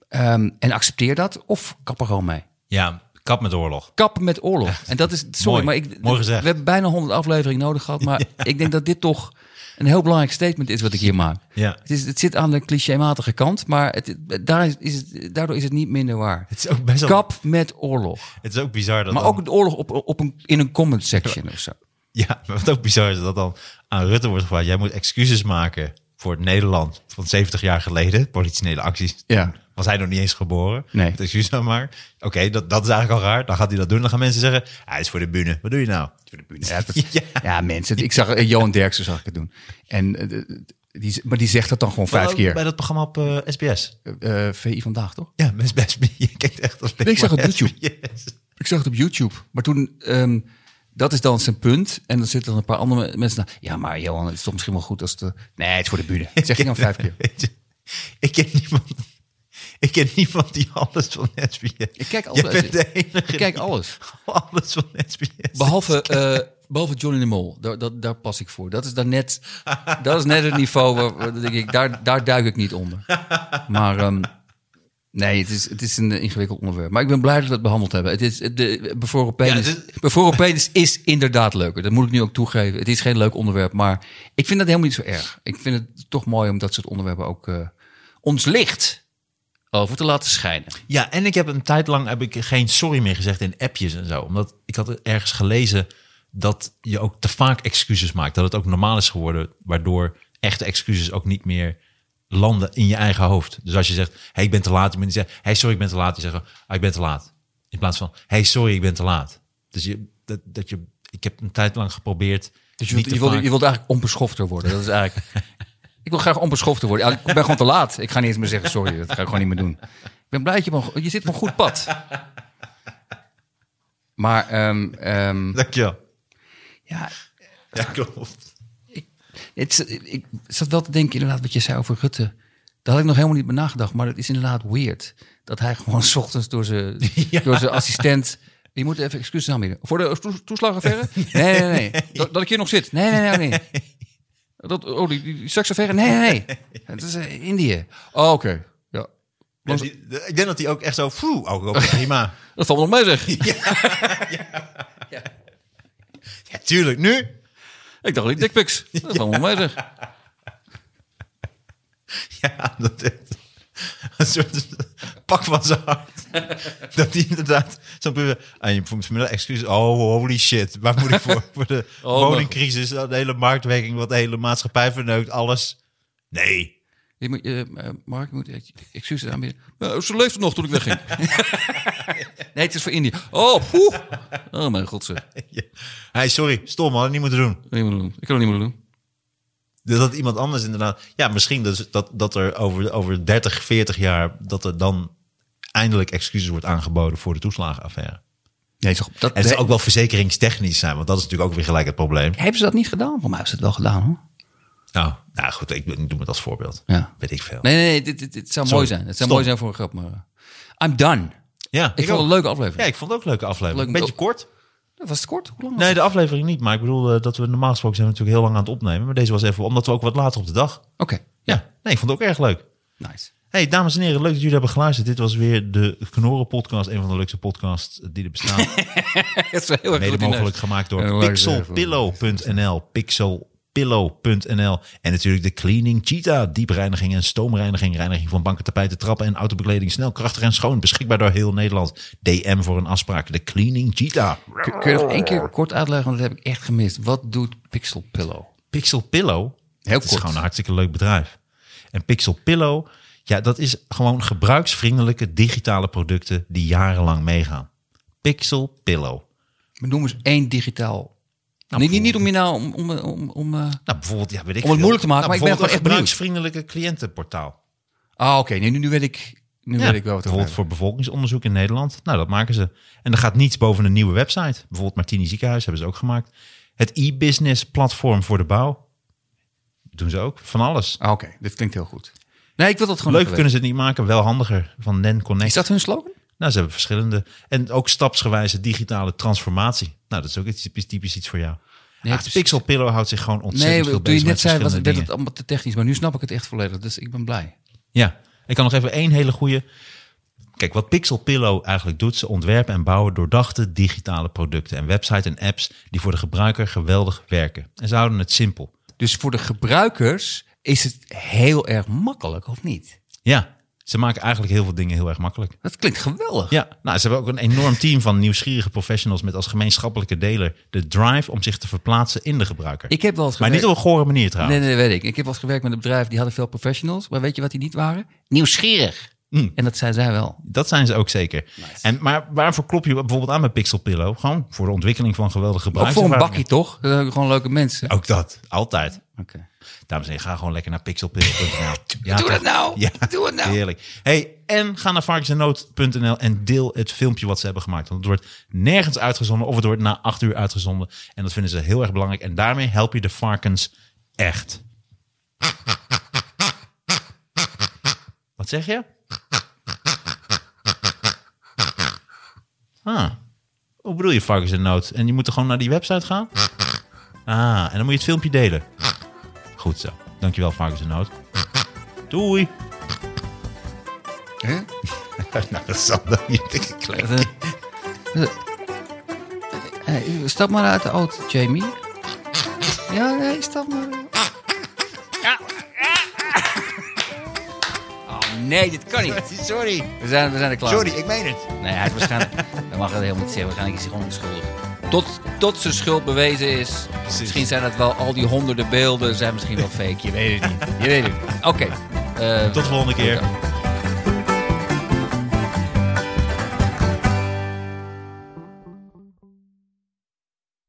[SPEAKER 2] Ehm, en accepteer dat of kap er gewoon mee.
[SPEAKER 1] ja, kap met oorlog.
[SPEAKER 2] Kappen met oorlog. En dat is, sorry,
[SPEAKER 1] Mooi.
[SPEAKER 2] maar ik,
[SPEAKER 1] Mooi gezegd.
[SPEAKER 2] we hebben bijna 100 afleveringen nodig gehad. Maar ik denk dat dit toch een heel belangrijk statement is wat ik hier maak.
[SPEAKER 1] Ja.
[SPEAKER 2] Het, is, het zit aan de clichématige kant, maar het, het- daar is, is het, daardoor is het niet minder waar.
[SPEAKER 1] Het is ook best wel...
[SPEAKER 2] Kap met oorlog.
[SPEAKER 1] Het is ook bizar dat
[SPEAKER 2] Maar
[SPEAKER 1] dan-
[SPEAKER 2] ook de oorlog op, op een, in een comment section of zo.
[SPEAKER 1] Ja, maar wat ook bizar is dat dan aan Rutte wordt gevraagd... jij moet excuses maken voor het Nederland van 70 jaar geleden. Politionele acties.
[SPEAKER 2] Ja.
[SPEAKER 1] Toen Was hij nog niet eens geboren.
[SPEAKER 2] Nee.
[SPEAKER 1] Het excuses aan maar. Oké, dat, dat is eigenlijk al raar. Dan gaat hij dat doen. Dan gaan mensen zeggen, hij is voor de bühne. Wat doe je nou? Voor de bühne.
[SPEAKER 2] Ja, dat-
[SPEAKER 1] Ja.
[SPEAKER 2] ja, mensen. Ik zag eh, Johan Derksen zag ik het doen. En, eh, de- die, maar die zegt dat dan gewoon vijf keer.
[SPEAKER 1] Bij dat programma op eh, SBS.
[SPEAKER 2] Eh, VI vandaag, toch?
[SPEAKER 1] Ja, best best. Je kijkt echt alleen
[SPEAKER 2] ik zag
[SPEAKER 1] maar
[SPEAKER 2] het op YouTube.
[SPEAKER 1] SBS.
[SPEAKER 2] Ik zag het op YouTube. Maar toen, ehm, dat is dan zijn punt. En dan zitten dan een paar andere mensen. na- Ja, maar Johan, het is toch misschien wel goed als de. Nee, het is voor de buren. Dat zeg je dan vijf keer.
[SPEAKER 1] Weet je, ik ken niemand... Ik ken niemand die alles van SBS...
[SPEAKER 2] Ik kijk
[SPEAKER 1] Je
[SPEAKER 2] alles.
[SPEAKER 1] bent de enige
[SPEAKER 2] Ik kijk
[SPEAKER 1] die
[SPEAKER 2] alles.
[SPEAKER 1] alles van SBS.
[SPEAKER 2] Behalve, eh, behalve Johnny de Mol. Daar, dat, daar pas ik voor. Dat is, daar net, dat is net het niveau waar, waar denk ik, daar, daar duik ik niet onder. Maar ehm, nee, het is, het is een eh, ingewikkeld onderwerp. Maar ik ben blij dat we het behandeld hebben. Het is, eh, de, bevroren penis,
[SPEAKER 1] Ja, dit-
[SPEAKER 2] bevroren penis is inderdaad leuker. Dat moet ik nu ook toegeven. Het is geen leuk onderwerp, maar ik vind dat helemaal niet zo erg. Ik vind het toch mooi om dat soort onderwerpen ook eh, ons licht over te laten schijnen.
[SPEAKER 1] Ja, en ik heb een tijd lang heb ik geen sorry meer gezegd in appjes en zo. Omdat ik had ergens gelezen dat je ook te vaak excuses maakt. Dat het ook normaal is geworden, waardoor echte excuses ook niet meer landen in je eigen hoofd. Dus als je zegt, hey, ik ben te laat. Je moet niet zeggen, hey, sorry, ik ben te laat. Je zegt, ah, ik ben te laat. In plaats van, hey, sorry, ik ben te laat. Dus je, dat, dat je, ik heb een tijd lang geprobeerd...
[SPEAKER 2] Dus je
[SPEAKER 1] niet
[SPEAKER 2] wilt,
[SPEAKER 1] te
[SPEAKER 2] je, wilt,
[SPEAKER 1] vaak-
[SPEAKER 2] je wilt eigenlijk onbeschofter worden. Dat is eigenlijk. ik wil graag onbeschofter worden. Ja, ik ben gewoon te laat. Ik ga niet eens meer zeggen sorry. Dat ga ik gewoon niet meer doen. Ik ben blij dat je, op een go- je zit op een goed pad. Maar ehm, ehm,
[SPEAKER 1] Dankjewel.
[SPEAKER 2] ja,
[SPEAKER 1] Ja, klopt.
[SPEAKER 2] het, is- ik zat wel te denken inderdaad wat je zei over Rutte. Daar had ik nog helemaal niet bij nagedacht. Maar dat is inderdaad weird. Dat hij gewoon 's ochtends door zijn, door zijn assistent... Je moet even excuses aanbieden. Voor de toes- toeslagaffaire? Nee, nee, nee. Dat, dat ik hier nog zit? Nee, nee, nee. ook niet. Dat, oh, die, die saxofoon? Nee, nee, nee. Het is eh, Indië. Oh, oké. Ja.
[SPEAKER 1] Ja, die- ik denk dat hij ook echt zo... "Phew, Oh, oké, prima.
[SPEAKER 2] Dat valt me nog mee, zeg.
[SPEAKER 1] Ja, tuurlijk, nu...
[SPEAKER 2] Ik dacht, die dickpics. Dat valt me nog mee, zeg.
[SPEAKER 1] Ja, dat is een soort pak van zijn hart. dat hij inderdaad zo'n puur... En je moet vanmiddag excuses. Oh, holy shit. Waar moet ik voor? voor de
[SPEAKER 2] Oh,
[SPEAKER 1] woningcrisis, de hele marktwerking, wat de hele maatschappij verneukt, alles. Nee.
[SPEAKER 2] Je moet, eh, eh, Mark, je moet ex- excuses aanbieden. Nou, ze leefde nog toen ik wegging. nee, het is voor Indië. Oh, poeh. Oh mijn god, zeg. Dat
[SPEAKER 1] Ja. Hey, sorry, stom, had ik niet moeten doen.
[SPEAKER 2] kan Ik niet meer doen. Ik kan het niet meer doen.
[SPEAKER 1] Dus dat iemand anders inderdaad... Ja, misschien dus dat, dat er over, over 30, 40 jaar... dat er dan eindelijk excuses wordt aangeboden voor de toeslagenaffaire.
[SPEAKER 2] Nee, toch, dat,
[SPEAKER 1] En het zou ook wel verzekeringstechnisch zijn, want dat is natuurlijk ook weer gelijk het probleem.
[SPEAKER 2] Hebben ze dat niet gedaan? Voor mij is het wel gedaan, hoor.
[SPEAKER 1] Nou, nou goed, ik ik doe het als voorbeeld.
[SPEAKER 2] Ja.
[SPEAKER 1] Weet ik veel.
[SPEAKER 2] Nee, nee, nee dit, dit, dit zou
[SPEAKER 1] Sorry.
[SPEAKER 2] mooi zijn. Het zou
[SPEAKER 1] Stom.
[SPEAKER 2] mooi zijn voor een grap, maar... eh, I'm done.
[SPEAKER 1] Ja,
[SPEAKER 2] Ik, vond het
[SPEAKER 1] ook.
[SPEAKER 2] een leuke aflevering.
[SPEAKER 1] Ja, ik vond het ook een leuke aflevering.
[SPEAKER 2] Leuk-
[SPEAKER 1] Beetje kort.
[SPEAKER 2] Dat was het kort? Hoe lang was
[SPEAKER 1] Nee, de aflevering niet. Maar ik bedoel eh, dat we normaal gesproken zijn we natuurlijk heel lang aan het opnemen. Maar deze was even, omdat we ook wat later op de dag.
[SPEAKER 2] het? Oké,
[SPEAKER 1] Ja, nee, ik vond het ook erg leuk.
[SPEAKER 2] nice.
[SPEAKER 1] Hey, dames en heren, leuk dat jullie hebben geluisterd. Dit was weer de Knorren podcast. Een van de leukste podcasts die er bestaan.
[SPEAKER 2] Het is wel heel
[SPEAKER 1] Mede
[SPEAKER 2] erg goed in
[SPEAKER 1] mogelijk
[SPEAKER 2] huis.
[SPEAKER 1] gemaakt
[SPEAKER 2] Heel
[SPEAKER 1] door
[SPEAKER 2] erg leuk.
[SPEAKER 1] pixelpillow.nl. Pixelpillow.nl. En natuurlijk de Cleaning Cheetah. Diepreiniging en stoomreiniging. Reiniging van banken, tapijten, trappen en autobekleding. Snel, krachtig en schoon. Beschikbaar door heel Nederland. DM voor een afspraak. De Cleaning Cheetah.
[SPEAKER 2] Kun, kun je nog één keer kort uitleggen? Want dat heb ik echt gemist. Wat doet Pixel Pillow?
[SPEAKER 1] Pixel Pillow.
[SPEAKER 2] Heel
[SPEAKER 1] Het is
[SPEAKER 2] kort.
[SPEAKER 1] gewoon een hartstikke leuk bedrijf. En Pixel Pillow, Ja, dat is gewoon gebruiksvriendelijke digitale producten die jarenlang meegaan. Pixel Pillow.
[SPEAKER 2] Maar noem eens één digitaal. niet, niet, niet om je nou om, om, om, om, eh,
[SPEAKER 1] Nou, bijvoorbeeld, ja, weet ik
[SPEAKER 2] Om het
[SPEAKER 1] veel.
[SPEAKER 2] moeilijk te maken,
[SPEAKER 1] Nou,
[SPEAKER 2] maar
[SPEAKER 1] bijvoorbeeld
[SPEAKER 2] ik ben gewoon echt
[SPEAKER 1] een
[SPEAKER 2] benieuwd.
[SPEAKER 1] gebruiksvriendelijke cliëntenportaal.
[SPEAKER 2] Ah, oké. nee, nu, nu weet ik, nu
[SPEAKER 1] Ja,
[SPEAKER 2] weet ik wel wat
[SPEAKER 1] bijvoorbeeld voor bevolkingsonderzoek in Nederland. Nou, dat maken ze. En er gaat niets boven een nieuwe website. Bijvoorbeeld Martini Ziekenhuis hebben ze ook gemaakt. Het e-business platform voor de bouw. Doen ze ook. Van alles.
[SPEAKER 2] Ah, oké. Dit klinkt heel goed. Nee, ik wil dat gewoon
[SPEAKER 1] Leuk
[SPEAKER 2] even
[SPEAKER 1] kunnen
[SPEAKER 2] weten.
[SPEAKER 1] ze het niet maken. Wel handiger. Van Nen
[SPEAKER 2] Is
[SPEAKER 1] Connect.
[SPEAKER 2] dat hun slogan?
[SPEAKER 1] Nou, ze hebben verschillende. En ook stapsgewijze digitale transformatie. Nou, dat is ook iets typisch, typisch iets voor jou.
[SPEAKER 2] Nee,
[SPEAKER 1] Nee,
[SPEAKER 2] precies.
[SPEAKER 1] Pixel Pillow houdt zich gewoon ontzettend
[SPEAKER 2] Nee,
[SPEAKER 1] veel
[SPEAKER 2] wat- toen
[SPEAKER 1] bezig
[SPEAKER 2] je net
[SPEAKER 1] met
[SPEAKER 2] zei, was,
[SPEAKER 1] verschillende
[SPEAKER 2] werd
[SPEAKER 1] dingen.
[SPEAKER 2] het allemaal te technisch. Maar nu snap ik het echt volledig. Dus ik ben blij.
[SPEAKER 1] Ja, ik kan nog even één hele goede. Kijk, wat Pixel Pillow eigenlijk doet, ze ontwerpen en bouwen doordachte digitale producten en websites en apps die voor de gebruiker geweldig werken. En ze houden het simpel.
[SPEAKER 2] Dus voor de gebruikers is het heel erg makkelijk, of niet?
[SPEAKER 1] Ja, ze maken eigenlijk heel veel dingen heel erg makkelijk.
[SPEAKER 2] Dat klinkt geweldig.
[SPEAKER 1] Ja, nou, ze hebben ook een enorm team van nieuwsgierige professionals met als gemeenschappelijke deler de drive om zich te verplaatsen in de gebruiker.
[SPEAKER 2] Ik heb wel eens
[SPEAKER 1] maar niet op een gore manier trouwens.
[SPEAKER 2] Nee, nee, weet ik. Ik heb wel eens gewerkt met een bedrijf, die hadden veel professionals. Maar weet je wat die niet waren? Nieuwsgierig. En dat zijn zij wel.
[SPEAKER 1] Dat zijn ze ook zeker. En, maar waarvoor klop je bijvoorbeeld aan met Pixel Pillow? Gewoon voor de ontwikkeling van geweldige
[SPEAKER 2] Ook voor een bakkie,
[SPEAKER 1] gebruikerservaringen.
[SPEAKER 2] toch? Dat zijn gewoon leuke mensen.
[SPEAKER 1] Ook dat, altijd.
[SPEAKER 2] Oké.
[SPEAKER 1] Dames en heren, ga gewoon lekker naar pixelpillen.nl. Ja,
[SPEAKER 2] Doe
[SPEAKER 1] toch?
[SPEAKER 2] dat nou!
[SPEAKER 1] Ja,
[SPEAKER 2] Doe het nou!
[SPEAKER 1] heerlijk. Hey, en ga naar varkensenoot.nl en deel het filmpje wat ze hebben gemaakt. Want het wordt nergens uitgezonden of het wordt na acht uur uitgezonden. En dat vinden ze heel erg belangrijk. En daarmee help je de varkens echt. Wat zeg je? Ah, hoe bedoel je varkens in nood? En je moet er gewoon naar die website gaan? Ah, en dan moet je het filmpje delen. Goed zo. Dankjewel, varkens in nood. Doei.
[SPEAKER 2] Hè?
[SPEAKER 1] nou, dat zal dan niet dikke klein.
[SPEAKER 2] Eh, eh, eh, stap maar uit de auto, Jamie. Ja, nee, stap maar. Oh nee, dit kan niet.
[SPEAKER 1] Sorry,
[SPEAKER 2] We zijn, we zijn er klaar. mee.
[SPEAKER 1] ik meen het.
[SPEAKER 2] Nee, hij is waarschijnlijk. We mag het helemaal niet zeggen. Waarschijnlijk is hij gewoon onschuldig. Tot, tot zijn schuld bewezen is. Misschien zijn dat wel al die honderden beelden. Zijn misschien wel fake. Je weet het niet. Je weet het niet. Oké. eh,
[SPEAKER 1] Tot de volgende keer.
[SPEAKER 2] oké.